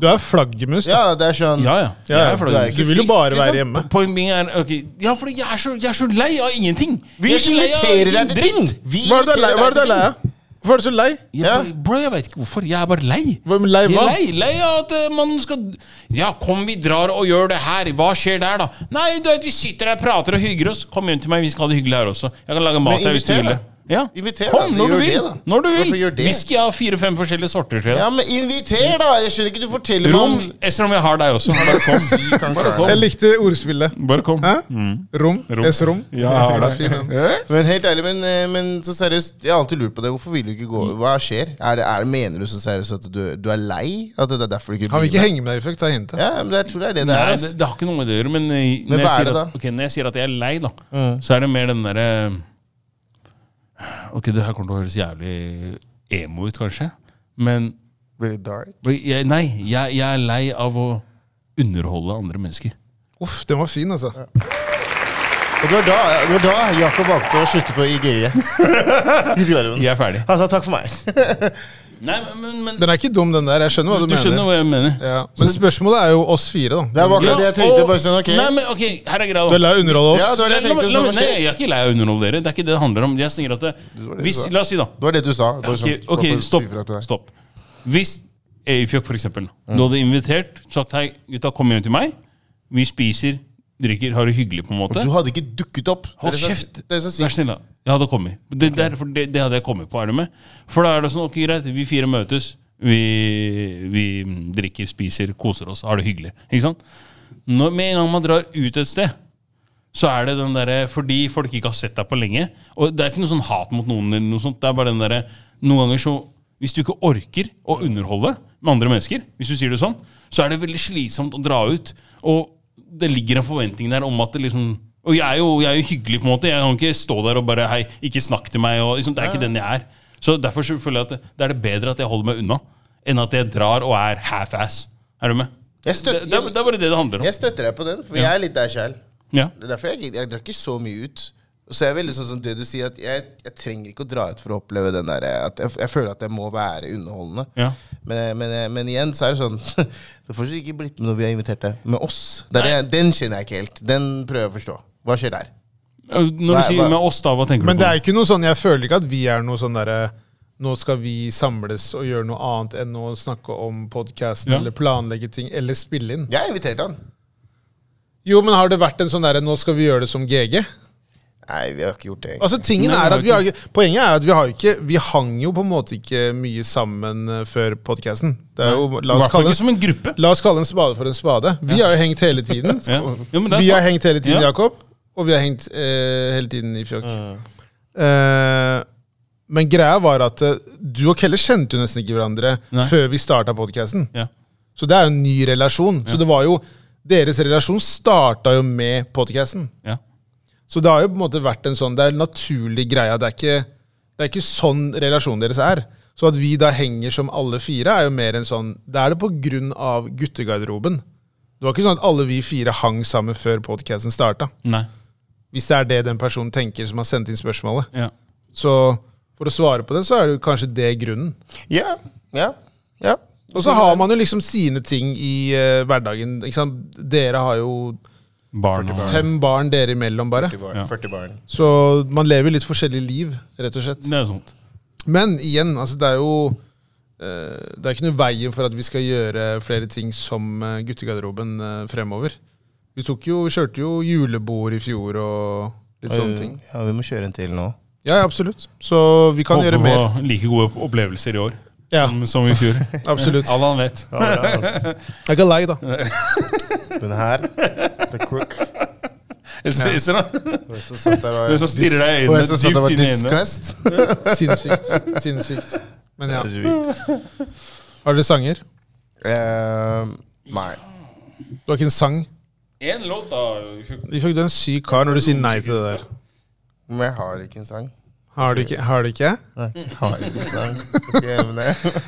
Speaker 2: Du er flaggermus.
Speaker 3: Ja, det er sånn
Speaker 1: Ja, ja.
Speaker 2: Ja,
Speaker 1: Jeg er
Speaker 3: du er
Speaker 1: fornøyd.
Speaker 3: ikke
Speaker 2: Du vil jo
Speaker 3: frisk,
Speaker 2: bare
Speaker 3: liksom.
Speaker 2: være hjemme.
Speaker 1: Poenget er ok, Ja, for jeg er, så, jeg er så lei av ingenting.
Speaker 3: Vi
Speaker 1: Jeg er så lei av
Speaker 3: inviterer deg til
Speaker 1: dritt.
Speaker 3: ting! Vi
Speaker 2: Hva er det du er lei- hva er det du er lei
Speaker 3: inviterer deg til
Speaker 2: av?
Speaker 3: ting.
Speaker 2: Hvorfor er du så lei?
Speaker 1: Jeg,
Speaker 3: Ja.
Speaker 1: bare- Bro, jeg veit ikke hvorfor. Jeg er bare lei.
Speaker 2: Hva med lei
Speaker 1: Jeg er
Speaker 2: hva?
Speaker 1: lei, lei av at eh, man skal Ja, kom, vi drar og gjør det her. Hva skjer der, da? Nei, du vet, vi sitter der, prater og hygger oss. Kom hjem til meg, vi skal ha det hyggelig her også. Jeg kan lage mat her hvis du
Speaker 3: inviter
Speaker 1: vil det.
Speaker 3: deg.
Speaker 1: Ja.
Speaker 3: Inviter
Speaker 1: Kom
Speaker 3: deg,
Speaker 1: når du
Speaker 3: gjør
Speaker 1: vil.
Speaker 3: det, da.
Speaker 1: Når du vil.
Speaker 3: Hvorfor gjør det?
Speaker 1: Whisky av fire-fem forskjellige sorter. tror jeg.
Speaker 3: Ja, men inviter, da! Jeg skjønner ikke, du forteller meg
Speaker 1: Rom,
Speaker 3: om
Speaker 1: Esther, om jeg har deg også. Bare kom.
Speaker 3: Vi kan ikke
Speaker 1: kom.
Speaker 3: være
Speaker 2: Jeg likte ordspillet.
Speaker 1: Bare kom.
Speaker 2: Hæ? Rom.
Speaker 1: Mm. Rom.
Speaker 2: S-rom.
Speaker 1: Ja, jeg har
Speaker 2: det
Speaker 1: det.
Speaker 2: er fin, den.
Speaker 3: det. Men helt ærlig, men, eh, men så seriøst, jeg har alltid lurt på det. Hvorfor vil du ikke gå? Hva skjer? Er det, er det, mener du så seriøst at du, du er lei? At det er derfor du ikke
Speaker 2: Han vil
Speaker 3: blir
Speaker 2: ikke
Speaker 3: med?
Speaker 2: henge med deg, fikk ta hintet.
Speaker 3: Ja, men jeg tror det er det det er.
Speaker 1: Nei,
Speaker 3: ass.
Speaker 1: det, det har ikke noe med det å gjøre, men, eh,
Speaker 3: Men
Speaker 1: når, jeg
Speaker 3: hva er
Speaker 1: sier
Speaker 3: det Mm.
Speaker 1: at, ok, når jeg sier at jeg er lei, da, så er det mer den derre Ok, det her kommer til å høres jævlig emo ut, kanskje, men
Speaker 3: Really dark.
Speaker 1: jeg, Nei, jeg, jeg er lei av å underholde andre mennesker.
Speaker 2: Uff, den var fin, altså.
Speaker 3: Og det var da, det var da Jakob valgte å slutte på
Speaker 1: [laughs]
Speaker 3: E. IGE.
Speaker 1: Jeg er ferdig.
Speaker 3: Han sa Altså, takk for meg.
Speaker 1: Nei, men, men, men
Speaker 2: Den er ikke dum, den der. Jeg skjønner hva du,
Speaker 1: Du skjønner
Speaker 2: mener.
Speaker 1: hva jeg mener.
Speaker 2: Ja. Men spørsmålet er jo oss fire,
Speaker 3: Det
Speaker 2: da.
Speaker 3: var akkurat det jeg tenkte. bare sånn, ok.
Speaker 1: Nei, men ok, her er greia.
Speaker 2: Du
Speaker 1: da.
Speaker 2: er lei av å underholde oss.
Speaker 3: Ja, det var det
Speaker 1: La
Speaker 3: jeg
Speaker 1: meg-
Speaker 3: tenkte.
Speaker 1: la
Speaker 3: som
Speaker 1: meg- Nei,
Speaker 3: skjer.
Speaker 1: jeg er ikke lei av å underholde dere. Det er ikke det det handler om. Jeg sier at det,
Speaker 3: var det du
Speaker 1: hvis,
Speaker 3: sa.
Speaker 1: La oss si, da.
Speaker 3: Det var det du sa. Bare sånn,
Speaker 1: Ok, ok,
Speaker 3: bare for å si
Speaker 1: stopp.
Speaker 3: fra til deg.
Speaker 1: stopp. Hvis Afjok, for eksempel, du hadde invitert sagt hei, gutta, kom hjem til meg. Vi spiser, drikker, har det hyggelig, på en måte.
Speaker 3: Du hadde ikke dukket opp.
Speaker 1: Hold
Speaker 3: Det er så-
Speaker 1: kjeft!
Speaker 3: Det er så
Speaker 1: Vær
Speaker 3: sykt.
Speaker 1: snill, da. Jeg hadde kommet. Det, der, for det, det hadde jeg kommet på, er du med? For da er det sånn, ok, greit, vi fire møtes. Vi, vi drikker, spiser, koser oss, har det hyggelig. Ikke sant? Når, med en gang man drar ut et sted, så er det den derre Fordi folk ikke har sett deg på lenge. Og det er ikke noe sånn hat mot noen, eller noe sånt. Det er bare den derre Noen ganger så Hvis du ikke orker å underholde med andre mennesker, hvis du sier det sånn, så er det veldig slitsomt å dra ut. Og det ligger en forventning der om at det liksom Og jeg er jo, jeg er jo hyggelig, på en måte. Jeg kan ikke stå der og bare Hei, ikke snakk til meg. Og, liksom, det er ikke den jeg er. Så derfor så føler jeg at det, det er det bedre at jeg holder meg unna, enn at jeg drar og er half-ass. Er du med?
Speaker 4: Jeg
Speaker 1: Det,
Speaker 4: støtter,
Speaker 1: det, er- det er bare det det handler om.
Speaker 4: jeg støtter deg på den, for
Speaker 1: Ja.
Speaker 4: jeg er litt der sjæl.
Speaker 1: Ja.
Speaker 4: Det er derfor jeg, jeg drar ikke så mye ut. Og så er jeg veldig sånn som det du sier, at jeg, jeg trenger ikke å dra ut for å oppleve den der eh, at jeg, jeg føler at jeg må være underholdende.
Speaker 1: Ja.
Speaker 4: Men, men, men igjen så er det sånn [laughs] Du får sikkert ikke blitt med når vi har invitert deg. Med oss. Det er, det- den kjenner jeg ikke helt. Den prøver jeg å forstå. Hva skjer der?
Speaker 1: Når du
Speaker 4: Hva-
Speaker 1: sier
Speaker 4: hva-
Speaker 1: med oss, da, hva tenker
Speaker 2: Men
Speaker 1: du
Speaker 2: det
Speaker 1: på?
Speaker 2: er ikke noe sånn, jeg føler ikke at vi er noe sånn derre nå skal vi samles og gjøre noe annet enn å snakke om podkasten
Speaker 1: Ja.
Speaker 2: eller planlegge ting eller spille inn.
Speaker 4: Jeg har invitert han.
Speaker 2: Jo, men har det vært en sånn derre 'nå skal vi gjøre det som GG'?
Speaker 4: Nei, vi har ikke gjort det. egentlig.
Speaker 2: Altså, tingen
Speaker 1: Nei,
Speaker 2: er at
Speaker 1: det
Speaker 2: vi
Speaker 1: har
Speaker 2: har, ikke- Poenget er at vi har ikke Vi hang jo på en måte ikke mye sammen eh, før podkasten. Det er
Speaker 1: I
Speaker 2: jo, la oss
Speaker 1: hvert fall
Speaker 2: kalle
Speaker 1: ikke som en gruppe.
Speaker 2: La oss kalle en spade for en spade. Vi har jo hengt hele tiden.
Speaker 1: [laughs] Ja. Jo, men det er
Speaker 2: vi har
Speaker 1: sant.
Speaker 2: hengt hele tiden,
Speaker 1: Ja.
Speaker 2: Jakob. Og vi har hengt eh, hele tiden i fjokk. Eh, men greia var at eh, du og Kelle kjente jo nesten ikke hverandre
Speaker 1: Nei.
Speaker 2: før vi starta podkasten.
Speaker 1: Ja.
Speaker 2: Så det er jo en ny relasjon. Så det var jo Deres relasjon starta jo med podkasten.
Speaker 1: Ja.
Speaker 2: Så det har jo på en måte vært en sånn Det er en naturlig greie. Det er ikke, det er ikke sånn relasjonen deres er. Så at vi da henger som alle fire, er jo mer en sånn Det er det på grunn av guttegarderoben. Det var ikke sånn at alle vi fire hang sammen før podcasten starta.
Speaker 1: Nei.
Speaker 2: Hvis det er det den personen tenker som har sendt inn spørsmålet.
Speaker 1: Ja.
Speaker 2: Så for å svare på det, så er det jo kanskje det grunnen.
Speaker 1: Altså-
Speaker 4: Ja, ja, ja.
Speaker 2: Og så har man jo liksom sine ting i eh, hverdagen. Ikke sant? Dere har jo
Speaker 1: Barn og
Speaker 2: fem barn dere imellom, bare.
Speaker 3: 40 barn.
Speaker 1: Ja.
Speaker 3: 40 barn.
Speaker 2: Så man lever litt forskjellige liv, rett og slett.
Speaker 1: Det er sånt.
Speaker 2: Men igjen, altså det er jo eh, Det er ikke noe veien for at vi skal gjøre flere ting som eh, guttegarderoben eh, fremover. Vi tok jo, kjørte jo julebord i fjor og litt sånne ting.
Speaker 4: Ja, vi må kjøre en til nå.
Speaker 2: Ja, ja, absolutt. Så vi kan
Speaker 1: Håper
Speaker 2: gjøre
Speaker 1: på
Speaker 2: mer.
Speaker 1: like gode opplevelser i år
Speaker 2: Ja,
Speaker 1: som, som i fjor.
Speaker 2: [laughs] absolutt.
Speaker 1: Alle han vet.
Speaker 2: Jeg er ikke lei,
Speaker 1: [laughs]
Speaker 2: da.
Speaker 3: Den [laughs] her, The Crook.
Speaker 1: [laughs] Jeg ser- jeg ser han.
Speaker 3: Den som satt der og-
Speaker 1: Den som stirrer deg i
Speaker 3: Og
Speaker 1: øynene,
Speaker 3: jeg som satt
Speaker 1: dypt
Speaker 3: der og var
Speaker 1: inn i øynene.
Speaker 3: disgust.
Speaker 2: Sinnssykt. Sinnssykt. Men ja.
Speaker 3: Det er så vilt.
Speaker 2: Har dere sanger?
Speaker 3: Eh, Nei.
Speaker 2: Du har ikke en sang?
Speaker 1: Én låt, da.
Speaker 2: Ifølge du er en syk kar når du sier nei til det der.
Speaker 3: Men jeg har ikke en sang.
Speaker 2: Har du ikke? Har du ikke?
Speaker 3: Nei, jeg har ikke en sang. Skal jeg gjøre med det?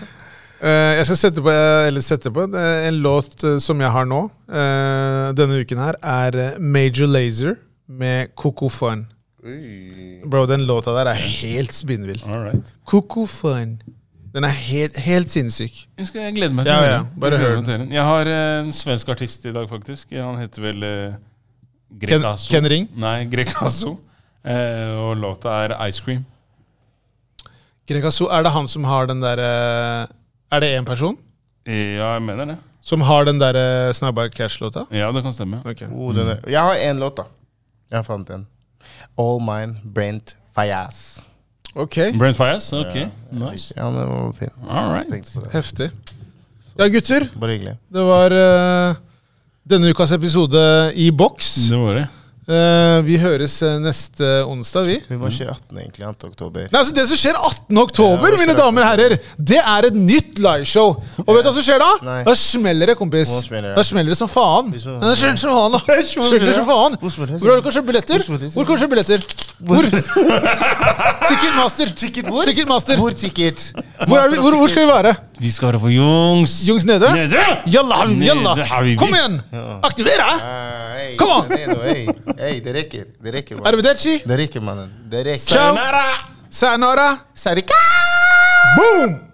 Speaker 2: Eh, jeg skal sette på, eller sette på eh, en låt eh, som jeg har nå, eh, denne uken her, er eh, Major Lazer med Coco Fun. Bro, den låta der er helt spinnvill.
Speaker 1: All right.
Speaker 2: Coco Fun. Den er helt, helt sinnssyk.
Speaker 1: Jeg, skal, jeg gleder meg
Speaker 2: Ja,
Speaker 1: å
Speaker 2: ja,
Speaker 1: høre den.
Speaker 2: bare
Speaker 1: Jeg gleder
Speaker 2: hør
Speaker 1: meg til å høre den. Jeg har eh, en svensk artist i dag, faktisk. Han heter vel eh,
Speaker 2: Ken,
Speaker 1: Grekazo.
Speaker 2: Ken Ring?
Speaker 1: Nei, Grekazo. Eh, og låta er Ice Cream.
Speaker 2: Grekazo, er det han som har den derre Er det én person
Speaker 1: Ja, jeg mener det.
Speaker 2: som har den derre Snabba Cash-låta?
Speaker 1: Ja, det kan stemme.
Speaker 2: Ok.
Speaker 3: Oh, den er- Jeg har en låt, da. Jeg fant en. All Mine, Brent Fayaz.
Speaker 2: ok,
Speaker 1: Brent Fias? Ok, nice.
Speaker 3: Ja, den var fin.
Speaker 1: All right.
Speaker 3: Tenkte på det.
Speaker 2: heftig. Ja, gutter.
Speaker 3: Bare hyggelig.
Speaker 2: Det var eh, denne ukas episode i boks.
Speaker 1: Det var det.
Speaker 2: Eh, vi høres eh, neste onsdag, vi.
Speaker 3: Vi må kjøre 18. egentlig, 2. oktober.
Speaker 2: Nei, altså Det som skjer 18. oktober,
Speaker 3: Ja, det
Speaker 2: mine
Speaker 3: skjer
Speaker 2: damer og herrer, det er et nytt liveshow. Og vet du hva som skjer da?
Speaker 3: Nei.
Speaker 2: Da smeller det, kompis.
Speaker 3: Nå smeller det.
Speaker 2: Da smeller det som faen.
Speaker 3: Det smeller-
Speaker 2: Ja, Det smeller som
Speaker 3: [laughs]
Speaker 2: faen. da. Det
Speaker 3: smeller
Speaker 2: smeller som
Speaker 3: det?
Speaker 2: faen.
Speaker 3: Hvor smeller det?
Speaker 2: Hvor har du kanskje billetter?
Speaker 3: Hvor smeller det?
Speaker 2: Hvor kanskje billetter? Hvor? Ticketmaster. Ticketmaster.
Speaker 3: Hvor ticket?
Speaker 2: Hvor, er vi, hvor, hvor skal vi være?
Speaker 1: Vi skal være på Jungs.
Speaker 2: Jungs nede?
Speaker 1: Nede!
Speaker 2: Jalla,
Speaker 1: Nede,
Speaker 2: jalla.
Speaker 1: habibi.
Speaker 2: Kom igjen! Aktiver deg!
Speaker 3: Hey,
Speaker 2: Come on!
Speaker 3: Hey, hey, det rekker. Det rekker, mannen.
Speaker 2: Arrivederci.
Speaker 3: Det rekker, mannen. Det rekker.
Speaker 2: Ciao.
Speaker 1: Sayonara!
Speaker 2: Sayonara.
Speaker 3: Sarika!
Speaker 2: Boom!